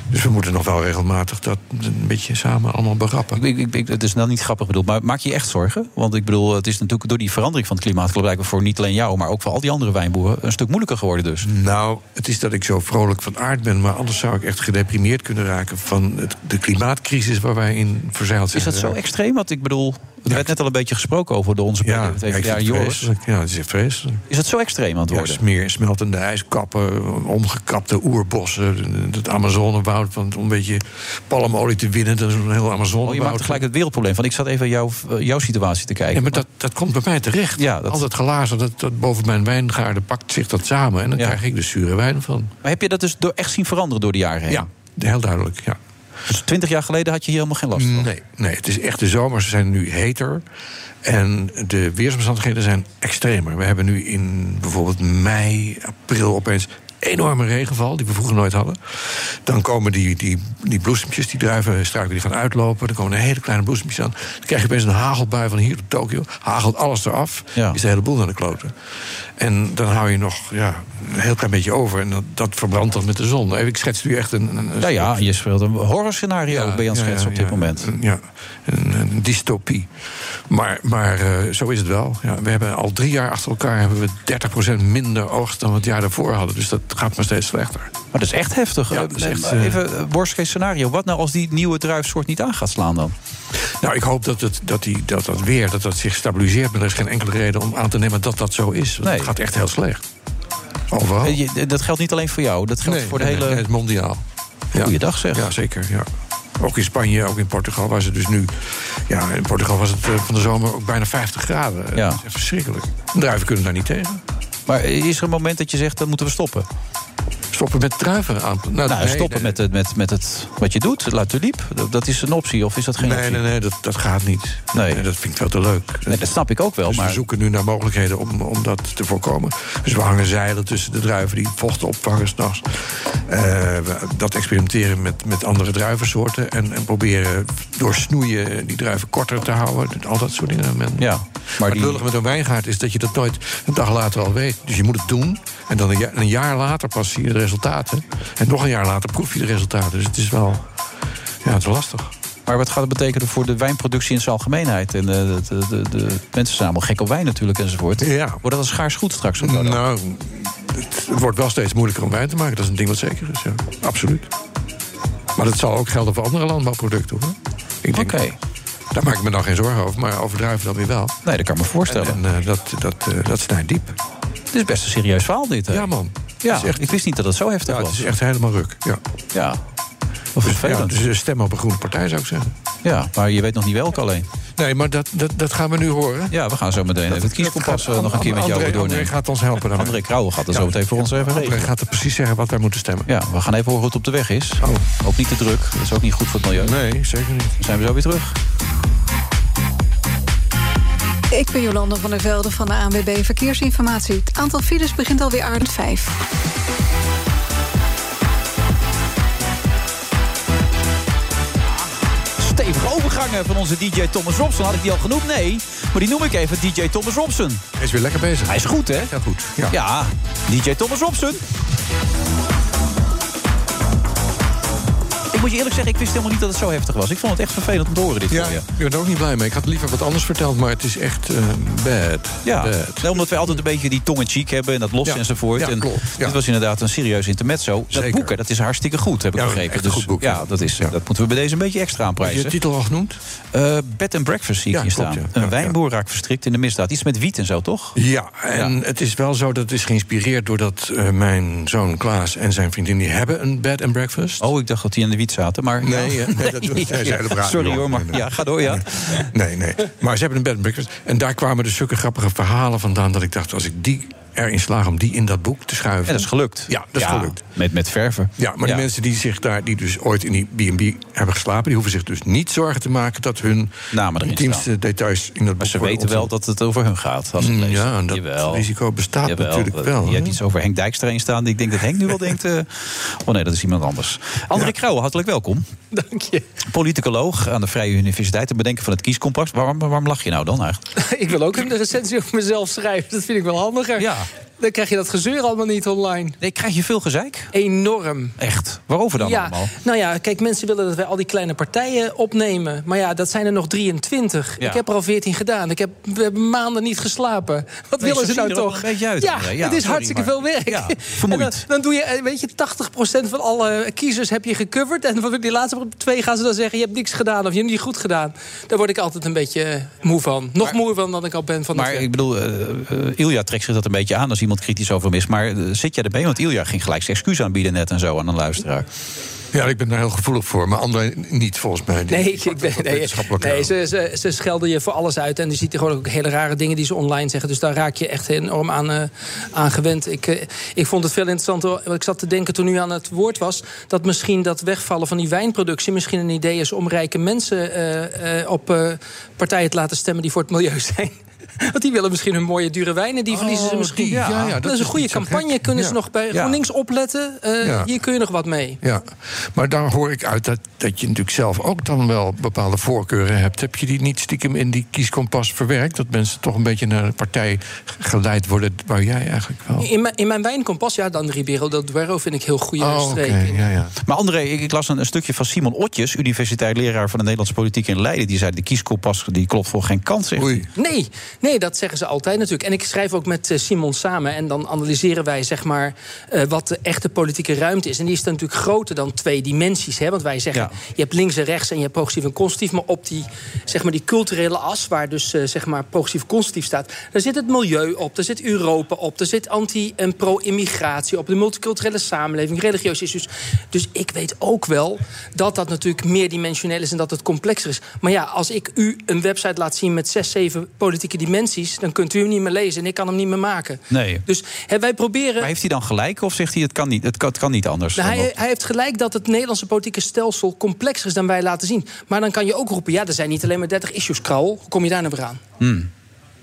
Speaker 8: Dus we moeten nog wel regelmatig dat een beetje samen allemaal berappen.
Speaker 7: Ik, ik, ik- het is nou niet grappig bedoeld, maar maak je je echt zorgen? Want ik bedoel, het is natuurlijk door die verandering van het klimaat... blijkbaar voor niet alleen jou, maar ook voor al die andere wijnboeren... een stuk moeilijker geworden dus.
Speaker 8: Nou, het is dat ik zo vrolijk van aard ben, maar anders zou ik echt gedeprimeerd kunnen raken van het, de klimaatcrisis waar wij in verzeild zijn.
Speaker 7: Is dat zo extreem? Want ik bedoel, er werd net al een beetje gesproken over door onze... Ja,
Speaker 8: Ja, ik vind het vreselijk. Ja, het is echt vreselijk.
Speaker 7: Is dat zo extreem aan het
Speaker 8: Ja,
Speaker 7: worden?
Speaker 8: smeer, smeltende ijskappen, omgekapte oerbossen, het Amazonewoud. Want om een beetje palmolie te winnen, dat is een heel Amazonewoud.
Speaker 7: Oh, je maakt er gelijk het wereldprobleem van. Ik zat even jouw, eh, jouw situatie te kijken.
Speaker 8: Ja, maar dat, dat komt bij mij terecht.
Speaker 7: Ja, dat-
Speaker 8: Al dat glazen dat, dat boven mijn wijngaarden pakt zich dat samen. En dan krijg ik de zure wijn van.
Speaker 7: Maar heb je dat dus door echt zien veranderen door de jaren heen?
Speaker 8: Ja, heel duidelijk, ja.
Speaker 7: Dus twintig jaar geleden had je hier helemaal geen last van?
Speaker 8: Nee, nee, het is echt de zomers zijn nu heter. En de weersomstandigheden zijn extremer. We hebben nu in bijvoorbeeld mei, april opeens enorme regenval... die we vroeger nooit hadden. Dan komen die, die, die bloesempjes, die druivenstruiken, die gaan uitlopen. Dan komen er hele kleine bloesempjes aan. Dan krijg je opeens een hagelbui van hier tot Tokio. Hagelt alles eraf, is de hele boel naar de kloten. En dan hou je nog ja, een heel klein beetje over. En dat, dat verbrandt dan met de zon. Even, Ik schets nu echt een... een een
Speaker 7: Ja, ja,
Speaker 8: soort-
Speaker 7: je speelt een horrorscenario bij Jan
Speaker 8: ja,
Speaker 7: Schets
Speaker 8: ja,
Speaker 7: op dit
Speaker 8: ja.
Speaker 7: moment.
Speaker 8: Ja, een, een dystopie. Maar, maar eh, zo is het wel. Ja, we hebben al drie jaar achter elkaar hebben we 30% minder oogst dan we het jaar daarvoor hadden. Dus dat gaat maar steeds slechter. Maar
Speaker 7: dat is echt heftig.
Speaker 8: Ja, dat is
Speaker 7: Nee,
Speaker 8: echt,
Speaker 7: maar
Speaker 8: eh,
Speaker 7: even eh, worst case scenario. Wat nou als die nieuwe druifsoort niet aan gaat slaan dan?
Speaker 8: Nou, ik hoop dat het, dat, die, dat, dat weer dat dat zich stabiliseert. Maar er is geen enkele reden om aan te nemen dat dat zo is. Want Het gaat echt heel slecht. Overal.
Speaker 7: Eh, je- Dat geldt niet alleen voor jou. Dat geldt
Speaker 8: Nee,
Speaker 7: voor de
Speaker 8: nee,
Speaker 7: hele...
Speaker 8: nee, het is mondiaal.
Speaker 7: Goeiedag zeg.
Speaker 8: Ja, zeker. Ja. Ook in Spanje, ook in Portugal was het dus nu... Ja, in Portugal was het eh, van de zomer ook bijna 50 graden. Ja. Dat is echt verschrikkelijk. Druiven kunnen daar niet tegen.
Speaker 7: Maar is er een moment dat je zegt, dat moeten we stoppen?
Speaker 8: Stoppen met druiven aan?
Speaker 7: Nou,
Speaker 8: nee,
Speaker 7: stoppen
Speaker 8: nee.
Speaker 7: Met, het, met, met het wat je doet. La tuliep, dat, dat is een optie of is dat geen
Speaker 8: Nee,
Speaker 7: optie?
Speaker 8: nee, nee, dat, dat gaat niet. Nee. dat vind ik veel te leuk.
Speaker 7: Nee, dat snap ik ook wel,
Speaker 8: Dus
Speaker 7: maar-
Speaker 8: we zoeken nu naar mogelijkheden om, om dat te voorkomen. Dus we hangen zeilen tussen de druiven die vocht opvangen s'nachts. Eh, we dat experimenteren met, met andere druivensoorten. En, en proberen door snoeien die druiven korter te houden. Dus Al dat soort dingen. Men,
Speaker 7: Ja,
Speaker 8: maar het lullige met een wijngaard is dat je dat nooit een dag later al weet. Dus je moet het doen. En dan een jaar, een jaar later pas zie je de resultaten. En nog een jaar later proef je de resultaten. Dus het is wel ja, het is lastig.
Speaker 7: Maar wat gaat het betekenen voor de wijnproductie in zijn algemeenheid? En eh, de, de, de, de mensen zijn allemaal gek op wijn natuurlijk enzovoort. Wordt dat een schaars goed straks? Of
Speaker 8: nou, het, het wordt wel steeds moeilijker om wijn te maken. Dat is een ding wat zeker is, ja. Absoluut. Maar dat zal ook gelden voor andere landbouwproducten, hoor. Ik denk, Daar maak ik me dan geen zorgen over, maar overdrijven dan weer wel.
Speaker 7: Nee, dat kan ik me voorstellen.
Speaker 8: En, eh, dat, dat, eh, dat snijdt diep.
Speaker 7: Het is best een serieus verhaal dit. Hè?
Speaker 8: Ja, man.
Speaker 7: Ja, ik wist niet dat het zo heftig was.
Speaker 8: Het is echt helemaal ruk, ja.
Speaker 7: Ja.
Speaker 8: ja,
Speaker 7: vervelend.
Speaker 8: dus eh, stem op een groene partij, zou ik zeggen.
Speaker 7: Ja, maar je weet nog niet welke alleen.
Speaker 8: Nee, maar dat, dat, dat gaan we nu horen.
Speaker 7: Ja, we gaan zo meteen even het kieskompas eh, nog een keer met jou
Speaker 8: André,
Speaker 7: weer doornemen.
Speaker 8: André gaat ons helpen daarmee.
Speaker 7: André Krauwe gaat dat zo meteen voor ons even
Speaker 8: André
Speaker 7: regelen.
Speaker 8: gaat er precies zeggen wat wij moeten stemmen.
Speaker 7: Ja, we gaan even horen hoe het op de weg is. Ook niet te druk, dat is ook niet goed voor het milieu.
Speaker 8: Oh. Nee, zeker niet.
Speaker 7: Dan zijn we zo weer terug.
Speaker 14: Ik ben Jolanda van der Velde van de ANWB Verkeersinformatie. Het aantal files begint alweer aan 5.
Speaker 7: Stevige overgangen van onze DJ Thomas Robson. Had ik die al genoemd? Nee. Maar die noem ik even DJ Thomas Robson.
Speaker 8: Hij is weer lekker bezig.
Speaker 7: Hij is goed, hè?
Speaker 8: Ja, goed.
Speaker 7: Ja, DJ Thomas Robson. Ik moet je eerlijk zeggen, ik wist helemaal niet dat het zo heftig was. Ik vond het echt vervelend om te horen dit
Speaker 8: Ja,
Speaker 7: voor je.
Speaker 8: ik ben er ook niet blij mee. Ik had liever wat anders verteld, maar het is echt eh, bad.
Speaker 7: Ja,
Speaker 8: Bad.
Speaker 7: nee, omdat wij altijd een beetje die tong en cheek hebben en dat los
Speaker 8: Ja,
Speaker 7: enzovoort.
Speaker 8: ja,
Speaker 7: en
Speaker 8: klopt, ja.
Speaker 7: Dit was inderdaad een serieus intermezzo. Dat boeken, dat is hartstikke goed, heb ik begrepen. dus, Ja, dat, is, dat moeten we bij deze een beetje extra
Speaker 8: Heb
Speaker 7: aanprijzen.
Speaker 8: je de titel al genoemd?
Speaker 7: Eh, bed and breakfast zie ik
Speaker 8: Ja,
Speaker 7: hier
Speaker 8: klopt,
Speaker 7: staan.
Speaker 8: ja.
Speaker 7: Een wijnboer raakt verstrikt in de misdaad. Iets met wiet en zo, toch?
Speaker 8: Ja, en het is wel zo dat het is geïnspireerd doordat eh, mijn zoon Klaas en zijn vriendin die hebben een bed and breakfast.
Speaker 7: Oh, ik dacht dat die aan de wiet niet zaten. Maar,
Speaker 8: Nee, ja, nee, dat-
Speaker 7: Nee.
Speaker 8: zij zeiden op radio.
Speaker 7: Sorry hoor, maar
Speaker 8: Nee, nee.
Speaker 7: ja, ga door. Ja.
Speaker 8: Nee, nee. Maar ze hebben een bed and breakfast. En daar kwamen dus zulke grappige verhalen vandaan... dat ik dacht, als ik die erin slaag om die in dat boek te schuiven...
Speaker 7: En dat is gelukt.
Speaker 8: Ja, dat is
Speaker 7: Ja,
Speaker 8: gelukt.
Speaker 7: Met, met verven.
Speaker 8: Ja, maar de mensen die zich daar, die dus ooit in die B&B hebben geslapen... die hoeven zich dus niet zorgen te maken dat hun
Speaker 7: Namen erin
Speaker 8: intiemste
Speaker 7: staan.
Speaker 8: details in dat
Speaker 7: Maar
Speaker 8: boek
Speaker 7: ze
Speaker 8: worden
Speaker 7: weten wel
Speaker 8: onthuld.
Speaker 7: dat het over hun gaat. Als ze het lezen.
Speaker 8: Mm, Ja, dat
Speaker 7: Jawel.
Speaker 8: risico bestaat
Speaker 7: Jawel.
Speaker 8: natuurlijk wel.
Speaker 7: Je hebt iets over Henk Dijkstra erin staan. die Ik denk dat Henk nu wel denkt... eh, oh nee, dat is iemand anders. André Krauwe, hartelijk welkom.
Speaker 1: Dank je.
Speaker 7: Politicoloog aan de Vrije Universiteit... en bedenker van het kiescompact. Waarom, waarom lach je nou dan eigenlijk?
Speaker 15: ik wil ook een recensie op mezelf schrijven. Dat vind ik wel handiger.
Speaker 7: Ja.
Speaker 15: Dan krijg je dat gezeur allemaal niet online.
Speaker 7: Nee, krijg je veel gezeik?
Speaker 15: Enorm.
Speaker 7: Echt? Waarover dan
Speaker 15: ja,
Speaker 7: allemaal?
Speaker 15: Nou ja, kijk, mensen willen dat wij al die kleine partijen opnemen. Maar ja, dat zijn er nog 23.
Speaker 7: Ja.
Speaker 15: Ik heb er al 14 gedaan. Ik heb, we hebben maanden niet geslapen. Wat
Speaker 7: Nee,
Speaker 15: willen
Speaker 7: zo
Speaker 15: ze nou
Speaker 7: zie je er ook
Speaker 15: toch?
Speaker 7: een beetje uit,
Speaker 15: ja,
Speaker 7: André. Ja,
Speaker 15: het is
Speaker 7: sorry,
Speaker 15: hartstikke
Speaker 7: maar-
Speaker 15: veel werk.
Speaker 7: Ja,
Speaker 15: En dan,
Speaker 7: vermoeiend.
Speaker 15: dan doe je, eh, weet je, 80% van alle kiezers heb je gecoverd. En van die laatste twee gaan ze dan zeggen... je hebt niks gedaan of je hebt niet goed gedaan. Daar word ik altijd een beetje eh, moe van. Nog moeier van dan ik al ben van het
Speaker 7: Maar ik bedoel, eh eh, Ilja trekt zich dat een beetje aan als iemand kritisch over hem is. Maar eh, zit jij erbij? Want Ilja ging gelijk zijn excuus aanbieden net en zo aan een luisteraar.
Speaker 8: Ja, ik ben daar heel gevoelig voor, maar anderen niet volgens mij. Die-
Speaker 15: Nee, ik, ik ben, nee,
Speaker 8: wetenschappelijk
Speaker 15: nee, ze, ze, ze schelden je voor alles uit. En je ziet er gewoon ook hele rare dingen die ze online zeggen. Dus daar raak je echt enorm aan, eh, aan gewend. Ik, eh, ik vond het veel interessanter. want Ik zat te denken toen u aan het woord was. dat misschien dat wegvallen van die wijnproductie. misschien een idee is om rijke mensen eh, eh, op eh, partijen te laten stemmen die voor het milieu zijn. Want die willen misschien hun mooie dure wijnen,
Speaker 1: Oh,
Speaker 15: die verliezen ze misschien.
Speaker 8: Oh, die, ja, ja, dat
Speaker 15: dat, is
Speaker 8: is
Speaker 15: een goede
Speaker 8: niet zo
Speaker 15: campagne.
Speaker 8: gek.
Speaker 15: Kunnen
Speaker 8: Ja.
Speaker 15: ze nog bij
Speaker 8: Ja.
Speaker 15: GroenLinks opletten? Eh,
Speaker 8: Ja.
Speaker 15: Hier kun je nog wat mee.
Speaker 8: Ja, maar daar hoor ik uit dat, dat je natuurlijk zelf ook dan wel bepaalde voorkeuren hebt. Heb je die niet stiekem in die kieskompas verwerkt? Dat mensen toch een beetje naar een partij geleid worden waar jij eigenlijk wel.
Speaker 15: In mijn, in mijn wijnkompas, ja, dan Ribeiro del Duero vind ik heel goede
Speaker 8: Oh,
Speaker 15: streek. in.
Speaker 7: Maar André, ik, ik las een, een stukje van Simon Otjes, universiteit leraar van de Nederlandse politiek in Leiden. Die zei: de kieskompas die klopt voor geen kans. Zegt hij.
Speaker 15: Nee, nee, dat zeggen ze altijd natuurlijk. En ik schrijf ook met eh, Simon samen. En dan analyseren wij zeg maar, eh, wat de echte politieke ruimte is. En die is dan natuurlijk groter dan twee dimensies. Hè? Want wij zeggen, je hebt links en rechts en je hebt progressief en conservatief. Maar op die, zeg maar, die culturele as, waar dus eh, zeg maar, progressief en conservatief staat... daar zit het milieu op, daar zit Europa op... daar zit anti- en pro-immigratie op, de multiculturele samenleving... religieuze issues. Dus ik weet ook wel dat dat natuurlijk meerdimensioneel is... en dat het complexer is. Maar ja, als ik u een website laat zien met zes, zeven politieke dimensies... dan kunt u hem niet meer lezen en ik kan hem niet meer maken.
Speaker 7: Nee.
Speaker 15: Dus hè, wij proberen...
Speaker 7: Maar heeft hij dan gelijk of zegt hij: het kan niet, het kan, het kan niet anders?
Speaker 15: Nou,
Speaker 7: dan
Speaker 15: hij,
Speaker 7: dat?
Speaker 15: hij heeft gelijk dat het Nederlandse politieke stelsel complexer is dan wij laten zien. Maar dan kan je ook roepen, ja, er zijn niet alleen maar 30 issues, kraal. Hoe kom je daar nou weer aan?
Speaker 7: Hmm.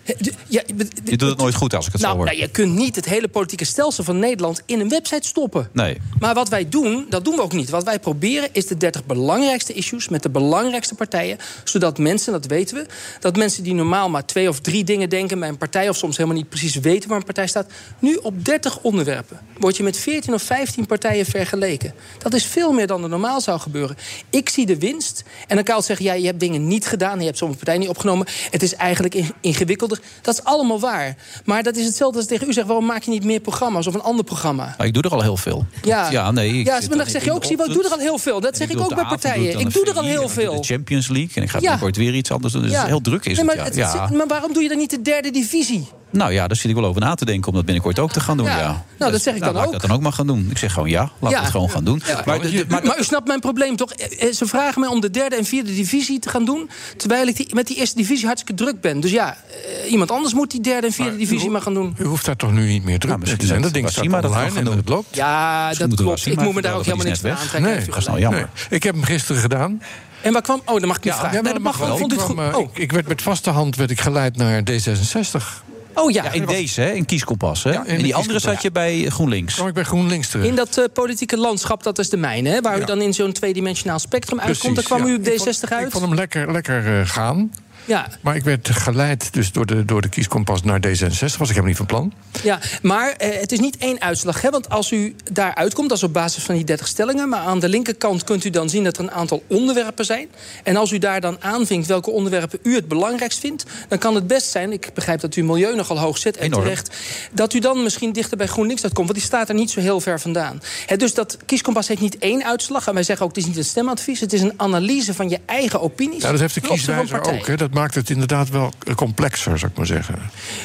Speaker 15: Hè, d- Ja, d- d-
Speaker 7: Je doet het nooit goed als ik het zo
Speaker 15: nou,
Speaker 7: hoor.
Speaker 15: nou, je kunt niet het hele politieke stelsel van Nederland in een website stoppen.
Speaker 7: Nee.
Speaker 15: Maar wat wij doen, dat doen we ook niet. Wat wij proberen is de 30 belangrijkste issues met de belangrijkste partijen. Zodat mensen, dat weten we, dat mensen die normaal maar twee of drie dingen denken bij een partij. of soms helemaal niet precies weten waar een partij staat. nu op 30 onderwerpen word je met 14 of 15 partijen vergeleken. Dat is veel meer dan er normaal zou gebeuren. Ik zie de winst. En dan kan je zeggen, ja, je hebt dingen niet gedaan. je hebt sommige partijen niet opgenomen. Het is eigenlijk in- ingewikkelder. Dat is allemaal waar. Maar dat is hetzelfde als tegen u zegt, waarom maak je niet meer programma's of een ander programma?
Speaker 7: Nou, ik doe er al heel veel.
Speaker 15: Ja,
Speaker 7: nee. ik
Speaker 15: ja
Speaker 7: zit
Speaker 15: maar
Speaker 7: dan
Speaker 15: dan
Speaker 7: in
Speaker 15: zeg je
Speaker 7: de
Speaker 15: ook, zie, wat
Speaker 7: ochtend.
Speaker 15: doe er al heel veel. Dat
Speaker 7: En
Speaker 15: zeg
Speaker 7: ik
Speaker 15: ik
Speaker 7: doe
Speaker 15: ook
Speaker 7: het
Speaker 15: bij
Speaker 7: de avond, doe
Speaker 15: partijen.
Speaker 7: het
Speaker 15: Ik
Speaker 7: dan
Speaker 15: doe er al
Speaker 7: de
Speaker 15: heel
Speaker 7: VI, en
Speaker 15: veel.
Speaker 7: De Champions League. En ik ga
Speaker 15: Ja.
Speaker 7: binnenkort weer iets anders doen. Dus
Speaker 15: Ja.
Speaker 7: heel druk is
Speaker 15: Nee, maar
Speaker 7: het.
Speaker 15: het-
Speaker 7: ja.
Speaker 15: het-
Speaker 7: ja.
Speaker 15: Maar waarom doe je dan niet de derde divisie?
Speaker 7: Nou ja, daar zit ik wel over na te denken om dat binnenkort ook te gaan doen. Ja.
Speaker 15: Ja. Nou, dat
Speaker 7: Dus,
Speaker 15: zeg ik dan
Speaker 7: laat
Speaker 15: ook.
Speaker 7: dat dan ook maar gaan doen. Ik zeg gewoon ja, laten
Speaker 15: Ja.
Speaker 7: we het gewoon gaan doen. Maar, de- de- maar
Speaker 15: Maar, u snapt mijn probleem toch? Eh, eh, Ze vragen mij om de derde en vierde divisie te gaan doen... terwijl ik die, met die eerste divisie hartstikke druk ben. Dus ja, eh, iemand anders moet die derde en vierde divisie maar gaan doen.
Speaker 8: U hoeft daar toch nu niet meer druk
Speaker 7: Nou,
Speaker 8: mee
Speaker 7: misschien
Speaker 8: te zijn.
Speaker 7: dat
Speaker 8: Dat ding staat
Speaker 7: Wassima dat
Speaker 8: online
Speaker 7: wel
Speaker 8: en
Speaker 7: gaan
Speaker 8: dat loopt.
Speaker 15: Ja, dat
Speaker 8: moeten we
Speaker 15: klopt.
Speaker 8: Wassima
Speaker 15: Ik moet me daar
Speaker 8: vertellen
Speaker 15: ook
Speaker 8: dat
Speaker 15: helemaal niks
Speaker 8: die is
Speaker 15: van aantrekken.
Speaker 8: net weg. Nee,
Speaker 15: heeft u
Speaker 8: dat is
Speaker 15: gelijk.
Speaker 8: nou jammer. Ik heb hem gisteren gedaan.
Speaker 15: En waar kwam... Oh, dat mag ik niet
Speaker 8: Ja,
Speaker 15: vragen.
Speaker 8: ja,
Speaker 15: Nee, dat mag wel.
Speaker 8: Ik,
Speaker 15: Vond u het
Speaker 8: kwam,
Speaker 15: goed?
Speaker 8: eh,
Speaker 15: Oh,
Speaker 8: ik, ik werd met vaste hand werd ik geleid naar D66.
Speaker 15: oh ja.
Speaker 7: ja, in deze, hè, in kieskompas. Hè? en die andere zat je bij GroenLinks.
Speaker 8: Kom ik bij GroenLinks terug.
Speaker 15: In dat eh, politieke landschap, dat is de mijne. Hè, waar u dan in zo'n tweedimensionaal spectrum uitkomt. Daar kwam
Speaker 8: ja.
Speaker 15: u op
Speaker 8: Ik
Speaker 15: D60
Speaker 8: vond-
Speaker 15: uit.
Speaker 8: Ik vond hem lekker, lekker eh, gaan.
Speaker 15: Ja.
Speaker 8: Maar ik werd geleid dus door de, door de kieskompas naar D66. Was ik helemaal niet van plan.
Speaker 15: Ja, maar eh, het is niet één uitslag. Hè? Want als u daar uitkomt, dat is op basis van die 30 stellingen. Maar aan de linkerkant kunt u dan zien dat er een aantal onderwerpen zijn. En als u daar dan aanvinkt welke onderwerpen u het belangrijkst vindt... dan kan het best zijn, ik begrijp dat u milieu nogal hoog zet en
Speaker 7: Enorm.
Speaker 15: terecht... dat u dan misschien dichter bij GroenLinks uitkomt. Want die staat er niet zo heel ver vandaan. Hè, dus dat kieskompas heeft niet één uitslag. En wij zeggen ook, het is niet een stemadvies. Het is een analyse van je eigen opinies.
Speaker 8: Ja, Nou, dat heeft de
Speaker 15: ten opzichte van
Speaker 8: kieswijzer
Speaker 15: partijen.
Speaker 8: ook. Hè? Dat maakt het inderdaad wel eh, complexer, zou ik maar zeggen.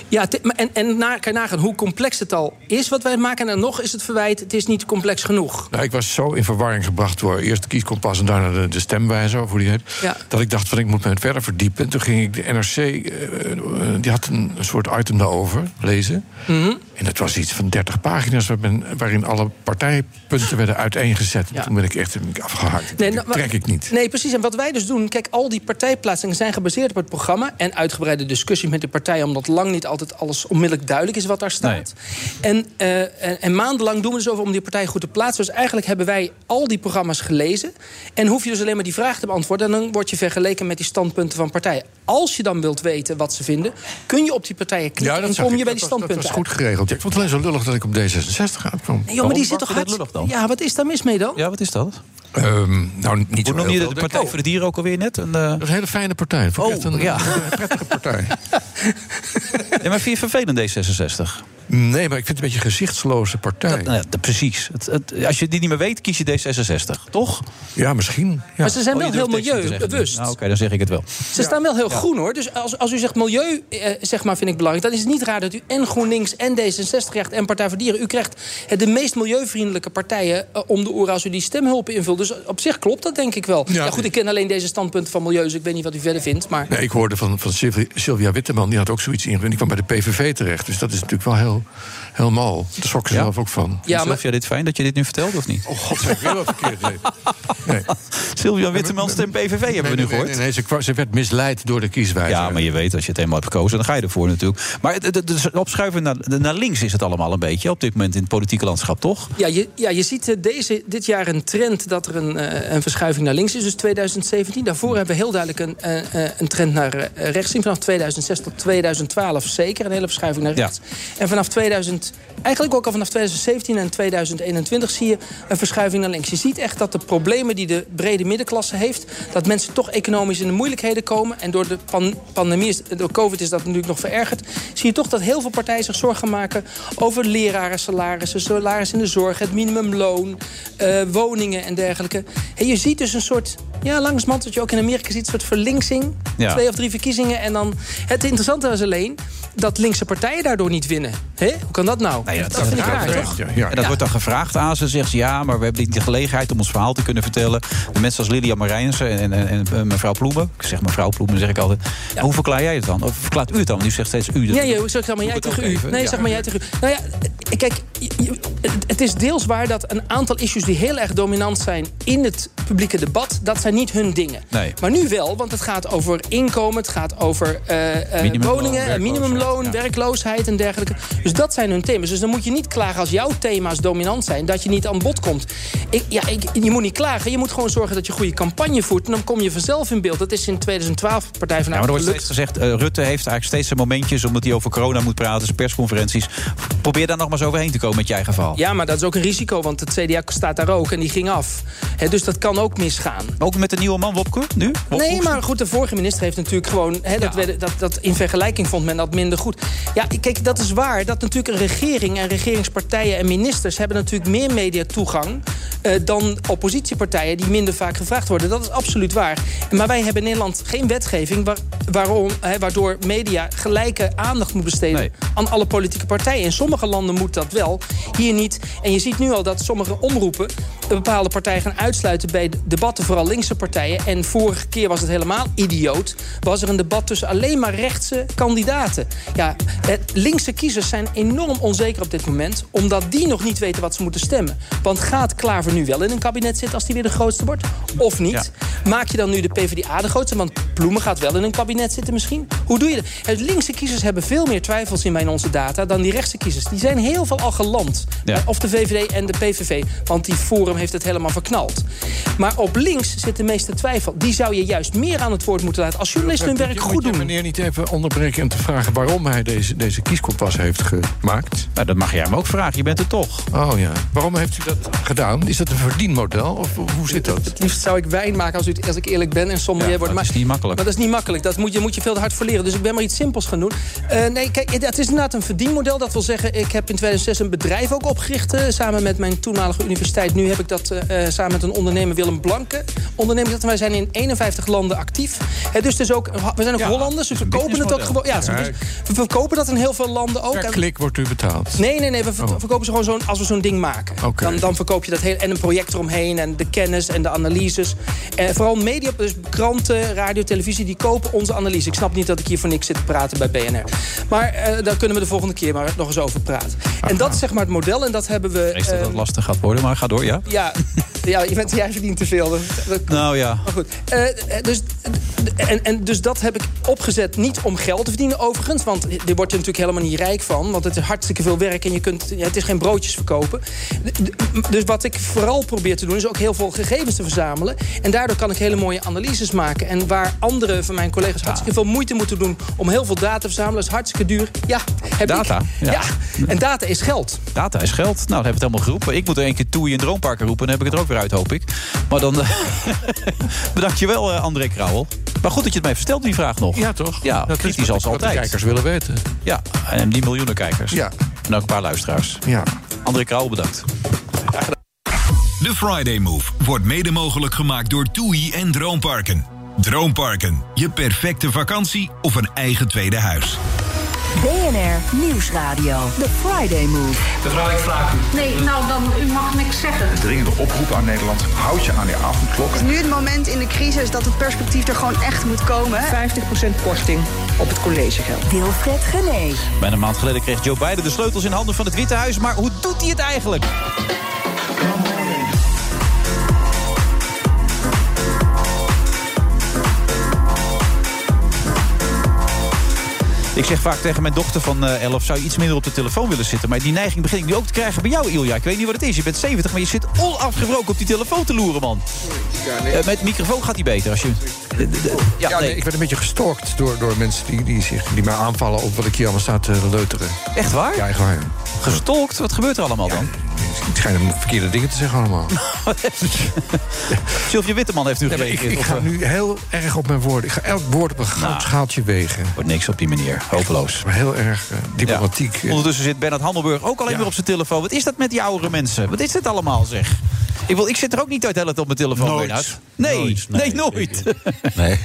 Speaker 15: Ja, te- maar en, en na, kan je nagaan hoe complex het al is wat wij maken. En dan nog is het verwijt, het is niet complex genoeg.
Speaker 8: Nou, ik was zo in verwarring gebracht door eerst de kieskompas en daarna de, de stemwijzer, of hoe die heet.
Speaker 15: Ja.
Speaker 8: Dat ik dacht van ik moet me verder verdiepen. En toen ging ik de NRC, eh, eh, die had een, een soort item daarover lezen.
Speaker 15: Mhm.
Speaker 8: En dat was iets van 30 pagina's waar men- waarin alle partijpunten werden uiteengezet. En
Speaker 15: Ja.
Speaker 8: Toen ben ik echt ben ik afgehaakt.
Speaker 15: Nee,
Speaker 8: dat
Speaker 15: nou, wa-
Speaker 8: trek ik niet.
Speaker 15: Nee, precies. En wat wij dus doen, kijk, al die partijplaatsingen zijn gebaseerd op het programma en uitgebreide discussie met de partijen, omdat lang niet altijd alles onmiddellijk duidelijk is wat daar staat. En, eh, en, en maandenlang doen we dus over om die partij goed te plaatsen. Dus eigenlijk hebben wij al die programma's gelezen en hoef je dus alleen maar die vraag te beantwoorden en dan word je vergeleken met die standpunten van partijen. Als je dan wilt weten wat ze vinden, kun je op die partijen klikken en
Speaker 8: zag
Speaker 15: kom je
Speaker 8: ik.
Speaker 15: bij die
Speaker 8: Dat was-
Speaker 15: standpunten.
Speaker 8: Dat was
Speaker 15: uit.
Speaker 8: goed geregeld. Ik vond het alleen zo lullig dat ik op D66 uitkwam.
Speaker 15: Nee, joh, maar die zit toch hartst- Ja, wat is daar mis mee dan?
Speaker 7: Ja, wat is dat?
Speaker 8: nou, niet
Speaker 7: Hoe
Speaker 8: zo
Speaker 7: noem
Speaker 8: heel
Speaker 7: je de,
Speaker 8: veel.
Speaker 7: de Partij voor de Dieren ook alweer net? Een, eh,
Speaker 8: Dat is een hele fijne partij. Vond ik echt
Speaker 7: Oh,
Speaker 8: een, eh,
Speaker 7: ja.
Speaker 8: een prettige partij.
Speaker 7: Ja, maar vind je vervelend D66?
Speaker 8: Nee, maar ik vind het een beetje een gezichtsloze partij.
Speaker 7: nou ja, dat- precies. Het, het- als je die niet meer weet, kies je D66, toch? Oh,
Speaker 8: Ja, misschien.
Speaker 15: Maar ze zijn wel heel milieubewust.
Speaker 7: bewust. Nou, Oké, dan zeg ik het wel.
Speaker 15: Ze staan wel heel groen hoor. Dus als, als u zegt milieu, eh, zeg maar, vind ik belangrijk. Dan is het niet raar dat u en GroenLinks en D66 krijgt en Partij voor Dieren. U krijgt eh, de meest milieuvriendelijke partijen eh, om de oren als u die stemhulpen invult. Dus op zich klopt dat denk ik wel. Ja, goed, ik ken alleen deze standpunten van milieu, dus ik weet niet wat u verder vindt. Maar
Speaker 8: Nee, ik hoorde van, van Sylvia, Sylvia Witteman, die had ook zoiets ingewend. Die kwam bij de PVV terecht. Dus dat is natuurlijk wel heel, heel mal. Daar schrok ze zelf ook van.
Speaker 7: Ja, Sylvia, dit fijn dat je dit nu vertelt, of niet?
Speaker 8: Oh god, zeg weer wat verkeerd. Nee.
Speaker 7: Sylvia Witteman stem PVV hebben we nu gehoord.
Speaker 8: Nee, nee, ze, kwam- ze werd misleid door de kieswijzer.
Speaker 7: Ja, maar je weet, als je het eenmaal hebt gekozen, dan ga je ervoor natuurlijk. Maar het, het- het opschuiven naar, naar links is het allemaal een beetje op dit moment in het politieke landschap, toch?
Speaker 15: Ja, je, ja, je ziet eh, deze, dit jaar een trend dat er een, eh, een verschuiving naar links is. Dus 2017. Daarvoor hebben we heel duidelijk een, eh, eh, een trend naar eh, rechts zien. Vanaf 2006 tot 2012 zeker een hele verschuiving naar rechts. En vanaf 2000, eigenlijk ook al vanaf 2017 en 2021 zie je een verschuiving naar links. Je ziet echt dat de problemen die de brede middenklasse heeft, dat mensen toch economisch in de moeilijkheden komen. En door de pan- pandemie, is, door COVID is dat natuurlijk nog verergerd. Zie je toch dat heel veel partijen zich zorgen maken over leraren salarissen, salaris in de zorg, het minimumloon, eh, woningen en dergelijke. En je ziet dus een soort, ja, langzamerhand wat je ook in Amerika ziet, een soort verlinksing.
Speaker 16: Ja.
Speaker 15: Twee of drie verkiezingen en dan... Het interessante was alleen dat linkse partijen daardoor niet winnen. Hè? Hoe kan dat nou? dat, vind ik raar, toch?
Speaker 7: En dat wordt dan gevraagd aan ze. Zegt ze, ja, maar we hebben niet de gelegenheid om ons verhaal te kunnen vertellen. De mensen als Lilian Marijnissen en, en, en, en mevrouw Ploemen. Ik zeg mevrouw Ploemen, zeg ik altijd. Hoe verklaar jij het dan? Of verklaart u het dan? Want u zegt steeds u.
Speaker 15: Nee, joh, zeg maar jij
Speaker 7: het
Speaker 15: tegen
Speaker 7: ook
Speaker 15: u.
Speaker 7: even,
Speaker 15: Nee,
Speaker 7: ja.
Speaker 15: zeg maar jij tegen u. Nou ja, eh, kijk, je- je- het- het is deels waar dat een aantal issues die heel erg dominant zijn in het publieke debat, dat zijn niet hun dingen.
Speaker 7: Nee.
Speaker 15: Maar nu wel, want het gaat over inkomen, het gaat over eh, eh,
Speaker 7: Minimumloon,
Speaker 15: woningen, eh, minimumloon, werkloosheid en dergelijke. Dus dat zijn hun thema's. Dus dan moet je niet klagen als jouw thema's dominant zijn, dat je niet aan bod komt. Ik, ja, ik, je moet niet klagen, je moet gewoon zorgen dat je goede campagne voert en dan kom je vanzelf in beeld. Dat is in 2012 Partij van de
Speaker 7: Ja, maar er
Speaker 15: Arbeid
Speaker 7: wordt steeds gezegd, eh, Rutte heeft eigenlijk steeds zijn momentjes... omdat hij over corona moet praten, zijn persconferenties. Probeer daar nog maar eens overheen te komen met je eigen verhaal.
Speaker 15: Ja, maar dat is ook een risico, want het CDA staat daar ook en die ging af. Hè, dus dat kan ook misgaan.
Speaker 7: Ook met de nieuwe man Wopke, nu?
Speaker 15: nee, maar goed, de vorige minister heeft natuurlijk gewoon... Hè, dat, werd- dat, dat in vergelijking vond men dat minder goed. Ja, kijk, dat is waar. Dat natuurlijk een regering en regeringspartijen en ministers... hebben natuurlijk meer mediatoegang eh, dan oppositiepartijen... die minder vaak gevraagd worden. Dat is absoluut waar. Maar wij hebben in Nederland geen wetgeving... Waar, waarom, hè, waardoor media gelijke aandacht moet besteden... aan alle politieke partijen. In sommige landen moet dat wel, hier niet. En je ziet nu al dat sommige omroepen... een bepaalde partijen gaan uitsluiten bij debatten... vooral linkse partijen. En vorige keer was het helemaal idioot. Was er een debat tussen alleen maar rechtse kandidaten. Ja, het, linkse kiezers zijn enorm onzeker op dit moment... omdat die nog niet weten wat ze moeten stemmen. Want gaat Klaver nu wel in een kabinet zitten... als die weer de grootste wordt, of niet? Maak je dan nu de PvdA de grootste? Want Ploemen gaat wel in een kabinet zitten misschien. Hoe doe je dat? Het linkse kiezers hebben veel meer twijfels in mijn onze data... dan die rechtse kiezers. Die zijn heel veel al geland. Eh,
Speaker 7: Ja.
Speaker 15: Of de VVD en de PVV. Want die Forum heeft het helemaal verknald. Maar op links zit de meeste twijfel. Die zou je juist meer aan het woord moeten laten. Als journalisten hun werk goed doen.
Speaker 8: meneer niet even onderbreken en te vragen waarom hij deze, deze kieskompas heeft gemaakt?
Speaker 7: Nou, dat mag jij hem ook vragen. Je bent er toch.
Speaker 8: Oh ja. Waarom heeft u dat gedaan? Is dat een verdienmodel? Of hoe zit dat?
Speaker 15: Het liefst zou ik wijn maken als, u, als ik eerlijk ben en sommelier
Speaker 7: Ja,
Speaker 15: worden.
Speaker 7: dat is niet makkelijk.
Speaker 15: Maar dat is niet makkelijk. Dat moet je, moet je veel te hard voor leren. Dus ik ben maar iets simpels gaan doen. Eh, nee, kijk, het is inderdaad een verdienmodel. Dat wil zeggen, ik heb in 2006 een bedrijf ook opgericht. eh, samen met mijn toenmalige universiteit. Nu heb ik dat eh, eh, samen met een ondernemer, Willem Blanke. Ondernemer, dat wij zijn in 51 landen actief. Hè, dus, dus ook, we zijn ook Hollanders, dus we kopen het ook gewoon. Ja, het is een
Speaker 8: Kijk.
Speaker 15: bus- we verkopen dat in heel veel landen ook.
Speaker 8: Per
Speaker 15: En-
Speaker 8: klik wordt u betaald.
Speaker 15: Nee, nee, nee. We ver-
Speaker 8: Oh.
Speaker 15: verkopen ze gewoon zo'n, als we zo'n ding maken.
Speaker 8: Oké.
Speaker 15: Dan, dan verkoop je dat heel. En een project eromheen. En de kennis en de analyses. En vooral media, dus kranten, radio, televisie, die kopen onze analyse. Ik snap niet dat ik hier voor niks zit te praten bij BNR. Maar eh, daar kunnen we de volgende keer maar nog eens over praten. En dat is zeg maar het model. En dat hebben we.
Speaker 7: Ik vrees dat
Speaker 15: eh,
Speaker 7: dat lastig gaat worden, maar ga door, ja.
Speaker 15: ja, ja, je bent, jij verdient te veel. Dat- dat-
Speaker 7: Nou ja.
Speaker 15: maar goed, eh, eh, dus, eh, en, en dus dat heb ik opgezet niet om geld te verdienen overigens. Want er wordt je natuurlijk helemaal niet rijk van. Want het is hartstikke veel werk en je kunt, ja, het is geen broodjes verkopen. D- d- Dus wat ik vooral probeer te doen is ook heel veel gegevens te verzamelen. En daardoor kan ik hele mooie analyses maken. En waar andere van mijn collega's hartstikke veel moeite moeten doen... om heel veel data te verzamelen, is hartstikke duur. Ja, heb
Speaker 7: Data,
Speaker 15: ik.
Speaker 7: ja.
Speaker 15: ja, en data is geld.
Speaker 7: Data is geld. Nou, dan heb ik het helemaal geroepen. Ik moet er één keer Toei in Droomparken roepen. Dan heb ik het er ook weer uit, hoop ik. Maar dan... eh, Bedankt je wel, eh, André Krauwel. Maar goed dat je het mij hebt verteld, die vraag nog.
Speaker 8: Ja, toch?
Speaker 7: Ja,
Speaker 8: Dat is
Speaker 7: kritisch
Speaker 8: wat-
Speaker 7: als
Speaker 8: wat de
Speaker 7: altijd.
Speaker 8: kijkers willen weten.
Speaker 7: Ja, en die miljoenen kijkers. Ja. En ook een paar luisteraars.
Speaker 8: Ja.
Speaker 7: André Krauwel, bedankt.
Speaker 3: De Friday Move wordt mede mogelijk gemaakt door TUI en Droomparken. Droomparken, je perfecte vakantie of een eigen tweede huis.
Speaker 4: BNR Nieuwsradio. The Friday Move.
Speaker 6: Mevrouw, ik vraag u.
Speaker 10: Nee, nou dan, u mag niks zeggen.
Speaker 6: Een dringende oproep aan Nederland. Houd je aan die avondklok.
Speaker 11: Het is nu het moment in de crisis dat het perspectief er gewoon echt moet komen.
Speaker 10: 50% korting op het collegegeld.
Speaker 4: Wilfred Genee.
Speaker 7: Bijna een maand geleden kreeg Joe Biden de sleutels in handen van het Witte Huis. Maar hoe doet hij het eigenlijk? Ik zeg vaak tegen mijn dochter van eh, 11, zou je iets minder op de telefoon willen zitten? Maar die neiging begin ik nu ook te krijgen bij jou, Ilja. Ik weet niet wat het is. Je bent 70, maar je zit onafgebroken op die telefoon te loeren, man. Eh, met microfoon gaat die beter als je...
Speaker 8: Ja, nee. ik werd een beetje gestalkt door, door mensen die, die, zich, die mij aanvallen op wat ik hier allemaal sta te leuteren.
Speaker 7: Echt waar?
Speaker 8: Ja, echt waar.
Speaker 7: Gestalkt? Wat gebeurt er allemaal dan?
Speaker 8: Het schijnen verkeerde dingen te zeggen allemaal.
Speaker 7: Sylvia Witteman heeft nu
Speaker 8: Nee, maar ik,
Speaker 7: gereageerd.
Speaker 8: ik
Speaker 7: op,
Speaker 8: ga
Speaker 7: eh,
Speaker 8: nu heel erg op mijn woorden. Ik ga elk woord op een goud schaaltje wegen.
Speaker 7: Wordt niks op die manier. Hopeloos.
Speaker 8: Maar heel erg eh, diplomatiek. eh.
Speaker 7: Ondertussen zit Bernard Handelburg ook alleen maar op zijn telefoon. Wat is dat met die oudere mensen? Wat is dit allemaal, zeg? Ik, wil, ik zit er ook niet uit hele tijd op mijn telefoon,
Speaker 16: Nooit.
Speaker 7: Bernard. Nee,
Speaker 16: Nooit,
Speaker 7: nee,
Speaker 16: nee.
Speaker 7: nooit.
Speaker 16: Nee.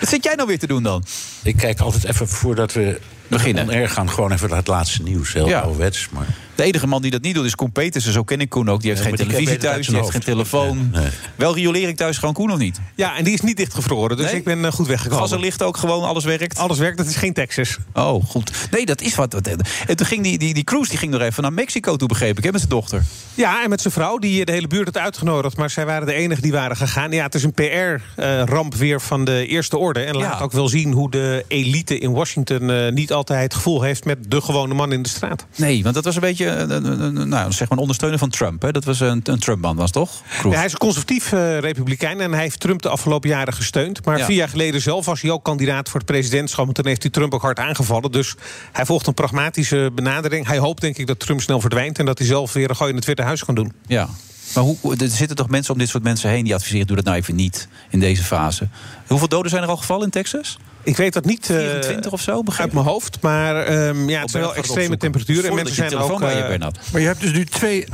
Speaker 7: Wat zit jij nou weer te doen dan?
Speaker 16: Ik kijk altijd even voordat we
Speaker 7: beginnen.
Speaker 16: Erg gaan gewoon even naar het laatste nieuws. Heel
Speaker 7: Ja.
Speaker 16: ouderwets, maar.
Speaker 7: De enige man die dat niet doet is Koen Petersen. Zo ken ik Koen ook. Die heeft
Speaker 16: Nee,
Speaker 7: geen
Speaker 16: maar die
Speaker 7: televisie
Speaker 16: weet het
Speaker 7: thuis,
Speaker 16: uit
Speaker 7: die
Speaker 16: zijn
Speaker 7: heeft geen telefoon. Wel riolering thuis gewoon Koen of niet?
Speaker 17: Ja, en die is niet dichtgevroren, dus
Speaker 7: Nee?
Speaker 17: ik ben eh, goed weggekomen.
Speaker 7: Gas en licht ook gewoon, alles werkt?
Speaker 17: Alles werkt, dat is geen Texas.
Speaker 7: Oh, goed. Nee, dat is wat. wat- eh, En toen ging die, die, die cruise die ging nog even naar Mexico toe, begreep ik, hè, met zijn dochter.
Speaker 17: Ja, en met zijn vrouw, die eh, de hele buurt had uitgenodigd... maar zij waren de enigen die waren gegaan. Ja, het is een PR-ramp weer van de eerste orde. En laat ook wel zien hoe de elite in Washington... eh, niet altijd het gevoel heeft met de gewone man in de straat.
Speaker 7: Nee, want dat was een beetje een, een, een- een- nou, zeg maar een ondersteuner van Trump. Hè? Dat was een, een Trump-man, was toch? Cruz.
Speaker 17: Ja, hij is een conservatief eh, republikein en hij heeft Trump de afgelopen jaren gesteund. Maar
Speaker 7: Ja.
Speaker 17: vier jaar geleden zelf was hij ook kandidaat voor het presidentschap. En toen heeft hij Trump ook hard aangevallen. Dus hij volgt een pragmatische benadering. Hij hoopt denk ik dat Trump snel verdwijnt... en dat hij zelf weer een gooi in het Witte Huis kan doen.
Speaker 7: Ja. Maar hoe, hoe- er zitten toch mensen om dit soort mensen heen die adviseren... doe dat nou even niet in deze fase. Hoeveel doden zijn er al gevallen in Texas?
Speaker 17: Ik weet dat niet.
Speaker 7: 24 of zo, begrijp
Speaker 17: eh, Uit mijn hoofd, maar ehm, ja, het zijn wel extreme temperaturen. En mensen zijn ook... eh,
Speaker 8: Maar je hebt dus nu twee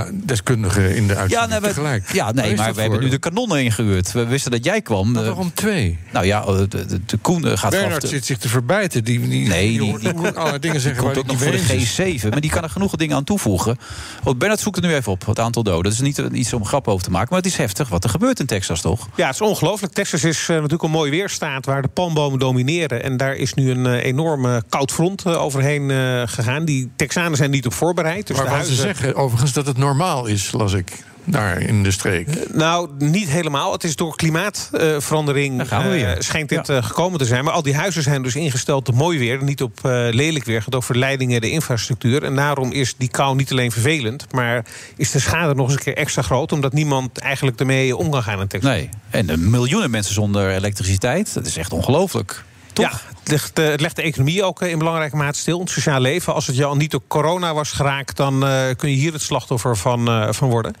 Speaker 8: Amerika-deskundigen in de
Speaker 7: Ja,
Speaker 8: uitzending
Speaker 7: nee, we-
Speaker 8: tegelijk.
Speaker 7: ja,
Speaker 8: Waar
Speaker 7: nee
Speaker 8: is
Speaker 7: maar
Speaker 8: dat
Speaker 7: we hebben
Speaker 8: voor?
Speaker 7: nu de kanonnen ingehuurd. We wisten dat jij kwam. Eh,
Speaker 8: waarom twee?
Speaker 7: Nou ja, eh, de, de, de Koen eh, gaat
Speaker 8: Bernard
Speaker 7: vanaf de-
Speaker 8: zit zich te verbijten. Die, die,
Speaker 7: Nee,
Speaker 8: die,
Speaker 7: die,
Speaker 8: hoort- die moet allerlei dingen zeggen
Speaker 7: komt
Speaker 8: waar
Speaker 7: ook
Speaker 8: hij
Speaker 7: nog
Speaker 8: niet
Speaker 7: voor
Speaker 8: mee
Speaker 7: de
Speaker 8: eens is.
Speaker 7: G7. Maar die kan er genoeg dingen aan toevoegen. Want Bernard zoekt er nu even op, het aantal doden. Dat is niet eh, iets om grap over te maken, maar het is heftig wat er gebeurt in Texas, toch?
Speaker 17: Ja, het is ongelooflijk. Texas is eh, natuurlijk een mooi weerstaat waar de palmbomen domineren. En daar is nu een eh, enorme koud front eh, overheen eh, gegaan. Die Texanen zijn niet op voorbereid. Dus
Speaker 8: maar
Speaker 17: de
Speaker 8: wat ze
Speaker 17: huizen-
Speaker 8: zeggen overigens dat het normaal is, las ik, daar in de streek.
Speaker 17: Nou, niet helemaal. Het is door klimaatverandering
Speaker 8: gaan we weer.
Speaker 17: schijnt dit eh, gekomen te zijn. Maar al die huizen zijn dus ingesteld op mooi weer, niet op eh, lelijk weer. Het gaat over leidingen, de infrastructuur. En daarom is die kou niet alleen vervelend, maar is de schade nog eens een keer extra groot, omdat niemand eigenlijk ermee om kan gaan in Texas.
Speaker 7: Nee. En eh, miljoenen mensen zonder elektriciteit. Dat is echt ongelooflijk.
Speaker 17: Ja, het legt, eh, het legt de economie ook eh, in belangrijke mate stil. Het sociaal leven. Als het je al niet door corona was geraakt, dan eh, kun je hier het slachtoffer van, eh, van worden.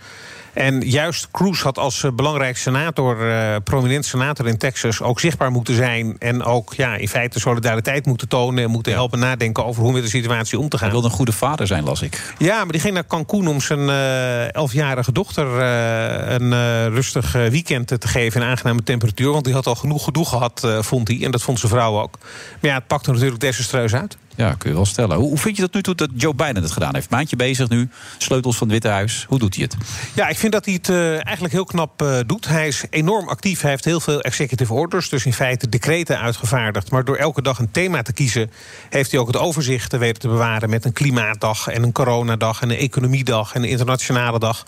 Speaker 17: En juist Cruz had als eh, belangrijk senator, eh, prominent senator in Texas, ook zichtbaar moeten zijn. En ook ja, in feite solidariteit moeten tonen en moeten helpen nadenken over hoe met de situatie om te gaan.
Speaker 7: Hij wilde een goede vader zijn, las ik.
Speaker 17: Ja, maar die ging naar Cancún om zijn eh, elfjarige dochter eh, een eh, rustig eh, weekend te geven in aangename temperatuur. Want die had al genoeg gedoe gehad, eh, vond hij. En dat vond zijn vrouw ook. Maar ja, het pakte natuurlijk desastreus uit.
Speaker 7: Ja, kun je wel stellen. Hoe, hoe vind je dat nu toe dat Joe Biden het gedaan heeft? Maandje bezig nu, sleutels van het Witte Huis. Hoe doet hij het?
Speaker 17: Ja, ik vind dat hij het eh, eigenlijk heel knap eh, doet. Hij is enorm actief. Hij heeft heel veel executive orders, dus in feite decreten uitgevaardigd. Maar door elke dag een thema te kiezen, heeft hij ook het overzicht eh, weten te bewaren met een klimaatdag en een coronadag en een economiedag en een internationale dag.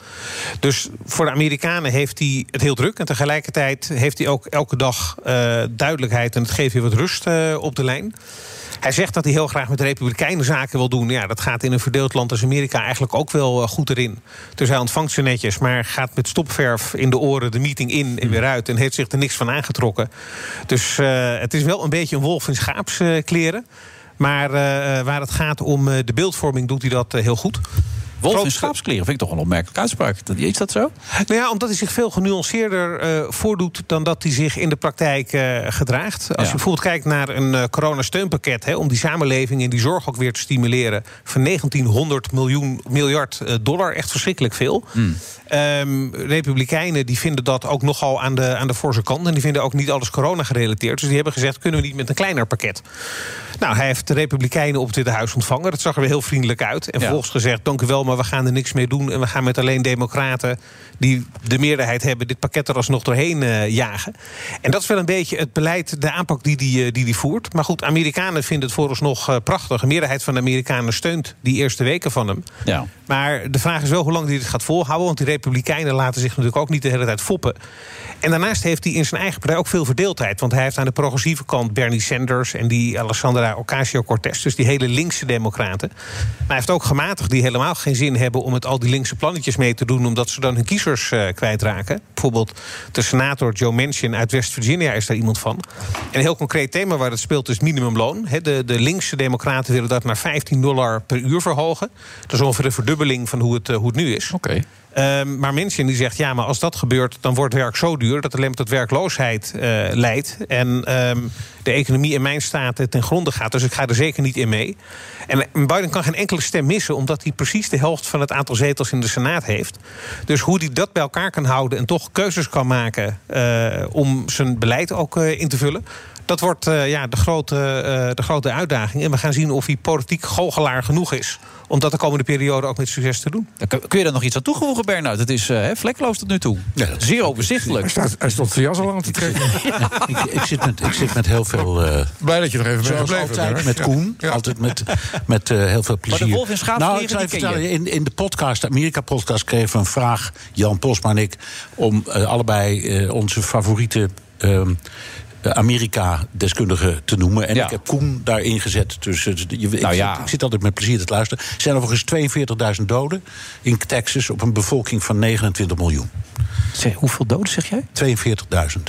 Speaker 17: Dus voor de Amerikanen heeft hij het heel druk. En tegelijkertijd heeft hij ook elke dag eh, duidelijkheid en het geeft weer wat rust eh, op de lijn. Hij zegt dat hij heel graag met de Republikeinen zaken wil doen. Ja, dat gaat in een verdeeld land als Amerika eigenlijk ook wel eh, goed erin. Dus hij ontvangt ze netjes, maar gaat met stopverf in de oren de meeting in en weer uit. En heeft zich er niks van aangetrokken. Dus eh, het is wel een beetje een wolf in schaapskleren. maar eh, waar het gaat om eh, de beeldvorming doet hij dat eh, heel goed.
Speaker 7: Wolf in schaapskleren vind ik toch een opmerkelijke uitspraak. Dat- Is dat zo?
Speaker 17: Nou ja, omdat hij zich veel genuanceerder eh, voordoet dan dat hij zich in de praktijk eh, gedraagt. Als je bijvoorbeeld kijkt naar een eh, coronasteunpakket, hè, om die samenleving en die zorg ook weer te stimuleren, van 1900 miljoen, miljard eh, dollar, echt verschrikkelijk veel.
Speaker 7: Hmm.
Speaker 17: Ehm, Republikeinen die vinden dat ook nogal aan de, aan de forse kant. En die vinden ook niet alles corona gerelateerd. Dus die hebben gezegd, kunnen we niet met een kleiner pakket? Nou, hij heeft de Republikeinen op het Witte Huis ontvangen. Dat zag er weer heel vriendelijk uit. En vervolgens gezegd, dank u wel, maar we gaan er niks mee doen. En we gaan met alleen democraten die de meerderheid hebben... dit pakket er alsnog doorheen eh, jagen. En dat is wel een beetje het beleid, de aanpak die die, eh, die die voert. Maar goed, Amerikanen vinden het vooralsnog eh, prachtig. Een meerderheid van de Amerikanen steunt die eerste weken van hem.
Speaker 7: Ja.
Speaker 17: Maar de vraag is wel hoe lang hij dit gaat volhouden. Want die Republikeinen laten zich natuurlijk ook niet de hele tijd foppen. En daarnaast heeft hij in zijn eigen partij ook veel verdeeldheid. Want hij heeft aan de progressieve kant Bernie Sanders en die Alessandra Ocasio-Cortez. Dus die hele linkse Democraten. Maar hij heeft ook gematigd die helemaal geen zin hebben om met al die linkse plannetjes mee te doen. Omdat ze dan hun kiezers eh, kwijtraken. Bijvoorbeeld de senator Joe Manchin uit West-Virginia is daar iemand van. En een heel concreet thema waar het speelt is minimumloon. Hè, de, de linkse Democraten willen dat naar 15 dollar per uur verhogen. Dat is ongeveer een verdubbeling van hoe het, eh, hoe het nu is. Ehm, maar mensen die zegt, ja, maar als dat gebeurt, dan wordt werk zo duur dat het alleen maar tot werkloosheid eh, leidt. En ehm, de economie in mijn staat ten gronde gaat. Dus ik ga er zeker niet in mee. En Biden kan geen enkele stem missen, omdat hij precies de helft van het aantal zetels in de Senaat heeft. Dus hoe hij dat bij elkaar kan houden en toch keuzes kan maken eh, om zijn beleid ook eh, in te vullen. Dat wordt eh, ja, de, grote, eh, de grote uitdaging. En we gaan zien of hij politiek goochelaar genoeg is. om dat de komende periode ook met succes te doen.
Speaker 7: Kun- Kun je daar nog iets aan toevoegen, Bernard? Het is eh, hè, vlekloos tot nu toe. Zeer overzichtelijk.
Speaker 8: Hij, staat, hij stond zijn jas al aan te trekken.
Speaker 16: ik, ik, zit met, ik zit met heel veel... eh,
Speaker 8: Blij dat je nog even bent
Speaker 16: Zoals
Speaker 8: gebleven.
Speaker 16: altijd
Speaker 8: Bernard.
Speaker 16: met
Speaker 8: Ja.
Speaker 16: Koen. Altijd met, met eh, heel veel plezier. wolf in schaapskleren, Nou, ik zou je die ken je. vertellen, in, in de podcast, de Amerika-podcast... kregen we een vraag, Jan Posma en ik... om eh, allebei eh, onze favoriete... ehm, eh, Amerika-deskundige te noemen. En ik heb Koen daarin gezet. Dus eh, je, ik, zit, ik zit altijd met plezier te luisteren. Er zijn overigens 42.000 doden in Texas op een bevolking van 29 miljoen. hoeveel doden zeg jij?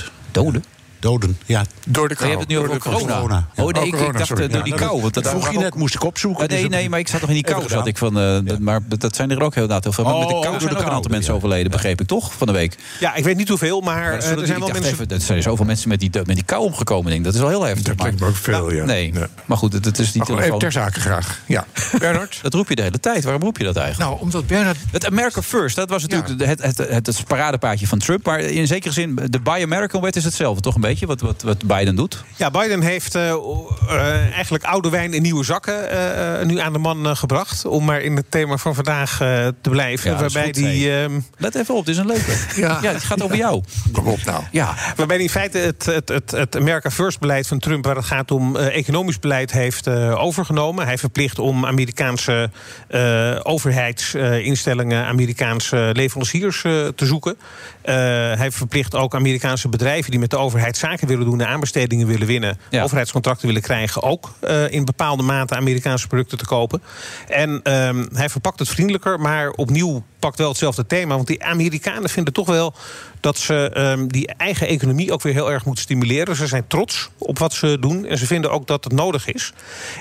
Speaker 16: 42.000. Doden? Doden, ja.
Speaker 8: Door de
Speaker 7: Maar je hebt het nu over corona.
Speaker 16: Ja.
Speaker 7: Oh nee, ik, ik dacht
Speaker 16: sorry.
Speaker 7: eh, door
Speaker 16: Ja,
Speaker 7: die
Speaker 16: dat-
Speaker 7: kou. Want dat Oh,
Speaker 16: vroeg je net, moest ik opzoeken.
Speaker 7: Nee,
Speaker 16: dus dat-
Speaker 7: nee, maar ik zat nog in die
Speaker 16: Even
Speaker 7: kou.
Speaker 16: gedaan.
Speaker 7: Zat ik van, eh, dat- Maar dat zijn er ook heel inderdaad heel veel. Maar met de
Speaker 17: Oh,
Speaker 7: kou zijn
Speaker 17: door de
Speaker 7: er ook een
Speaker 17: kou.
Speaker 7: aantal mensen overleden, begreep ik toch, van de week.
Speaker 17: Ja, ik weet niet hoeveel, maar,
Speaker 7: Maar
Speaker 17: eh,
Speaker 7: zullen die-
Speaker 17: er zijn
Speaker 7: ik
Speaker 17: wel
Speaker 7: dacht
Speaker 17: mensen.
Speaker 7: even, dat zijn zoveel mensen met die, do- met die kou omgekomen. Denk. ik. Dat is wel heel heftig. Dat klinkt
Speaker 8: ook veel, ja.
Speaker 7: Nee, maar goed, het, het is die
Speaker 8: Maar goed,
Speaker 7: telefoon.
Speaker 8: even ter zake graag. Ja. Bernard?
Speaker 7: dat roep je de hele tijd. Waarom roep je dat eigenlijk?
Speaker 8: Nou, omdat Bernard...
Speaker 7: Het America First, dat was natuurlijk de- het, het, het, het paradepaadje van Trump. Maar in zekere zin, de Buy American wet is hetzelfde, toch een beetje? Wat, wat, wat Biden doet.
Speaker 17: Ja, Biden heeft eh, o- eh, eigenlijk oude wijn in nieuwe zakken eh, eh, nu aan de man eh, gebracht. Om maar in het thema van vandaag eh, te blijven.
Speaker 7: Ja, dat is
Speaker 17: waarbij
Speaker 7: goed,
Speaker 17: die,
Speaker 7: hey.
Speaker 17: ehm,
Speaker 7: Let even op, dit is een leuke.
Speaker 17: Ja.
Speaker 7: Ja, het gaat over jou.
Speaker 8: Kom op nou.
Speaker 7: Ja.
Speaker 17: Waarbij hij in feite het, het, het, het America First beleid van Trump, waar het gaat om eh, economisch beleid, heeft eh, overgenomen. Hij verplicht om Amerikaanse eh, overheidsinstellingen, eh, Amerikaanse leveranciers eh, te zoeken. Eh, hij verplicht ook Amerikaanse bedrijven die met de overheid zaken willen doen en aanbestedingen willen winnen, overheidscontracten willen krijgen, ook eh, in bepaalde mate Amerikaanse producten te kopen. En ehm, hij verpakt het vriendelijker, maar opnieuw pakt wel hetzelfde thema. Want die Amerikanen vinden toch wel dat ze ehm, die eigen economie ook weer heel erg moeten stimuleren. Ze zijn trots op wat ze doen. En ze vinden ook dat het nodig is.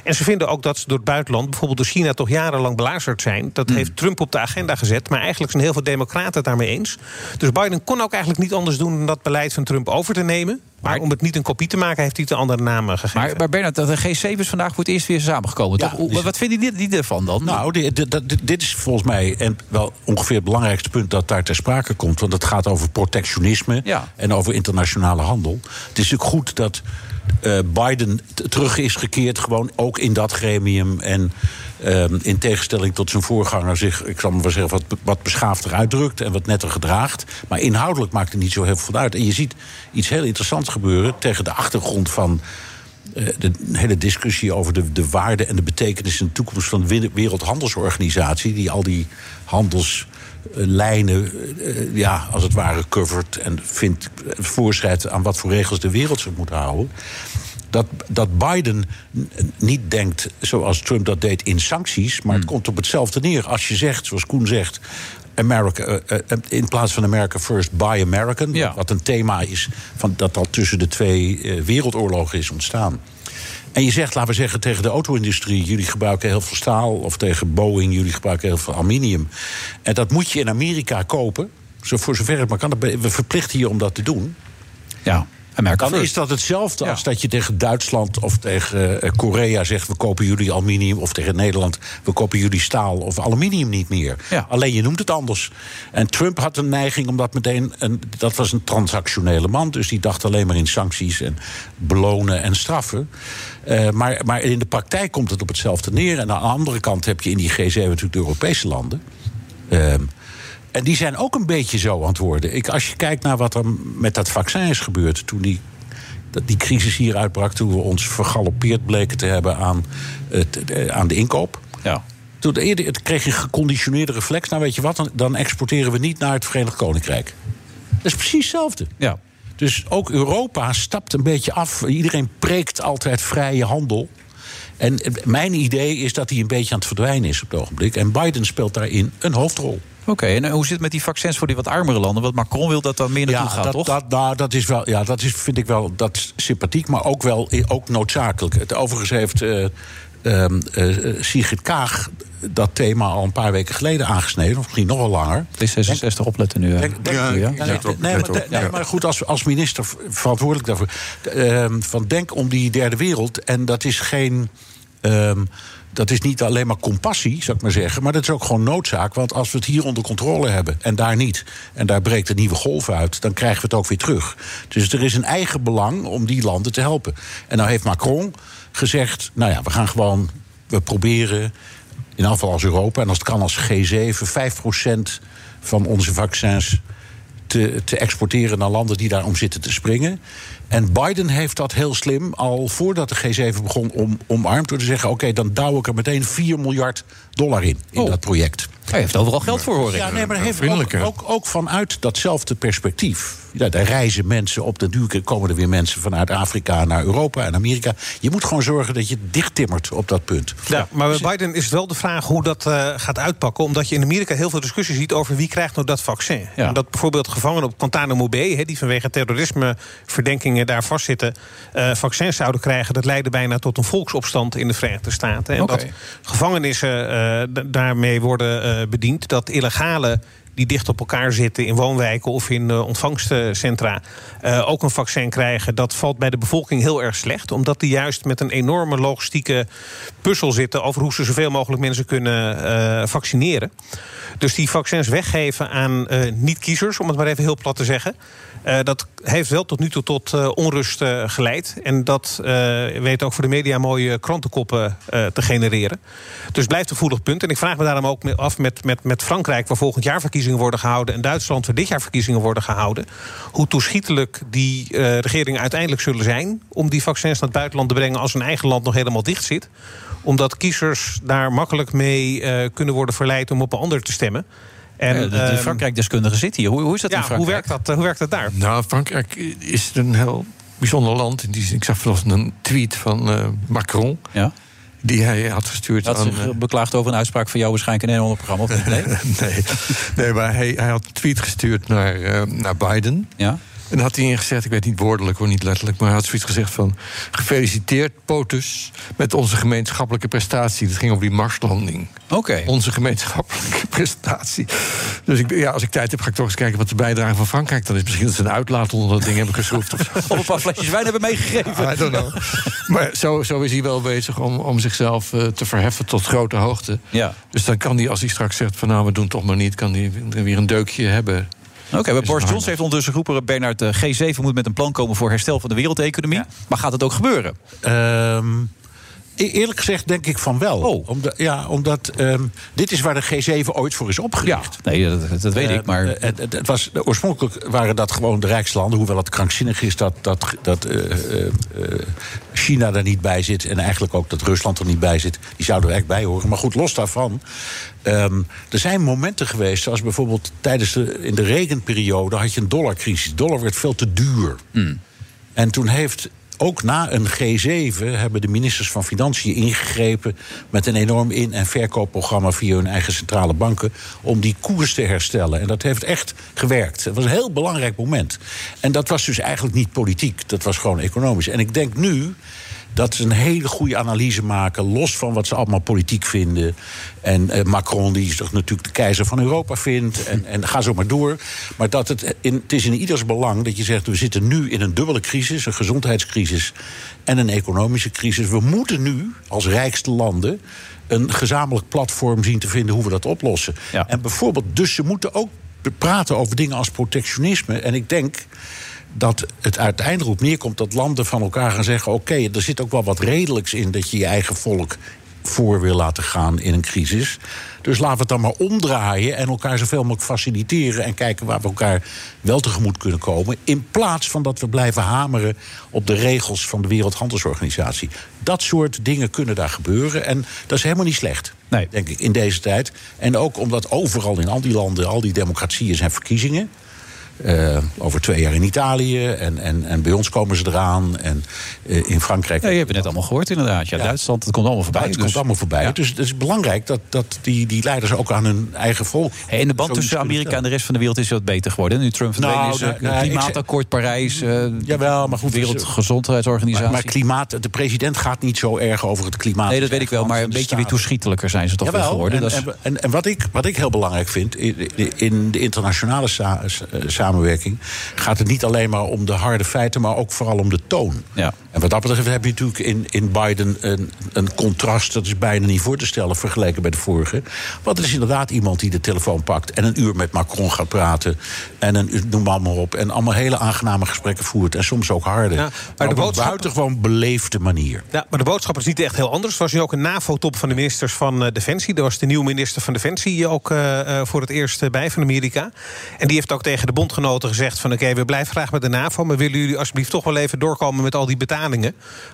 Speaker 17: En ze vinden ook dat ze door het buitenland, bijvoorbeeld door China, toch jarenlang belazerd zijn. Dat
Speaker 7: Hmm.
Speaker 17: heeft Trump op de agenda gezet. Maar eigenlijk zijn heel veel Democraten het daarmee eens. Dus Biden kon ook eigenlijk niet anders doen dan dat beleid van Trump over te nemen. Maar om het niet een kopie te maken, heeft hij het een andere naam eh, gegeven. Dus-
Speaker 7: Maar, maar Bernard, dat de G7 is vandaag voor het eerst weer samengekomen. toch? Hoe- wat- wat vinden die, die ervan dan?
Speaker 16: Nou, dit, dit- dat- dit- dit is volgens mij en wel ongeveer het belangrijkste punt dat daar ter sprake komt. Want het gaat over protectionisme en over internationale handel. Het is natuurlijk goed dat eh, Biden t- terug is gekeerd, gewoon ook in dat gremium. En ehm, in tegenstelling tot zijn voorganger zich, ik zal maar wel zeggen, wat, be- wat beschaafder uitdrukt en wat netter gedraagt. Maar inhoudelijk maakt het niet zo heel veel uit. En je ziet iets heel interessants gebeuren tegen de achtergrond van eh, de hele discussie over de, de waarde en de betekenis en de toekomst van de Win- Wereldhandelsorganisatie, die al die handelslijnen, eh, ja, als het ware, covert en vindt, voorschrijft aan wat voor regels de wereld zich moet houden. Dat, dat Biden n- niet denkt zoals Trump dat deed in sancties, maar het komt op hetzelfde neer. Als je zegt, zoals Koen zegt, America, eh, eh, in plaats van America First, Buy American. Wat een thema is van, dat al tussen de twee eh, wereldoorlogen is ontstaan. En je zegt, laten we zeggen, tegen de auto-industrie... jullie gebruiken heel veel staal. Of tegen Boeing, jullie gebruiken heel veel aluminium. En dat moet je in Amerika kopen. Zo, voor zover het maar kan. We verplichten je om dat te doen.
Speaker 7: Ja, America
Speaker 16: Dan
Speaker 7: first.
Speaker 16: is dat hetzelfde als dat je tegen Duitsland of tegen eh, Korea zegt... we kopen jullie aluminium, of tegen Nederland... we kopen jullie staal of aluminium niet meer. Alleen je noemt het anders. En Trump had een neiging om dat meteen... Een, dat was een transactionele man, dus die dacht alleen maar in sancties... en belonen en straffen. Eh, maar, maar in de praktijk komt het op hetzelfde neer. En aan de andere kant heb je in die G7 natuurlijk de Europese landen... Ehm, en die zijn ook een beetje zo aan het worden. Ik, als je kijkt naar wat er met dat vaccin is gebeurd toen die. Dat die crisis hier uitbrak toen we ons vergaloppeerd bleken te hebben aan, het, eh, aan de inkoop.
Speaker 7: Ja.
Speaker 16: Toen eerder, het kreeg een geconditioneerde reflex. Nou weet je wat, dan, dan exporteren we niet naar het Verenigd Koninkrijk. Dat is precies hetzelfde.
Speaker 7: Ja.
Speaker 16: Dus ook Europa stapt een beetje af. Iedereen preekt altijd vrije handel. En eh, mijn idee is dat hij een beetje aan het verdwijnen is op het ogenblik. En Biden speelt daarin een hoofdrol.
Speaker 7: Oké, en eh, hoe zit het met die vaccins voor die wat armere landen? Want Macron wil dat dan meer naartoe
Speaker 16: ja,
Speaker 7: gaat,
Speaker 16: dat,
Speaker 7: toch?
Speaker 16: Dat, nou, dat is wel, ja, dat is, vind ik wel dat is sympathiek, maar ook wel ook noodzakelijk. Het, overigens heeft eh, ehm, eh, Sigrid Kaag dat thema al een paar weken geleden aangesneden, of misschien nog wel langer.
Speaker 7: Het is 66 opletten nu. eh. hè.
Speaker 16: Denk- denk-
Speaker 7: ja.
Speaker 16: Nee, nee, nee, maar de- nee, maar goed, als, als minister v- verantwoordelijk daarvoor. De, ehm, van denk om die derde wereld. En dat is geen. ehm, dat is niet alleen maar compassie, zou ik maar zeggen. Maar dat is ook gewoon noodzaak. Want als we het hier onder controle hebben en daar niet. en daar breekt een nieuwe golf uit. dan krijgen we het ook weer terug. Dus er is een eigen belang om die landen te helpen. En nou heeft Macron gezegd. nou ja, we gaan gewoon. we proberen in afval als Europa en als het kan als G7, 5% van onze vaccins te, te exporteren naar landen die daarom zitten te springen. En Biden heeft dat heel slim al voordat de G7 begon om, omarmd door te zeggen: oké, dan douw ik er meteen 4 miljard dollar in, in dat project.
Speaker 7: Oh. Hij heeft overal geld voor, hoor ik.
Speaker 16: Ja, nee, maar hij heeft
Speaker 7: Vriendelijk,
Speaker 16: ook,
Speaker 7: hè?
Speaker 16: ook, ook vanuit datzelfde perspectief. Ja, daar reizen mensen op. Natuurlijk komen er weer mensen vanuit Afrika naar Europa en Amerika. Je moet gewoon zorgen dat je dicht timmert op dat punt.
Speaker 17: Ja, maar bij Biden is het wel de vraag hoe dat eh, gaat uitpakken. Omdat je in Amerika heel veel discussie ziet over wie krijgt nou dat vaccin.
Speaker 7: Ja.
Speaker 17: Omdat bijvoorbeeld gevangenen op Guantanamo Bay... Hè, die vanwege terrorismeverdenkingen daar vastzitten... eh, vaccins zouden krijgen. Dat leidde bijna tot een volksopstand in de Verenigde Staten. En
Speaker 7: Oké.
Speaker 17: dat gevangenissen eh, da- daarmee worden eh, bediend. Dat illegale die dicht op elkaar zitten in woonwijken of in eh, ontvangstcentra... eh, ook een vaccin krijgen, dat valt bij de bevolking heel erg slecht. Omdat die juist met een enorme logistieke puzzel zitten... over hoe ze zoveel mogelijk mensen kunnen eh, vaccineren. Dus die vaccins weggeven aan eh, niet-kiezers, om het maar even heel plat te zeggen... eh, dat heeft wel tot nu toe tot eh, onrust eh, geleid. En dat eh, weet ook voor de media mooie krantenkoppen eh, te genereren. Dus het blijft een voelig punt. En ik vraag me daarom ook me- af met, met, met Frankrijk, waar volgend jaar verkiezingen worden gehouden. en Duitsland, waar dit jaar verkiezingen worden gehouden. hoe toeschietelijk die eh, regeringen uiteindelijk zullen zijn. om die vaccins naar het buitenland te brengen. als hun eigen land nog helemaal dicht zit. Omdat kiezers daar makkelijk mee eh, kunnen worden verleid om op een ander te stemmen. En,
Speaker 7: Ja, de- de
Speaker 17: ehm,
Speaker 7: Frankrijk-deskundige zit hier. Hoe, hoe is dat
Speaker 17: ja,
Speaker 7: in Frankrijk?
Speaker 17: Hoe werkt dat, eh, hoe werkt dat daar?
Speaker 8: Nou, Frankrijk is het een heel bijzonder land. In die zin. Ik zag vanochtend een tweet van eh, Macron. die hij had verstuurd
Speaker 7: Had
Speaker 8: aan... eh,
Speaker 7: zich eh, beklaagd over een uitspraak van jou waarschijnlijk in een ander programma. Of niet? Nee?
Speaker 8: nee. nee, maar hij, hij had een tweet gestuurd naar, eh, naar Biden.
Speaker 7: Ja. En
Speaker 8: daar had hij ingezegd, ik weet niet woordelijk hoor, niet letterlijk... maar hij had zoiets gezegd van... gefeliciteerd, POTUS, met onze gemeenschappelijke prestatie. Dat ging over die Marslanding.
Speaker 7: Oké.
Speaker 8: Onze gemeenschappelijke prestatie. Dus ik, ja, als ik tijd heb, ga ik toch eens kijken wat de bijdrage van Frankrijk dan is. Misschien dat ze een uitlaat onder dat ding hebben geschroefd. Of, zo.
Speaker 7: Of een paar flesjes wijn hebben meegegeven.
Speaker 8: I don't know. Maar zo, zo is hij wel bezig om, om zichzelf eh, te verheffen tot grote hoogte.
Speaker 7: Ja.
Speaker 8: Dus dan kan hij, als hij straks zegt van nou, we doen het toch maar niet... kan hij weer een deukje hebben.
Speaker 7: Oké, maar Boris Johnson heeft ondertussen geroepen... Bernard, eh, G7 moet met een plan komen voor herstel van de wereldeconomie. Maar gaat het ook gebeuren?
Speaker 17: Eh,
Speaker 16: Ehm, e- eerlijk gezegd denk ik van wel. Omdat, ja, omdat ehm, dit is waar de G7 ooit voor is opgericht.
Speaker 7: nee, dat, dat weet
Speaker 8: Eh,
Speaker 7: ik, maar-
Speaker 16: het, het- het was, oorspronkelijk waren dat gewoon de rijkslanden. Hoewel het krankzinnig is dat, dat, dat eh, eh, eh, China er niet bij zit... en eigenlijk ook dat Rusland er niet bij zit. Die zouden er echt bij horen. Maar goed, los daarvan. ehm, er zijn momenten geweest, zoals bijvoorbeeld tijdens de, in de regenperiode... had je een dollarcrisis. De dollar werd veel te duur. En toen heeft ook na een G7 hebben de ministers van Financiën ingegrepen met een enorm in- en verkoopprogramma via hun eigen centrale banken om die koers te herstellen. En dat heeft echt gewerkt. Het was een heel belangrijk moment. En dat was dus eigenlijk niet politiek, dat was gewoon economisch. En ik denk nu dat ze een hele goede analyse maken, los van wat ze allemaal politiek vinden. En eh, Macron, die zich natuurlijk de keizer van Europa vindt, en, en ga zo maar door. Maar dat het, in, het is in ieders belang dat je zegt, we zitten nu in een dubbele crisis, een gezondheidscrisis en een economische crisis. We moeten nu als rijkste landen een gezamenlijk platform zien te vinden hoe we dat oplossen. En bijvoorbeeld, dus ze moeten ook praten over dingen als protectionisme. En ik denk dat het uiteindelijk op neerkomt dat landen van elkaar gaan zeggen: oké, er zit ook wel wat redelijks in dat je je eigen volk voor wil laten gaan in een crisis. Dus laten we het dan maar omdraaien en elkaar zoveel mogelijk faciliteren en kijken waar we elkaar wel tegemoet kunnen komen. In plaats van dat we blijven hameren op de regels van de Wereldhandelsorganisatie. Dat soort dingen kunnen daar gebeuren en dat is helemaal niet slecht. Denk ik in deze tijd. En ook omdat overal in al die landen, al die democratieën zijn verkiezingen. Eh, over twee jaar in Italië en, en, en bij ons komen ze eraan. En eh, in Frankrijk.
Speaker 7: Ja, je hebt het net allemaal gehoord, inderdaad. Ja, Duitsland, dat komt allemaal voorbij.
Speaker 16: het
Speaker 7: dus.
Speaker 16: komt allemaal voorbij. Dus het is belangrijk dat, dat die, die leiders ook aan hun eigen volk.
Speaker 7: En de band tussen Amerika en de rest van de wereld is wat beter geworden. Nu Trump verdwenen
Speaker 16: Nou,
Speaker 7: is,
Speaker 16: nee,
Speaker 7: eh,
Speaker 16: nee, ik
Speaker 7: klimaatakkoord Parijs, eh
Speaker 16: Jawel, maar goed.
Speaker 7: Wereldgezondheidsorganisatie.
Speaker 16: Maar, maar klimaat, de president gaat niet zo erg over het klimaat.
Speaker 7: nee, dat weet ik wel, maar een beetje weer toeschietelijker zijn ze toch
Speaker 16: Jawel,
Speaker 7: weer geworden.
Speaker 16: En,
Speaker 7: dat is-
Speaker 16: en, en, en wat, ik, wat ik heel belangrijk vind, in, in de internationale sa- s- eh, samenwerking gaat het niet alleen maar om de harde feiten, maar ook vooral om de toon. En wat dat betreft heb je natuurlijk in, in Biden een, een contrast, dat is bijna niet voor te stellen vergeleken bij de vorige. Want er is inderdaad iemand die de telefoon pakt en een uur met Macron gaat praten. En een, uur- noem maar, maar op. En allemaal hele aangename gesprekken voert. En soms ook harde.
Speaker 17: Ja, maar de
Speaker 16: maar op een
Speaker 17: boodschap-
Speaker 16: buitengewoon beleefde manier.
Speaker 17: Ja, maar de boodschap is niet echt heel anders. Er was nu ook een NAVO-top van de ministers van eh, Defensie. Daar was de nieuwe minister van Defensie ook eh, eh, voor het eerst eh, bij van Amerika. En die heeft ook tegen de bondgenoten gezegd van... oké, we blijven graag met de NAVO... maar willen jullie alsjeblieft toch wel even doorkomen met al die betalingen?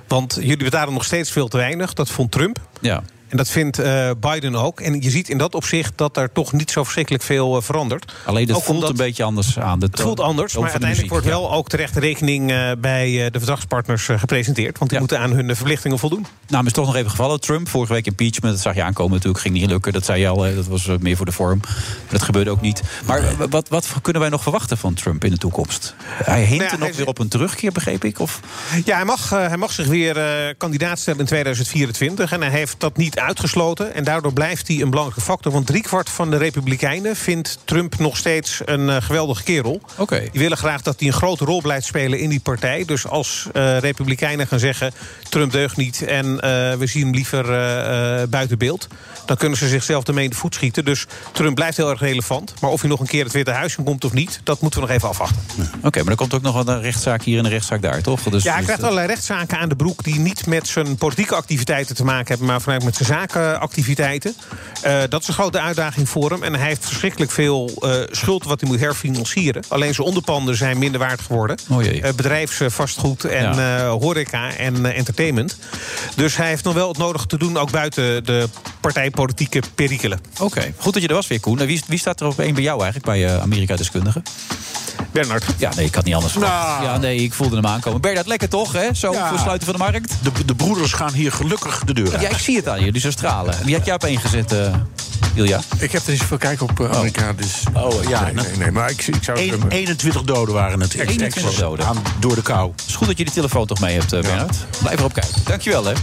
Speaker 17: Want jullie betalen nog steeds veel te weinig. Dat vond Trump.
Speaker 7: ja.
Speaker 17: En dat vindt eh, Biden ook. En je ziet in dat opzicht dat er toch niet zo verschrikkelijk veel eh, verandert.
Speaker 7: Alleen dat
Speaker 17: Ook
Speaker 7: voelt
Speaker 17: omdat-
Speaker 7: een beetje anders aan. eh, De
Speaker 17: het voelt anders, maar uiteindelijk wordt wel ook terecht rekening eh, bij eh, de verdragspartners eh, gepresenteerd. Want die moeten aan hun eh, verplichtingen voldoen.
Speaker 7: Nou, maar is toch nog even gevallen. Trump, vorige week impeachment, dat zag je aankomen natuurlijk. Ging niet lukken, dat zei je al. hè. Dat was eh, meer voor de vorm. Maar dat gebeurde ook niet. Maar eh, wat, wat kunnen wij nog verwachten van Trump in de toekomst?
Speaker 17: Nou
Speaker 7: Hij hint er nog weer op een terugkeer, begreep ik? Of...
Speaker 17: Ja, hij mag, eh, hij mag zich weer eh, kandidaat stellen in 2024. En hij heeft dat niet uitgesloten. En daardoor blijft hij een belangrijke factor. Want driekwart van de Republikeinen vindt Trump nog steeds een eh, geweldige kerel.
Speaker 7: Oké.
Speaker 17: Die willen graag dat hij een grote rol blijft spelen in die partij. Dus als eh, Republikeinen gaan zeggen: Trump deugt niet en eh, we zien hem liever eh, eh, buiten beeld. dan kunnen ze zichzelf ermee in de voet schieten. Dus Trump blijft heel erg relevant. Maar of hij nog een keer het Witte Huis in komt of niet, dat moeten we nog even afwachten.
Speaker 7: Oké, maar er komt ook nog wel een rechtszaak hier en een rechtszaak daar, toch? Dus,
Speaker 17: ja, hij
Speaker 7: dus-
Speaker 17: krijgt allerlei rechtszaken aan de broek die niet met zijn politieke activiteiten te maken hebben, maar vanuit met zijn zakenactiviteiten. Eh, dat is een grote uitdaging voor hem. En hij heeft verschrikkelijk veel eh, schuld wat hij moet herfinancieren. Alleen zijn onderpanden zijn minder waard geworden.
Speaker 7: Oh jee.
Speaker 17: Eh, bedrijfsvastgoed en eh, horeca en eh, entertainment. Dus hij heeft nog wel het nodige te doen, ook buiten de partijpolitieke perikelen.
Speaker 7: Nou, Oké, goed dat je er was weer, Koen. En Wie, wie staat er op één bij jou eigenlijk, bij eh Amerika-deskundigen?
Speaker 17: Bernard.
Speaker 7: Ja, nee, ik had niet anders verwacht. Ja, nee, ik voelde hem aankomen. Bernard, lekker toch, hè? Zo
Speaker 16: Nou. Ja.
Speaker 7: voor sluiten van de markt.
Speaker 16: De, de broeders gaan hier gelukkig de deur uit.
Speaker 7: Ja, ik zie het aan je, dus zo stralen. Wie had jij op één gezet, eh Ilja?
Speaker 8: Ik heb er niet zoveel kijk op eh, Amerika, dus...
Speaker 16: Oh ja,
Speaker 8: nee,
Speaker 7: nou.
Speaker 8: nee, nee, maar ik, ik zou...
Speaker 16: Eén- 21 doden waren het.
Speaker 7: 21 doden.
Speaker 16: Aan, door de kou.
Speaker 7: Het is goed dat je die telefoon toch mee hebt, eh, Bernard. Blijf erop kijken. Dankjewel, hè.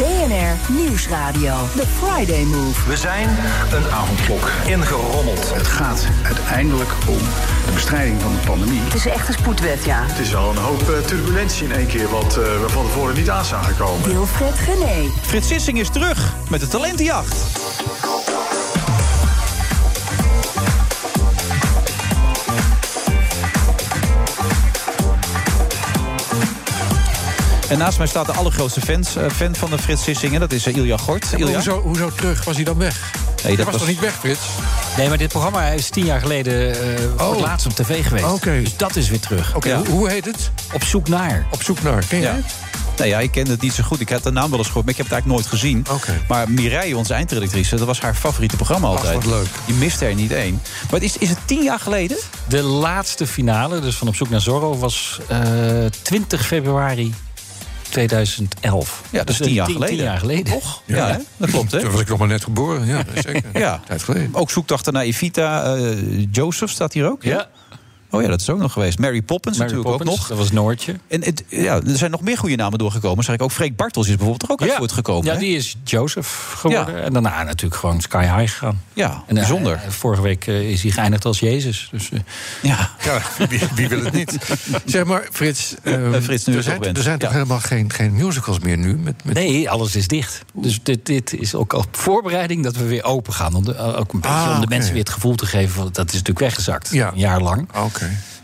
Speaker 4: BNR Nieuwsradio. The Friday Move.
Speaker 6: We zijn een avondklok ingerommeld.
Speaker 5: Het gaat uiteindelijk om de bestrijding van de pandemie.
Speaker 4: Het is echt een spoedwet, ja.
Speaker 5: Het is al een hoop eh, turbulentie in één keer wat eh, we van tevoren niet aan zagen komen.
Speaker 4: Wilfred Genee.
Speaker 7: Frits Sissing is terug met de talentenjacht. En naast mij staat de allergrootste fans, eh, fan van de Frits Sissing. En dat is eh, Ilja Gort.
Speaker 8: Maar
Speaker 7: Ilja?
Speaker 8: Hoezo, hoezo terug? Was hij dan weg?
Speaker 7: Nee,
Speaker 8: Hij
Speaker 7: dat
Speaker 8: was,
Speaker 7: was-
Speaker 8: toch niet weg, Frits?
Speaker 18: Nee, maar dit programma is tien jaar geleden eh, voor het
Speaker 8: Oh.
Speaker 18: laatst op tv geweest.
Speaker 8: Oké.
Speaker 18: Dus dat is weer terug.
Speaker 8: Oké, hoe, hoe heet het?
Speaker 18: Op zoek naar.
Speaker 8: Op zoek naar, ken je
Speaker 7: Ja.
Speaker 8: het?
Speaker 7: Nou ja, ik kende het niet zo goed. Ik had de naam wel eens gehoord, maar ik heb het eigenlijk nooit gezien. Maar Mireille, onze eindredactrice, dat was haar favoriete programma altijd.
Speaker 8: wat leuk.
Speaker 7: Je mist er niet één. Maar is, is het tien jaar geleden?
Speaker 18: De laatste finale, dus van Op zoek naar Zorro, was eh, 20 februari 2011.
Speaker 7: Ja, dat is
Speaker 18: Dus, eh,
Speaker 7: tien jaar geleden.
Speaker 18: Tien jaar geleden.
Speaker 7: Toch? Ja, hè? dat klopt, hè?
Speaker 8: Toen was ik nog maar net geboren, ja, zeker.
Speaker 7: Ja.
Speaker 8: Tijd geleden.
Speaker 7: Ook zoekdachten naar Evita. eh, Joseph staat hier ook. Ja. Oh ja, dat is ook nog geweest. Mary Poppins
Speaker 18: Mary
Speaker 7: natuurlijk ook
Speaker 18: Poppins,
Speaker 7: nog.
Speaker 18: dat was Noortje.
Speaker 7: En het, ja, er zijn nog meer goede namen doorgekomen. Zeg ik ook Freek Bartels is bijvoorbeeld er ook uit voortgekomen.
Speaker 18: Ja,
Speaker 7: hè?
Speaker 18: die is Joseph geworden. En daarna natuurlijk gewoon sky high gegaan.
Speaker 7: Ja,
Speaker 18: en, eh,
Speaker 7: bijzonder.
Speaker 18: eh, vorige week eh, is hij geëindigd als Jezus. Dus, eh,
Speaker 7: ja.
Speaker 8: Ja, wie, wie wil het niet? Zeg maar, Frits, ehm,
Speaker 18: Eh, Frits, nu
Speaker 8: er
Speaker 18: je
Speaker 8: zijn,
Speaker 18: toch bent.
Speaker 8: er zijn toch
Speaker 18: Ja.
Speaker 8: helemaal geen, geen musicals meer nu? Met, met...
Speaker 18: Nee, alles is dicht. Dus dit, dit is ook al voorbereiding dat we weer open gaan. Om de, eh, ook een beetje
Speaker 8: Ah,
Speaker 18: om de
Speaker 8: oké.
Speaker 18: mensen weer het gevoel te geven... Van, dat is natuurlijk weggezakt,
Speaker 8: Ja. Ah,
Speaker 18: een jaar lang.
Speaker 8: Oké.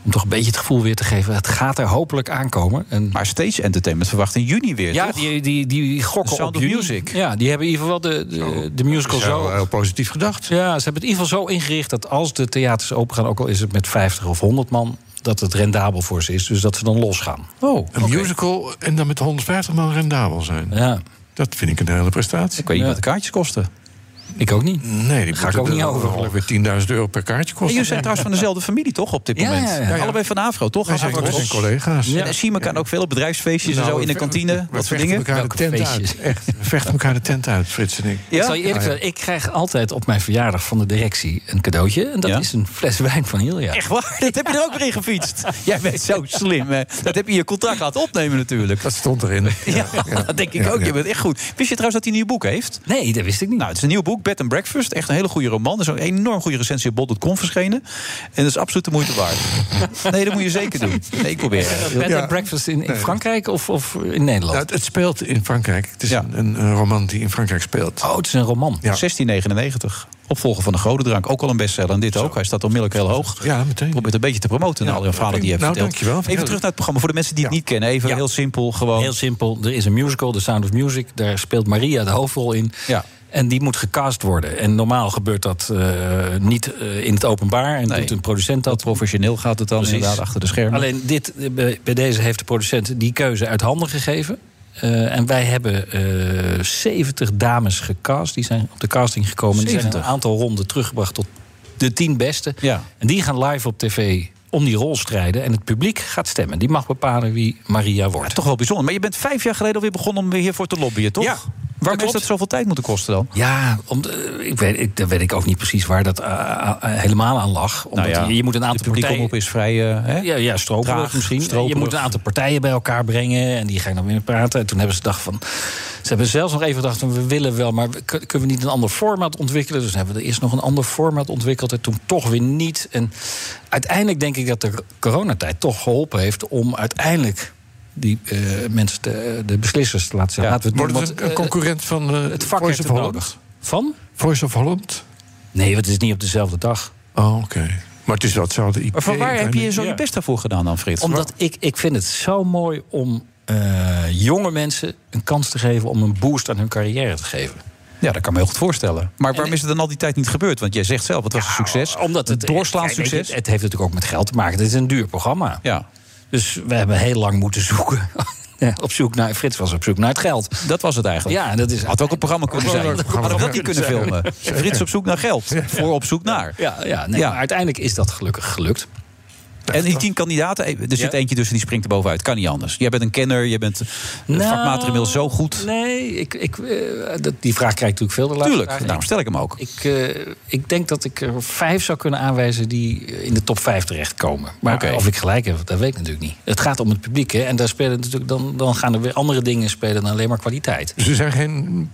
Speaker 18: Om toch een beetje het gevoel weer te geven... het gaat er hopelijk aankomen. En
Speaker 7: Maar Stage Entertainment verwacht in juni weer,
Speaker 18: ja,
Speaker 7: toch?
Speaker 18: die, die, die gokken
Speaker 7: Sound
Speaker 18: op
Speaker 7: of
Speaker 18: juni.
Speaker 7: Music.
Speaker 18: Ja, die hebben in ieder geval wel de, de, de musical
Speaker 8: Zo,
Speaker 18: zo...
Speaker 8: heel positief gedacht.
Speaker 18: Ja, ze hebben het in ieder geval zo ingericht... dat als de theaters open gaan, ook al is het met 50 of 100 man... dat het rendabel voor ze is, dus dat ze dan losgaan.
Speaker 7: Oh,
Speaker 8: Een musical en dan met 150 man rendabel zijn.
Speaker 18: Ja.
Speaker 8: Dat vind ik een hele prestatie.
Speaker 7: Ik weet niet wat de kaartjes kosten.
Speaker 18: Ik ook niet.
Speaker 8: Nee, die
Speaker 18: Ga ik ook niet over.
Speaker 8: Ongeveer 10.000 euro per kaartje
Speaker 7: En
Speaker 8: kosten.
Speaker 7: jullie zijn trouwens van dezelfde familie, toch, op dit
Speaker 18: Ja,
Speaker 7: moment?
Speaker 18: ja, ja. Ja, ja.
Speaker 7: Allebei van Afro, toch?
Speaker 8: Wij
Speaker 7: Als
Speaker 8: zijn-
Speaker 7: Afro-
Speaker 8: wij zijn collega's. Nou,
Speaker 7: Ja. En eh, Simon kan ook veel op bedrijfsfeestjes en zo, in de kantine, dat soort dingen.
Speaker 8: Elkaar de
Speaker 18: Welke
Speaker 8: tent
Speaker 18: feestjes?
Speaker 8: uit. Echt, we vechten elkaar de tent uit, Frits en ik.
Speaker 18: Ik zal je
Speaker 7: Ah,
Speaker 18: eerlijk
Speaker 8: Ja, ja.
Speaker 18: zeggen, ik krijg altijd op mijn verjaardag van de directie een cadeautje. En dat is een fles wijn van Ilja.
Speaker 7: Echt waar? Dat heb je er ook weer in gefietst. Jij bent zo slim, hè? Dat heb je in je contract laten opnemen natuurlijk.
Speaker 8: Dat stond erin.
Speaker 7: Ja, dat denk ik ook. Je bent echt goed. Wist je trouwens dat hij een nieuw boek heeft?
Speaker 18: Nee, dat wist ik niet.
Speaker 7: Nou, het is een nieuw boek, Bed and Breakfast. Echt een hele goede roman. Er is een enorm goede recensie op bol.com verschenen. En dat is absoluut de moeite waard. Nee, dat moet je zeker doen. Nee, ik probeer het.
Speaker 18: Bed
Speaker 8: Ja.
Speaker 18: and breakfast in, in
Speaker 8: Nee.
Speaker 18: Frankrijk of, of in Nederland?
Speaker 8: Nou, het, het speelt in Frankrijk. Het is een, een, een roman die in Frankrijk speelt.
Speaker 18: oh, het is een roman.
Speaker 8: Ja.
Speaker 7: 1699. Opvolger van de Godendrank. Ook al een bestseller. En dit ook. Hij staat onmiddellijk heel hoog.
Speaker 8: Ja, meteen.
Speaker 7: Probeert een beetje te promoten. naar al die verhalen die je hebt
Speaker 8: Nou,
Speaker 7: verteld.
Speaker 8: dankjewel.
Speaker 7: Even terug naar het programma. Voor de mensen die het niet kennen. Even heel simpel. Gewoon.
Speaker 18: Heel simpel. Er is een musical, The Sound of Music. Daar speelt Maria de hoofdrol in.
Speaker 7: Ja.
Speaker 18: En die moet gecast worden. En normaal gebeurt dat eh, niet eh, in het openbaar. En
Speaker 7: Nee.
Speaker 18: doet een producent dat.
Speaker 7: Professioneel gaat het dan
Speaker 18: Precies.
Speaker 7: inderdaad achter de schermen.
Speaker 18: Alleen dit, eh, bij bij deze heeft de producent die keuze uit handen gegeven. Eh, en wij hebben eh 70 dames gecast. Die zijn op de casting gekomen. Die
Speaker 7: 70?
Speaker 18: zijn een aantal ronden teruggebracht tot de 10 beste.
Speaker 7: Ja.
Speaker 18: En die gaan live op tv om die rol strijden. En het publiek gaat stemmen. Die mag bepalen wie Maria wordt.
Speaker 7: Toch wel bijzonder. Maar je bent vijf jaar geleden alweer begonnen om hiervoor te lobbyen, toch?
Speaker 18: Ja,
Speaker 7: Waarom heeft
Speaker 18: klopt.
Speaker 7: dat zoveel tijd moeten kosten dan?
Speaker 18: Ja, om, de- ik weet, ik, daar weet ik ook niet precies waar dat eh, eh, helemaal aan lag. Omdat
Speaker 7: Nou ja,
Speaker 18: je, je moet een aantal
Speaker 7: publiek
Speaker 18: partijen...
Speaker 7: omroep is vrij... eh, hè?
Speaker 18: Ja, ja stroperig
Speaker 7: Traag,
Speaker 18: misschien.
Speaker 7: stroperig.
Speaker 18: Je moet een aantal partijen bij elkaar brengen. En die gaan dan weer praten. En toen hebben ze gedacht van... Ze hebben zelfs nog even gedacht van... we willen wel, maar we- kun- kunnen we niet een ander format ontwikkelen? Dus hebben we er eerst nog een ander format ontwikkeld. En toen toch weer niet. En uiteindelijk denk ik dat de coronatijd toch geholpen heeft... om uiteindelijk die eh, mensen, te- de beslissers te laten zeggen... Laten we het
Speaker 8: Wordt
Speaker 18: doen,
Speaker 8: het een,
Speaker 18: want,
Speaker 8: een
Speaker 18: eh,
Speaker 8: concurrent van eh,
Speaker 18: het vak heeft
Speaker 8: Voice
Speaker 18: het
Speaker 8: of Holland?
Speaker 18: nodig. Van?
Speaker 8: Voice of Holland?
Speaker 18: Nee, want het is niet op dezelfde dag.
Speaker 8: Oh, oké. Maar het is wel hetzelfde IP.
Speaker 7: Maar van waar heb je zo
Speaker 18: Ja.
Speaker 7: je best daarvoor gedaan dan, Frits?
Speaker 18: Omdat ik, ik vind het zo mooi om eh, jonge mensen een kans te geven om een boost aan hun carrière te geven. Eh,
Speaker 7: Ja, dat kan me heel goed voorstellen. Maar waarom is het dan al die tijd niet gebeurd? Want jij zegt zelf, het was een succes.
Speaker 18: Omdat het
Speaker 7: Een doorslaand
Speaker 18: kijk, weet je,
Speaker 7: succes.
Speaker 18: Het, het heeft natuurlijk ook met geld te maken. Het is een duur programma.
Speaker 7: Ja.
Speaker 18: Dus we hebben heel lang moeten zoeken op zoek naar, Frits was op zoek naar het geld.
Speaker 7: Dat was het eigenlijk.
Speaker 18: Ja, dat is
Speaker 7: Had ook een programma kunnen zijn. Had ook dat die kunnen filmen. Frits op zoek naar geld. Voor op zoek naar.
Speaker 18: Ja, ja, nee, maar uiteindelijk is dat gelukkig gelukt.
Speaker 7: En die tien kandidaten, eh, er zit eentje tussen die springt er bovenuit. Kan niet anders. Jij bent een kenner, je bent eh, vakmatig inmiddels zo goed.
Speaker 18: Nou, Nee, ik, ik, eh, dat, die vraag krijg ik natuurlijk veel. De
Speaker 7: Tuurlijk,
Speaker 18: luisteraar.
Speaker 7: daarom stel ik hem ook.
Speaker 18: Ik, eh, ik denk dat ik er vijf zou kunnen aanwijzen die in de top vijf terechtkomen. Maar
Speaker 7: Oké.
Speaker 18: of ik gelijk heb, dat weet ik natuurlijk niet. Het gaat om het publiek, hè. En daar spelen natuurlijk dan, dan gaan er weer andere dingen spelen dan alleen maar kwaliteit.
Speaker 8: Dus er zijn geen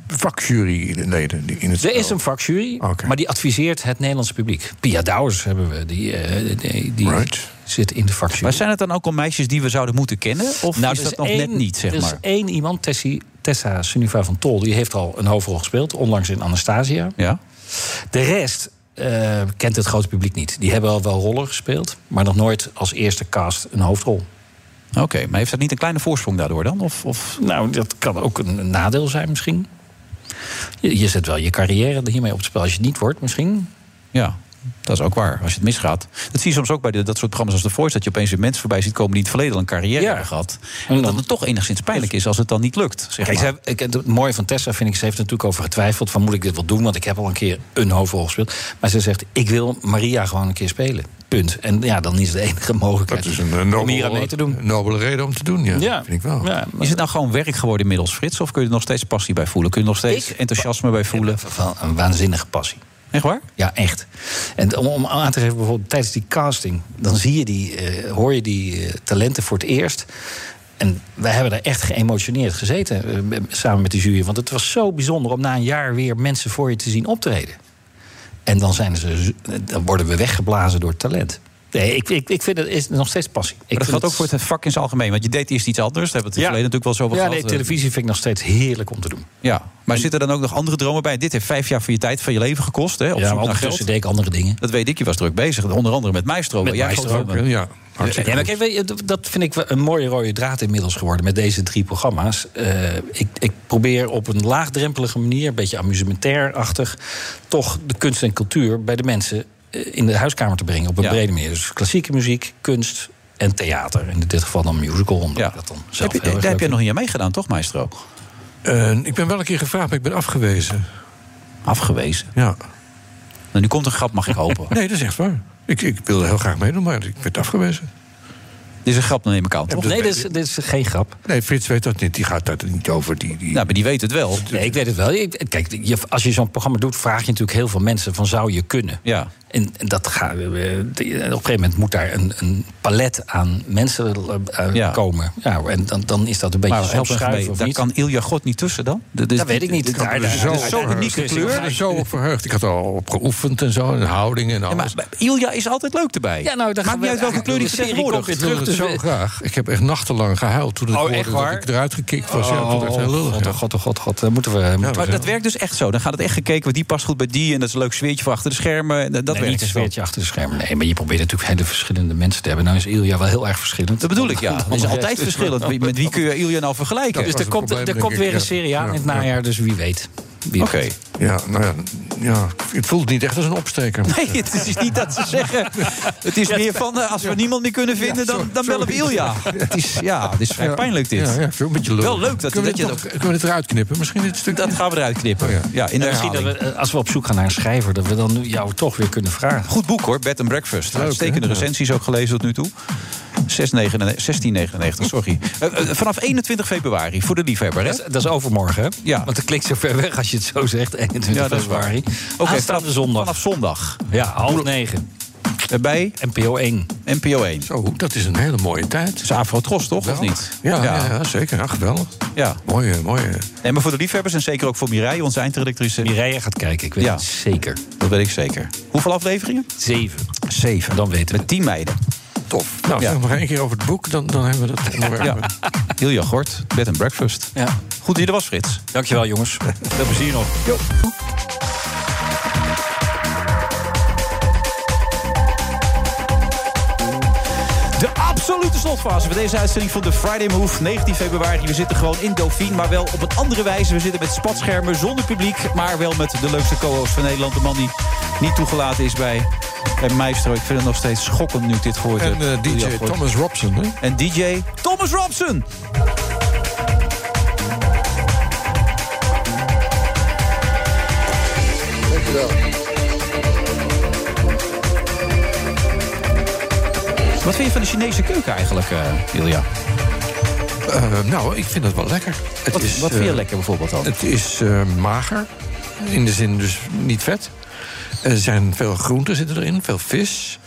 Speaker 8: vakjuryleden die in het
Speaker 18: Er is een vakjury, maar die adviseert het Nederlandse publiek. Pia Douwers hebben we, die, eh, die, die zit in de vakjury.
Speaker 7: Maar zijn het dan ook al meisjes die we zouden moeten kennen? Of
Speaker 18: Nou,
Speaker 7: is
Speaker 18: er
Speaker 7: dat nog
Speaker 18: één-
Speaker 7: net niet, zeg
Speaker 18: er is
Speaker 7: maar?
Speaker 18: één iemand, Tessie, Tessa Suniva van Tol, die heeft al een hoofdrol gespeeld, onlangs in Anastasia.
Speaker 7: Ja.
Speaker 18: De rest eh, kent het grote publiek niet. Die hebben al wel rollen gespeeld, maar nog nooit als eerste cast een hoofdrol.
Speaker 7: Oké, maar heeft dat niet een kleine voorsprong daardoor dan? Of, of...
Speaker 18: Nou, dat kan ook een, een nadeel zijn misschien. Je, je zet wel je carrière er hiermee op het spel. Als je het niet wordt, misschien.
Speaker 7: Ja, dat is ook waar, als je het misgaat. Dat zie je soms ook bij de, dat soort programma's als The Voice... dat je opeens weer mensen voorbij ziet komen die in het verleden al een carrière hebben gehad. En dat het toch enigszins pijnlijk is als het dan niet lukt, zeg
Speaker 18: Kijk,
Speaker 7: maar.
Speaker 18: ze hebben- ik, het mooie van Tessa vind ik, ze heeft er natuurlijk over getwijfeld... van moet ik dit wel doen, want ik heb al een keer een hoofdrol gespeeld. Maar ze zegt, ik wil Maria gewoon een keer spelen. Punt. En ja, dan is het de enige mogelijkheid
Speaker 8: is een, eh, nobel-
Speaker 18: om hier aan mee te doen.
Speaker 8: nobele reden om te doen, ja. Vind ik wel.
Speaker 7: Is het nou gewoon werk geworden inmiddels, Frits? Of kun je er nog steeds passie bij voelen? Kun je er nog steeds enthousiasme bij voelen?
Speaker 18: een waanzinnige passie.
Speaker 7: Echt waar?
Speaker 18: Ja, echt. En om, om aan te geven, bijvoorbeeld tijdens die casting, dan zie je die, eh, hoor je die eh, talenten voor het eerst. En wij hebben daar echt geëmotioneerd gezeten eh, m- samen met de jury. Want het was zo bijzonder om na een jaar weer mensen voor je te zien optreden. En dan, zijn ze, zo- dan worden we weggeblazen door talent. Nee, ik, ik, ik vind het is nog steeds passie. Ik
Speaker 7: Maar dat
Speaker 18: vind
Speaker 7: geldt ook voor het vak in zijn algemeen. Want je deed eerst iets anders. Daar hebben we het in het verleden natuurlijk wel zo over
Speaker 18: Ja,
Speaker 7: gehad.
Speaker 18: nee, televisie vind ik nog steeds heerlijk om te doen.
Speaker 7: Ja, maar zitten er dan ook nog andere dromen bij? Dit heeft vijf jaar van je tijd, van je leven gekost. Hè, op
Speaker 18: Ja,
Speaker 7: zoek
Speaker 18: maar
Speaker 7: naar
Speaker 18: ondertussen
Speaker 7: geld.
Speaker 18: deed ik andere dingen.
Speaker 7: Dat weet ik, je was druk bezig. Onder andere met Maestro.
Speaker 18: Met
Speaker 7: Jij
Speaker 18: Maestro
Speaker 7: geloof
Speaker 18: ook,
Speaker 7: ik, hè?
Speaker 18: ja. Ja, maar kijk, weet je, d- dat vind ik wel een mooie rode draad inmiddels geworden met deze drie programma's. Eh, ik, ik probeer op een laagdrempelige manier, een beetje amusementair-achtig, toch de kunst en cultuur bij de mensen eh, in de huiskamer te brengen. Op een brede manier. Dus klassieke muziek, kunst en theater. En in dit geval dan musical, omdat ik dat dan zelf
Speaker 7: Heb je, daar heb je nog niet aan meegedaan, toch, Maestro?
Speaker 8: Eh, ik ben wel een keer gevraagd, maar ik ben afgewezen.
Speaker 7: Afgewezen?
Speaker 8: Ja.
Speaker 7: Nou, nu komt een grap, mag ik hopen.
Speaker 8: Nee, dat is echt waar. Ik, ik wilde heel graag meedoen, maar ik werd afgewezen.
Speaker 7: Dit is een grap, neem ik aan. toch?
Speaker 18: Nee, dit is, dit is geen grap.
Speaker 8: Nee, Frits weet dat niet. Die gaat daar niet over. Die, die...
Speaker 7: Nou, maar die weet het wel.
Speaker 18: Nee, ik weet het wel. Ik- Kijk, je- als je zo'n programma doet, vraag je natuurlijk heel veel mensen van zou je kunnen.
Speaker 7: Ja.
Speaker 18: En, en dat gaat. eh, eh, Op een gegeven moment moet daar een, een palet aan mensen eh, eh,
Speaker 7: Ja.
Speaker 18: komen. Ja, en dan, dan is dat een beetje
Speaker 7: Maar help
Speaker 18: zelf
Speaker 7: me even mee.
Speaker 18: schuiven.
Speaker 7: Daar kan Ilja God niet tussen dan? Dat, is-
Speaker 18: Dat weet ik niet.
Speaker 7: dit- dit-
Speaker 18: Daar-
Speaker 7: dit is
Speaker 18: daar-
Speaker 7: zo'n
Speaker 18: daar-
Speaker 7: Oh, unieke
Speaker 18: daar-
Speaker 8: Ik
Speaker 7: kleur.
Speaker 8: ben er zo op verheugd. Ik had er al op geoefend en zo. En houding en
Speaker 7: Ja,
Speaker 8: alles.
Speaker 7: maar Ilja is altijd leuk erbij.
Speaker 18: Ja, nou, dan gaan
Speaker 7: Maakt niet
Speaker 18: we-
Speaker 7: uit welke kleur die
Speaker 18: de serie
Speaker 7: vertegenwoordigt.
Speaker 18: komt weer terug, Dus
Speaker 8: Ik wilde het zo graag. Ik heb echt nachtenlang gehuild toen het
Speaker 7: Oh,
Speaker 8: hoorde
Speaker 7: echt
Speaker 8: dat
Speaker 7: waar?
Speaker 8: ik eruit gekikt was. ja, ik vond het echt heel lullig.
Speaker 18: God,
Speaker 8: ja.
Speaker 18: oh, god, oh, god, god. Dan moeten we. moeten we-
Speaker 7: Maar dat werkt dus echt zo. Dan gaat het echt gekeken, want die past goed bij die... en dat is een leuk sfeertje voor achter de schermen. En Dat, dat
Speaker 18: nee,
Speaker 7: werkt
Speaker 18: niet een
Speaker 7: zo.
Speaker 18: sfeertje achter de schermen. Nee, maar je probeert natuurlijk hele verschillende mensen te hebben. Nou is Ilja wel heel erg verschillend.
Speaker 7: Dat bedoel ik, ja. Er is altijd verschillend. Wie- Met wie kun je Ilja nou vergelijken?
Speaker 18: Dus er komt, er komt weer een serie aan in het najaar, dus wie weet.
Speaker 7: Oké.
Speaker 8: Ja, nou ja, ja, ik voelde het niet echt als een opsteker.
Speaker 7: Nee, het is niet dat ze zeggen. Het is meer van, eh, als we niemand meer kunnen vinden, dan, dan bellen we Ilja. Het is, ja, het is vrij
Speaker 8: Ja.
Speaker 7: pijnlijk dit.
Speaker 8: Ja, ja, ik vind het een beetje lullig.
Speaker 7: Wel leuk dat,
Speaker 8: Kunnen
Speaker 7: dat
Speaker 8: we
Speaker 7: je
Speaker 8: dit
Speaker 7: dat...
Speaker 8: nog- Kunnen we dit eruit knippen? Misschien Oh dit stuk.
Speaker 7: Dat gaan we eruit knippen. ja. in de
Speaker 18: En misschien dat
Speaker 7: herhaling.
Speaker 18: we, eh, als we op zoek gaan naar een schrijver, dat we dan nu jou toch weer kunnen vragen.
Speaker 7: Goed boek hoor, Bed and Breakfast. Uitstekende recensies ook gelezen tot nu toe. 699 1699, sorry. Eh, eh, vanaf 21 februari, voor de liefhebber. Hè?
Speaker 18: Dat, is- dat is overmorgen, hè?
Speaker 7: Ja.
Speaker 18: Want het klinkt zo ver weg als je het zo zegt. 21
Speaker 7: Ja, dat is waar.
Speaker 18: februari.
Speaker 7: Oké,
Speaker 18: Aanstaande zondag.
Speaker 7: Vanaf zondag.
Speaker 18: Ja, half negen.
Speaker 7: Eh, Bij
Speaker 18: NPO 1.
Speaker 7: NPO 1.
Speaker 8: Zo, dat is een hele mooie tijd. Dat
Speaker 7: is Afro-Tros, toch? Of niet?
Speaker 8: Ja, ja. ja, zeker. Ja, geweldig.
Speaker 7: Ja.
Speaker 8: Mooi, eh, mooi. eh.
Speaker 7: Nee, maar voor de liefhebbers en zeker ook voor Mireille, onze eindredactrice.
Speaker 18: Mireille gaat kijken, ik weet het zeker.
Speaker 7: Dat weet ik zeker. Hoeveel afleveringen?
Speaker 18: Zeven.
Speaker 7: Zeven.
Speaker 18: Dan weten we.
Speaker 7: Met tien meiden.
Speaker 8: Tof. Nou,
Speaker 7: Ja.
Speaker 8: zeg maar één keer over het boek, dan, dan hebben we dat onderwerp.
Speaker 7: Ja. Ilja Gort, Bed and Breakfast.
Speaker 18: Ja.
Speaker 7: Goed dat je er was, Frits.
Speaker 18: Dankjewel, jongens.
Speaker 7: Veel plezier nog. De absolute slotfase van deze uitzending van de Friday Move. 19 februari. We zitten gewoon in Dauphine, maar wel op een andere wijze. We zitten met spatschermen, zonder publiek. Maar wel met de leukste co-host van Nederland. De man die niet toegelaten is bij, bij Maestro. Ik vind het nog steeds schokkend nu ik dit gehoord
Speaker 8: En
Speaker 7: heb.
Speaker 8: eh, DJ
Speaker 7: Ja, gehoord.
Speaker 8: Thomas Robson, hè?
Speaker 7: En DJ Thomas Robson.
Speaker 19: Dankjewel.
Speaker 7: Wat vind je van de Chinese keuken eigenlijk, eh, Ilja?
Speaker 8: Eh, nou, ik vind dat wel lekker. Het
Speaker 7: Wat-
Speaker 8: is,
Speaker 7: wat vind je
Speaker 8: eh,
Speaker 7: lekker bijvoorbeeld dan?
Speaker 8: Het is eh, mager, in de zin dus niet vet. Er zijn veel groenten zitten erin, veel vis.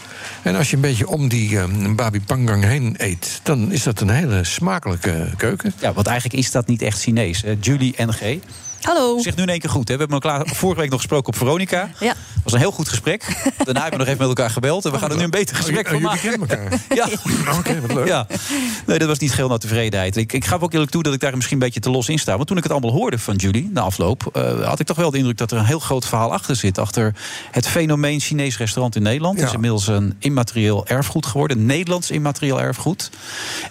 Speaker 8: En als je een beetje om die eh, babi pangang heen eet... dan is dat een hele smakelijke keuken.
Speaker 7: Ja, want eigenlijk is dat niet echt Chinees. Eh, Julie NG.
Speaker 20: Hallo.
Speaker 7: Zeg nu in één keer goed. Hè? We hebben elkaar vorige week nog gesproken op Veronica.
Speaker 20: Ja.
Speaker 7: was een heel goed gesprek. Daarna hebben we nog even met elkaar gebeld. En we gaan er nu een beter gesprek van maken. Ja. Oh, Oké, wat leuk. Ja. Nee, dat was niet geheel naar tevredenheid. Ik, ik gaf ook eerlijk toe dat ik daar misschien een beetje te los in sta. Want toen ik het allemaal hoorde van Julie na afloop... eh, had ik toch wel de indruk dat er een heel groot verhaal achter zit. Achter het fenomeen Chinees restaurant in Nederland. Het is inmiddels een immaterieel erfgoed geworden. een Nederlands immaterieel erfgoed.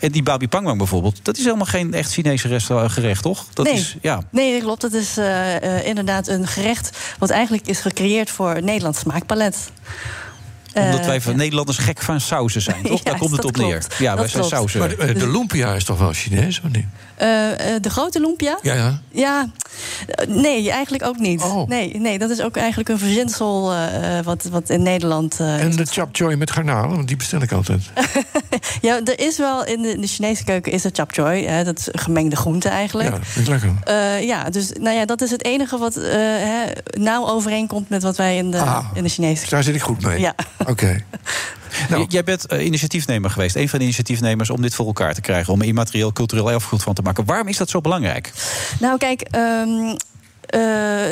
Speaker 7: En die Babi Pangwang bijvoorbeeld. Dat is helemaal geen echt Chinese resta- gerecht, toch? Dat
Speaker 20: nee.
Speaker 7: is, ja.
Speaker 20: nee, dat klopt. Het is eh, eh, inderdaad een gerecht wat eigenlijk is gecreëerd voor het Nederlands smaakpalet.
Speaker 7: Omdat
Speaker 20: Eh,
Speaker 7: wij van Nederlanders gek van sauzen zijn, toch? Daar
Speaker 20: Ja,
Speaker 7: komt het
Speaker 20: dat
Speaker 7: op neer.
Speaker 20: klopt.
Speaker 7: Ja, wij zijn
Speaker 20: Dat
Speaker 7: Dus-
Speaker 20: klopt.
Speaker 7: sauzen.
Speaker 20: Maar de- eh, de
Speaker 8: lumpia is toch wel Chinees, of niet?
Speaker 20: eh, eh, de grote lumpia?
Speaker 8: Ja, ja. Oh.
Speaker 20: Ja, eh, nee, eigenlijk ook niet. Nee, nee, dat is ook eigenlijk een verzinsel eh, eh, wat, wat in Nederland... eh,
Speaker 8: En de chapchoy met garnalen, want die bestel ik altijd.
Speaker 20: Ja, er is wel in de, in de Chinese keuken is er chapchoy. Hè, dat is gemengde groente eigenlijk.
Speaker 8: Ja, vind ik lekker.
Speaker 20: Eh, ja, dus nou ja, dat is het enige wat eh, hè, nauw overeenkomt met wat wij in de,
Speaker 7: Ah,
Speaker 20: in de Chinese
Speaker 8: Daar zit ik goed mee.
Speaker 20: Ja.
Speaker 8: Oké.
Speaker 20: Nou.
Speaker 7: J- Jij bent eh, initiatiefnemer geweest, een van de initiatiefnemers om dit voor elkaar te krijgen, om er immaterieel cultureel erfgoed van te maken. Waarom is dat zo belangrijk?
Speaker 20: Nou, kijk. ehm, eh,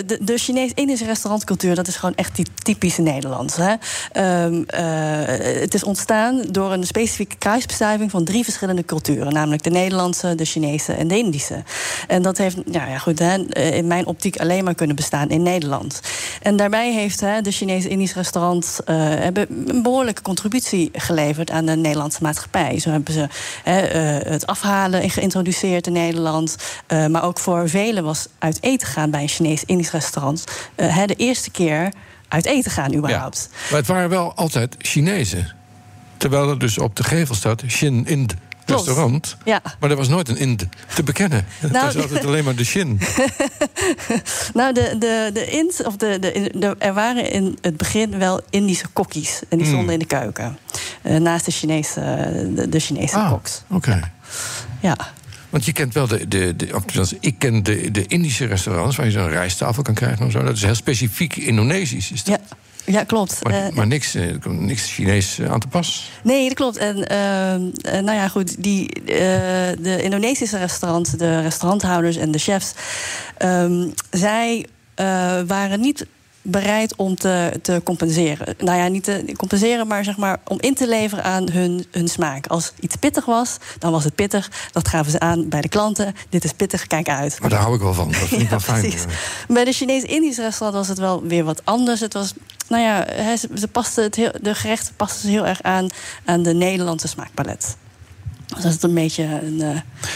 Speaker 20: de, de Chinees-Indische restaurantcultuur, dat is gewoon echt die typisch Nederlands. Hè? Ehm, eh, het is ontstaan door een specifieke kruisbestuiving van drie verschillende culturen. Namelijk de Nederlandse, de Chinese en de Indische. En dat heeft, nou ja, goed, hè, eh, in mijn optiek alleen maar kunnen bestaan in Nederland. En daarbij heeft hè, de Chinese-Indisch restaurant eh, hebben een behoorlijke contributie geleverd aan de Nederlandse maatschappij. Zo hebben ze hè, eh, het afhalen geïntroduceerd in Nederland. Eh, maar ook voor velen was uit eten gaan bij een Chinees-Indisch restaurant eh, hè, de eerste keer uit eten gaan überhaupt.
Speaker 8: Maar het waren wel altijd Chinezen. Terwijl er dus op de gevel staat Shin Ind restaurant.
Speaker 20: Ja.
Speaker 8: Maar er was nooit een Ind te bekennen.
Speaker 20: Nou,
Speaker 8: het was altijd alleen maar de Shin.
Speaker 20: Nou, de, de, de Ind, of de, de, de- er waren in het begin wel Indische kokkies. En die
Speaker 8: Hmm.
Speaker 20: stonden in de keuken. eh, naast de Chinese, eh, de, de Chinese koks.
Speaker 8: Oké.
Speaker 20: Ja.
Speaker 8: Want je kent wel de. de, de of tenminste, ik ken de, de Indische restaurants waar je zo'n rijsttafel kan krijgen. Of zo. Dat is heel specifiek Indonesisch. Is dat.
Speaker 20: Ja, klopt.
Speaker 8: Maar,
Speaker 20: Eh,
Speaker 8: maar niks, eh, er komt niks Chinees eh, aan te pas.
Speaker 20: Nee, dat klopt. En ehm, eh, nou ja, goed, die, eh, de Indonesische restaurants, de restauranthouders en de chefs, ehm, zij eh, waren niet bereid om te, te compenseren. Nou ja, niet te compenseren, maar zeg maar om in te leveren aan hun, hun smaak. Als iets pittig was, dan was het pittig. Dat gaven ze aan bij de klanten. Dit is pittig, kijk uit.
Speaker 8: Maar daar hou ik wel van. Dat vind ik
Speaker 20: Ja,
Speaker 8: wel fijn.
Speaker 20: precies.
Speaker 8: eh.
Speaker 20: Bij de Chinees-Indisch restaurant was het wel weer wat anders. Het was, nou ja, hè, ze, ze pasten het heel, de gerechten pasten ze heel erg aan aan de Nederlandse smaakpalet. Dus dat is een beetje een. eh,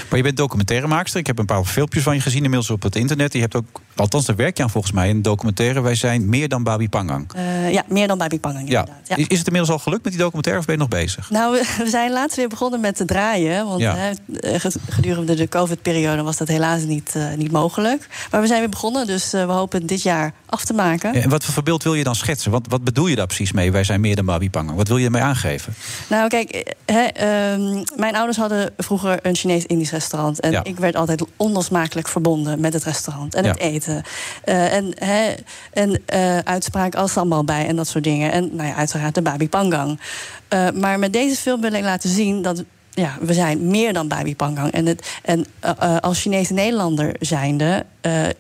Speaker 7: Maar je bent documentairemaakster. Ik heb een paar filmpjes van je gezien inmiddels op het internet. Je hebt ook, althans daar werk je aan volgens mij, een documentaire. Wij zijn meer dan Babi Pangang.
Speaker 20: eh, ja, meer dan bij Big Bang.
Speaker 7: Ja.
Speaker 20: ja.
Speaker 7: Is is het inmiddels al gelukt met die documentaire of ben je nog bezig?
Speaker 20: Nou, we, we zijn laatst weer begonnen met te draaien. Want
Speaker 7: Ja.
Speaker 20: hè, ge- gedurende de COVID-periode was dat helaas niet, eh, niet mogelijk. Maar we zijn weer begonnen, dus eh, we hopen het dit jaar af te maken.
Speaker 7: En wat voor beeld wil je dan schetsen? Wat, wat bedoel je daar precies mee? Wij zijn meer dan Babi Pangang. Wat wil je ermee aangeven?
Speaker 20: Nou, kijk, eh, hè, ehm, mijn ouders hadden vroeger een Chinees-Indisch restaurant. En
Speaker 7: Ja.
Speaker 20: ik werd altijd onlosmakelijk verbonden met het restaurant en het
Speaker 7: Ja.
Speaker 20: eten. Eh, en hè, en eh, uitspraak als sambal bij en dat soort dingen. En nou ja, uiteraard de Babi Pangang. Eh, maar met deze film wil ik laten zien dat. Ja, we zijn meer dan Babi Pangang. En, het, en eh, eh, als Chinese Nederlander zijnde eh, eh,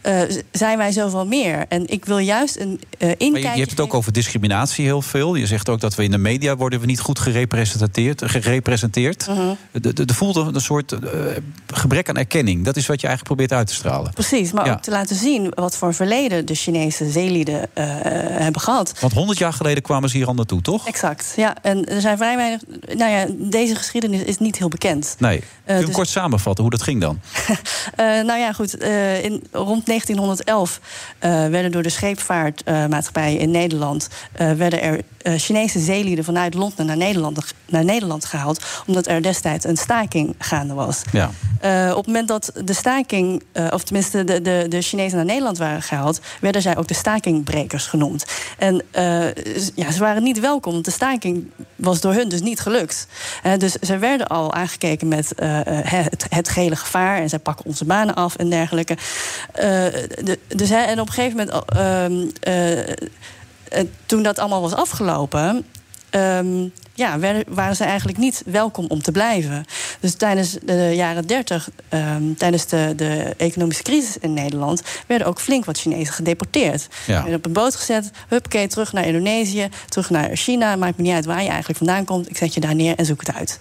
Speaker 20: eh, zijn wij zoveel meer. En ik wil juist een eh
Speaker 7: Maar je, je
Speaker 20: inkijkje
Speaker 7: hebt het ook over discriminatie heel veel. Je zegt ook dat we in de media worden we niet goed gerepresenteerd. gerepresenteerd.
Speaker 20: Mhm.
Speaker 7: De- de- Er voelt een een soort eh, gebrek aan erkenning. Dat is wat je eigenlijk probeert uit te stralen.
Speaker 20: Precies, maar
Speaker 7: Ja.
Speaker 20: ook te laten zien wat voor verleden de Chinese zeelieden eh, hebben gehad.
Speaker 7: Want 100 jaar geleden kwamen ze hier al naartoe, toch?
Speaker 20: Exact, ja. En er zijn vrij weinig. Nou ja, deze geschiedenis is niet heel bekend.
Speaker 7: Nee. Kun je hem
Speaker 20: dus-
Speaker 7: kort samenvatten hoe dat ging dan?
Speaker 20: Eh, nou ja, goed. eh, in, rond 1911 eh, werden door de scheepvaartmaatschappij in Nederland... eh, werden er eh, Chinese zeelieden vanuit Londen naar Nederland, naar Nederland gehaald... omdat er destijds een staking gaande was.
Speaker 7: Ja.
Speaker 20: Eh, op het moment dat de staking, eh, of tenminste de, de, de Chinezen naar Nederland waren gehaald, werden zij ook de stakingbrekers genoemd. En eh, z- ja, ze waren niet welkom, want de staking was door hun dus niet gelukt. Eh, dus ze werden al aangekeken met eh, eh, het, het gele gevaar en zij pakken onze banen af en dergelijke. Eh, de- dus, hè, en op een gegeven moment, eh, ehm, eh, eh, toen dat allemaal was afgelopen, ehm, ja, werden- waren ze eigenlijk niet welkom om te blijven. Dus tijdens de jaren 30, ehm, tijdens de, de economische crisis in Nederland, werden ook flink wat Chinezen gedeporteerd.
Speaker 19: Ja.
Speaker 20: Werden op een boot gezet, huppakee, terug naar Indonesië, terug naar China. Maakt me niet uit waar je eigenlijk vandaan komt. Ik zet je daar neer en zoek het uit.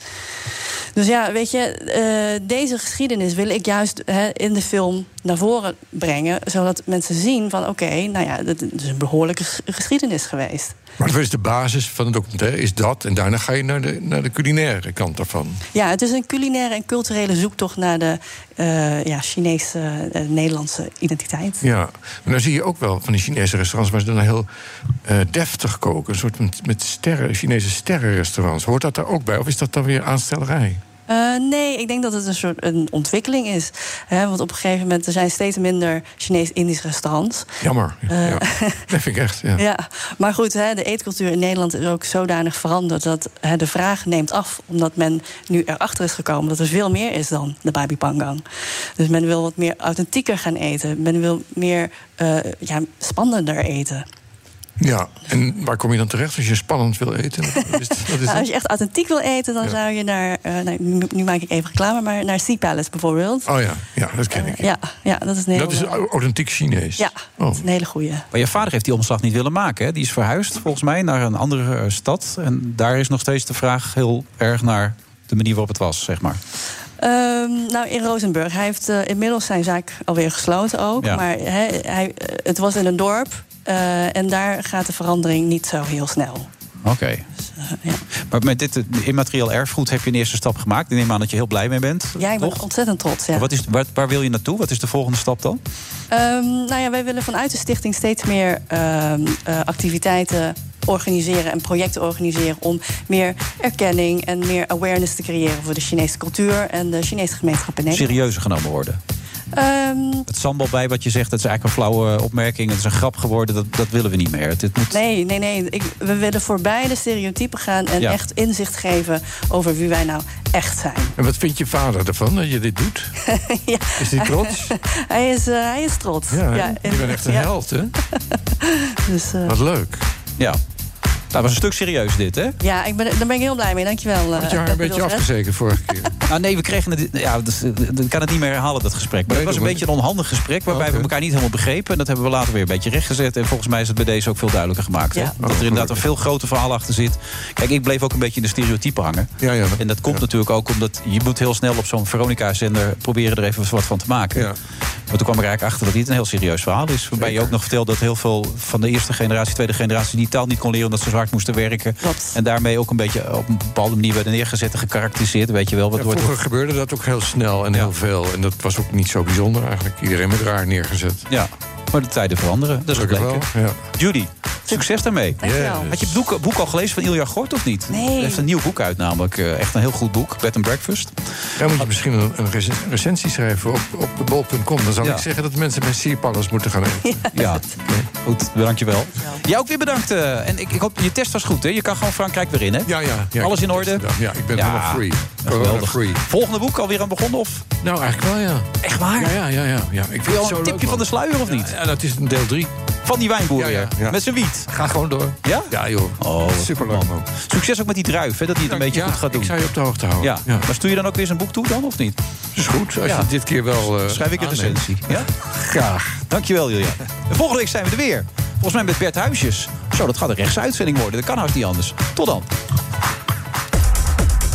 Speaker 20: Dus ja, weet je, eh, deze geschiedenis wil ik juist hè, in de film naar voren brengen. Zodat mensen zien van oké, nou ja, dat is een behoorlijke ges- geschiedenis geweest.
Speaker 8: Maar dat is de basis van het documentaire, is dat. En daarna ga je naar de, naar de culinaire kant daarvan.
Speaker 20: Ja, het is een culinaire en culturele zoektocht naar de eh, ja, Chinese, eh, Nederlandse identiteit.
Speaker 8: Ja, maar dan zie je ook wel van die Chinese restaurants... waar ze dan heel eh, deftig koken. Een soort met, met sterren, Chinese sterrenrestaurants. Hoort dat daar ook bij? Of is dat dan weer aanstellerij?
Speaker 20: Eh, nee, ik denk dat het een soort een ontwikkeling is. Hè, want op een gegeven moment er zijn steeds minder Chinees-Indisch restaurants.
Speaker 8: Jammer.
Speaker 20: Eh,
Speaker 8: ja. Dat vind ik echt, ja.
Speaker 20: Ja, maar goed, hè, de eetcultuur in Nederland is ook zodanig veranderd dat hè, de vraag neemt af. Omdat men nu erachter is gekomen dat er veel meer is dan de babi pangang. Dus men wil wat meer authentieker gaan eten. Men wil meer eh, ja, spannender eten.
Speaker 8: Ja, en waar kom je dan terecht als je spannend wil eten? Dat is, dat is
Speaker 20: Nou, als
Speaker 8: het.
Speaker 20: je echt authentiek wil eten, dan zou je naar, eh, nou, nu, nu maak ik even reclame, maar naar Sea Palace bijvoorbeeld.
Speaker 8: Oh ja, ja, dat ken ik.
Speaker 20: Ja, ja dat is een hele
Speaker 7: Dat is
Speaker 8: au- authentiek Chinees. Oh.
Speaker 20: Ja, dat is een hele goeie.
Speaker 7: Maar je vader heeft die omslag niet willen maken. Hè? Die is verhuisd volgens mij naar een andere eh, stad. En daar is nog steeds de vraag heel erg naar de manier waarop het was, zeg maar.
Speaker 20: Ehm, nou, in Rozenburg. Hij heeft eh, inmiddels zijn zaak alweer gesloten ook.
Speaker 7: Ja.
Speaker 20: Maar hè, hij, eh, het was in een dorp. eh, en daar gaat de verandering niet zo heel snel.
Speaker 7: Oké. Maar met dit eh, immaterieel erfgoed heb je een eerste stap gemaakt. Ik neem aan dat je heel blij mee bent.
Speaker 20: Jij bent ontzettend trots, ja.
Speaker 7: Maar Wat is, waar, waar wil je naartoe? Wat is de volgende stap dan?
Speaker 20: Ehm, nou ja, wij willen vanuit de stichting steeds meer ehm, eh, activiteiten organiseren en projecten organiseren om meer erkenning en meer awareness te creëren voor de Chinese cultuur en de Chinese gemeenschap in Nederland.
Speaker 7: Serieuzer genomen worden.
Speaker 20: Ehm,
Speaker 7: Het sambal bij wat je zegt, dat is eigenlijk een flauwe eh, opmerking. Het is een grap geworden, dat, dat willen we niet meer. Dit moet,
Speaker 20: Nee, nee, nee. Ik, we willen voorbij de stereotypen gaan en
Speaker 7: Ja.
Speaker 20: echt inzicht geven over wie wij nou echt zijn.
Speaker 8: En wat vindt je vader ervan dat je dit doet?
Speaker 20: Ja.
Speaker 8: Is hij trots?
Speaker 20: hij, is, eh, hij is trots.
Speaker 8: Ja, hè? je bent echt een
Speaker 20: ja.
Speaker 8: held, hè?
Speaker 20: Dus, eh,
Speaker 8: Wat leuk.
Speaker 7: Ja. Nou, dat was een stuk serieus dit, hè?
Speaker 20: ja, ik ben, daar ben ik heel blij mee. Dankjewel.
Speaker 7: Had
Speaker 20: eh,
Speaker 7: je haar een beetje
Speaker 20: Rudolf, hè?
Speaker 8: afgezekerd vorige keer?
Speaker 7: Nou nee, we kregen het... Ja, dus, eh, ik kan het niet meer herhalen, dat gesprek. Maar het was een beetje een onhandig gesprek... waarbij we elkaar niet helemaal begrepen. En dat hebben we later weer een beetje rechtgezet. En volgens mij is het bij deze ook veel duidelijker gemaakt.
Speaker 20: Ja.
Speaker 7: Hè? Dat er inderdaad een veel groter verhaal achter zit. Kijk, ik bleef ook een beetje in de stereotypen hangen. En dat komt natuurlijk ook omdat... je moet heel snel op zo'n Veronica-zender... proberen er even wat van te maken. Maar toen kwam ik eigenlijk achter dat dit een heel serieus verhaal is. Waarbij je ook nog vertelde dat heel veel van de eerste generatie... tweede generatie die taal niet kon leren... omdat ze zo hard moesten werken. En daarmee ook een beetje op een bepaalde manier... werden neergezet en gekarakteriseerd. Weet je wel, wat
Speaker 8: Ja,
Speaker 7: wordt...
Speaker 8: vroeger gebeurde dat ook heel snel en heel veel. En dat was ook niet zo bijzonder eigenlijk. Iedereen werd raar neergezet.
Speaker 7: Ja, maar de tijden veranderen. Dat is
Speaker 8: Gelukkig
Speaker 7: gebleken.
Speaker 8: wel, ja.
Speaker 7: Judy, succes daarmee.
Speaker 8: Dankjewel.
Speaker 7: Had je het boek, boek al gelezen van Ilja Gort of niet?
Speaker 8: Nee.
Speaker 7: Hij heeft een nieuw boek uit namelijk. Eh, Echt een heel goed boek. Bed and Breakfast.
Speaker 8: Ja, moet je misschien een, een rec- recensie schrijven op, op de bol.com. Dan zou
Speaker 7: Ja.
Speaker 8: ik zeggen dat mensen bij sierpallers moeten gaan eten.
Speaker 7: Ja, goed. Bedankt je wel. Jij ook weer bedankt. eh, en ik, ik hoop, je test was goed, hè? Je kan gewoon Frankrijk weer in, hè?
Speaker 8: Ja, ja. ja
Speaker 7: Alles in orde?
Speaker 8: Ja, ik ben
Speaker 7: Ja.
Speaker 8: helemaal free. Corona
Speaker 7: geweldig.
Speaker 8: free.
Speaker 7: Volgende boek alweer aan begonnen, of?
Speaker 8: Nou, eigenlijk wel, ja.
Speaker 7: Echt waar?
Speaker 8: Ja, ja, ja. ja, ja. Ik
Speaker 7: Wil
Speaker 8: vind
Speaker 7: je
Speaker 8: het
Speaker 7: al
Speaker 8: zo
Speaker 7: een
Speaker 8: leuk,
Speaker 7: tipje
Speaker 8: man.
Speaker 7: van de sluier, of niet?
Speaker 8: Ja, ja, dat is een deel drie.
Speaker 7: Van die wijnboer,
Speaker 8: Ja, ja,
Speaker 7: weer.
Speaker 8: ja.
Speaker 7: Met zijn wiet.
Speaker 8: Ga gewoon door.
Speaker 7: Ja?
Speaker 8: Ja, joh.
Speaker 7: Oh,
Speaker 8: Superleuk,
Speaker 7: man. Succes ook met die druif, hè, dat hij het een beetje goed gaat doen.
Speaker 8: Ik zou je op de hoogte houden.
Speaker 7: Ja. maar stuur je dan ook weer zijn boek toe dan, of niet?
Speaker 8: Is goed, als je dit keer wel... eh,
Speaker 7: Schrijf ik een
Speaker 8: aanneemt.
Speaker 7: recensie. Ja? Graag. Dankjewel, Julia. En volgende week zijn we er weer. Volgens mij met Bert Huisjes. Zo, dat gaat een rechtsuitzending worden. Dat kan haast niet anders. Tot dan.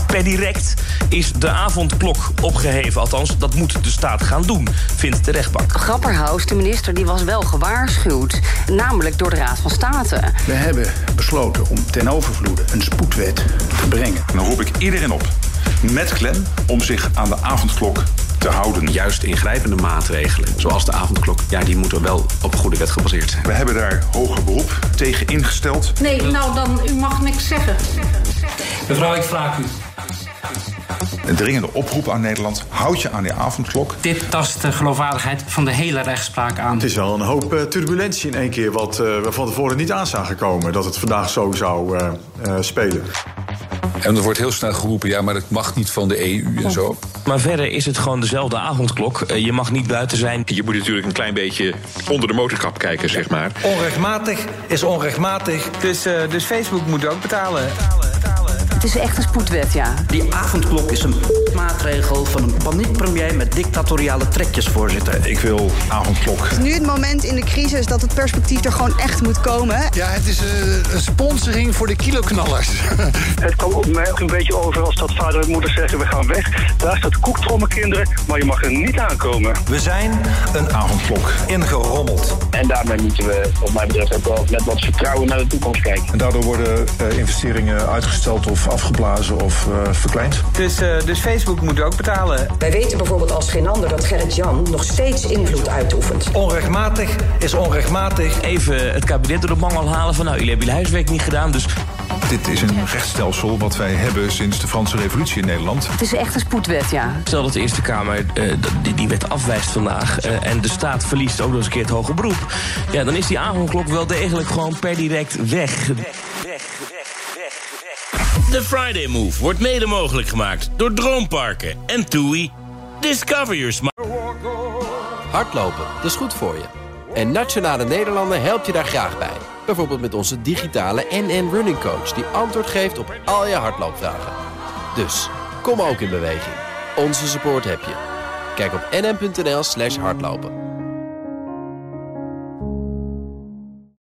Speaker 21: Per direct is de avondklok opgeheven. Althans, dat moet de staat gaan doen, vindt de rechtbank.
Speaker 22: Grapperhaus, de minister, die was wel gewaarschuwd. Namelijk door de Raad van State.
Speaker 6: We hebben besloten om ten overvloede een spoedwet te brengen.
Speaker 23: Dan roep ik iedereen op, met klem, om zich aan de avondklok te
Speaker 24: te houden. Juist ingrijpende maatregelen, zoals de avondklok, ja, die moeten wel op goede wet gebaseerd zijn.
Speaker 8: We hebben daar hoger beroep tegen ingesteld.
Speaker 14: Nee, nou dan, u mag niks zeggen.
Speaker 25: Mevrouw, ik vraag u.
Speaker 8: Een dringende oproep aan Nederland. Houd je aan die avondklok.
Speaker 25: Dit tast de geloofwaardigheid van de hele rechtspraak aan.
Speaker 8: Het is wel een hoop eh, turbulentie in één keer... wat eh, we van tevoren niet aan zagen komen. Dat het vandaag zo zou eh, eh, spelen.
Speaker 26: En er wordt heel snel geroepen, ja, maar het mag niet van de EU
Speaker 7: Oh.
Speaker 26: en zo.
Speaker 9: Maar verder is het gewoon dezelfde avondklok. Eh, Je mag niet buiten zijn.
Speaker 27: Je moet natuurlijk een klein beetje onder de motorkap kijken, zeg maar.
Speaker 17: Onrechtmatig is onrechtmatig. Dus, eh, dus Facebook moet ook betalen.
Speaker 4: Het is echt een spoedwet, ja.
Speaker 17: Die avondklok is een maatregel van een paniekpremier met dictatoriale trekjes, voorzitter. Ik wil avondklok.
Speaker 28: Het is nu het moment in de crisis dat het perspectief er gewoon echt moet komen.
Speaker 29: Ja, het is eh, een sponsoring voor de kiloknallers.
Speaker 3: Het kwam op mij ook een beetje over als dat vader en moeder zeggen: we gaan weg. Daar staat koek voor mijn kinderen, maar je mag er niet aankomen.
Speaker 30: We zijn een avondklok ingerommeld.
Speaker 3: En daarmee moeten we, wat mij betreft, ook wel met wat vertrouwen naar de toekomst kijken.
Speaker 8: En daardoor worden eh, investeringen uitgesteld of afgeblazen of eh, verkleind.
Speaker 17: Dus, eh, dus Facebook moet ook betalen.
Speaker 11: Wij weten bijvoorbeeld als geen ander dat Gerrit Jan nog steeds invloed uitoefent.
Speaker 17: Onrechtmatig is onrechtmatig.
Speaker 9: Even het kabinet door de mangel halen van... nou, jullie hebben jullie huiswerk niet gedaan, dus...
Speaker 27: Dit is een rechtsstelsel wat wij hebben sinds de Franse Revolutie in Nederland.
Speaker 4: Het is echt een spoedwet, ja.
Speaker 9: Stel dat de Eerste Kamer eh, dat- die, die wet afwijst vandaag... eh, en de staat verliest ook nog eens een keer het hoge beroep... ja, dan is die avondklok wel degelijk gewoon per direct weg.
Speaker 18: De Friday Move wordt mede mogelijk gemaakt door Droomparken en TUI. Discover your smile.
Speaker 7: Hardlopen, dat is goed voor je. En Nationale Nederlanden helpt je daar graag bij. Bijvoorbeeld met onze digitale NN Running Coach... die antwoord geeft op al je hardloopvragen. Dus, kom ook in beweging. Onze support heb je. Kijk op nn.nl slash hardlopen.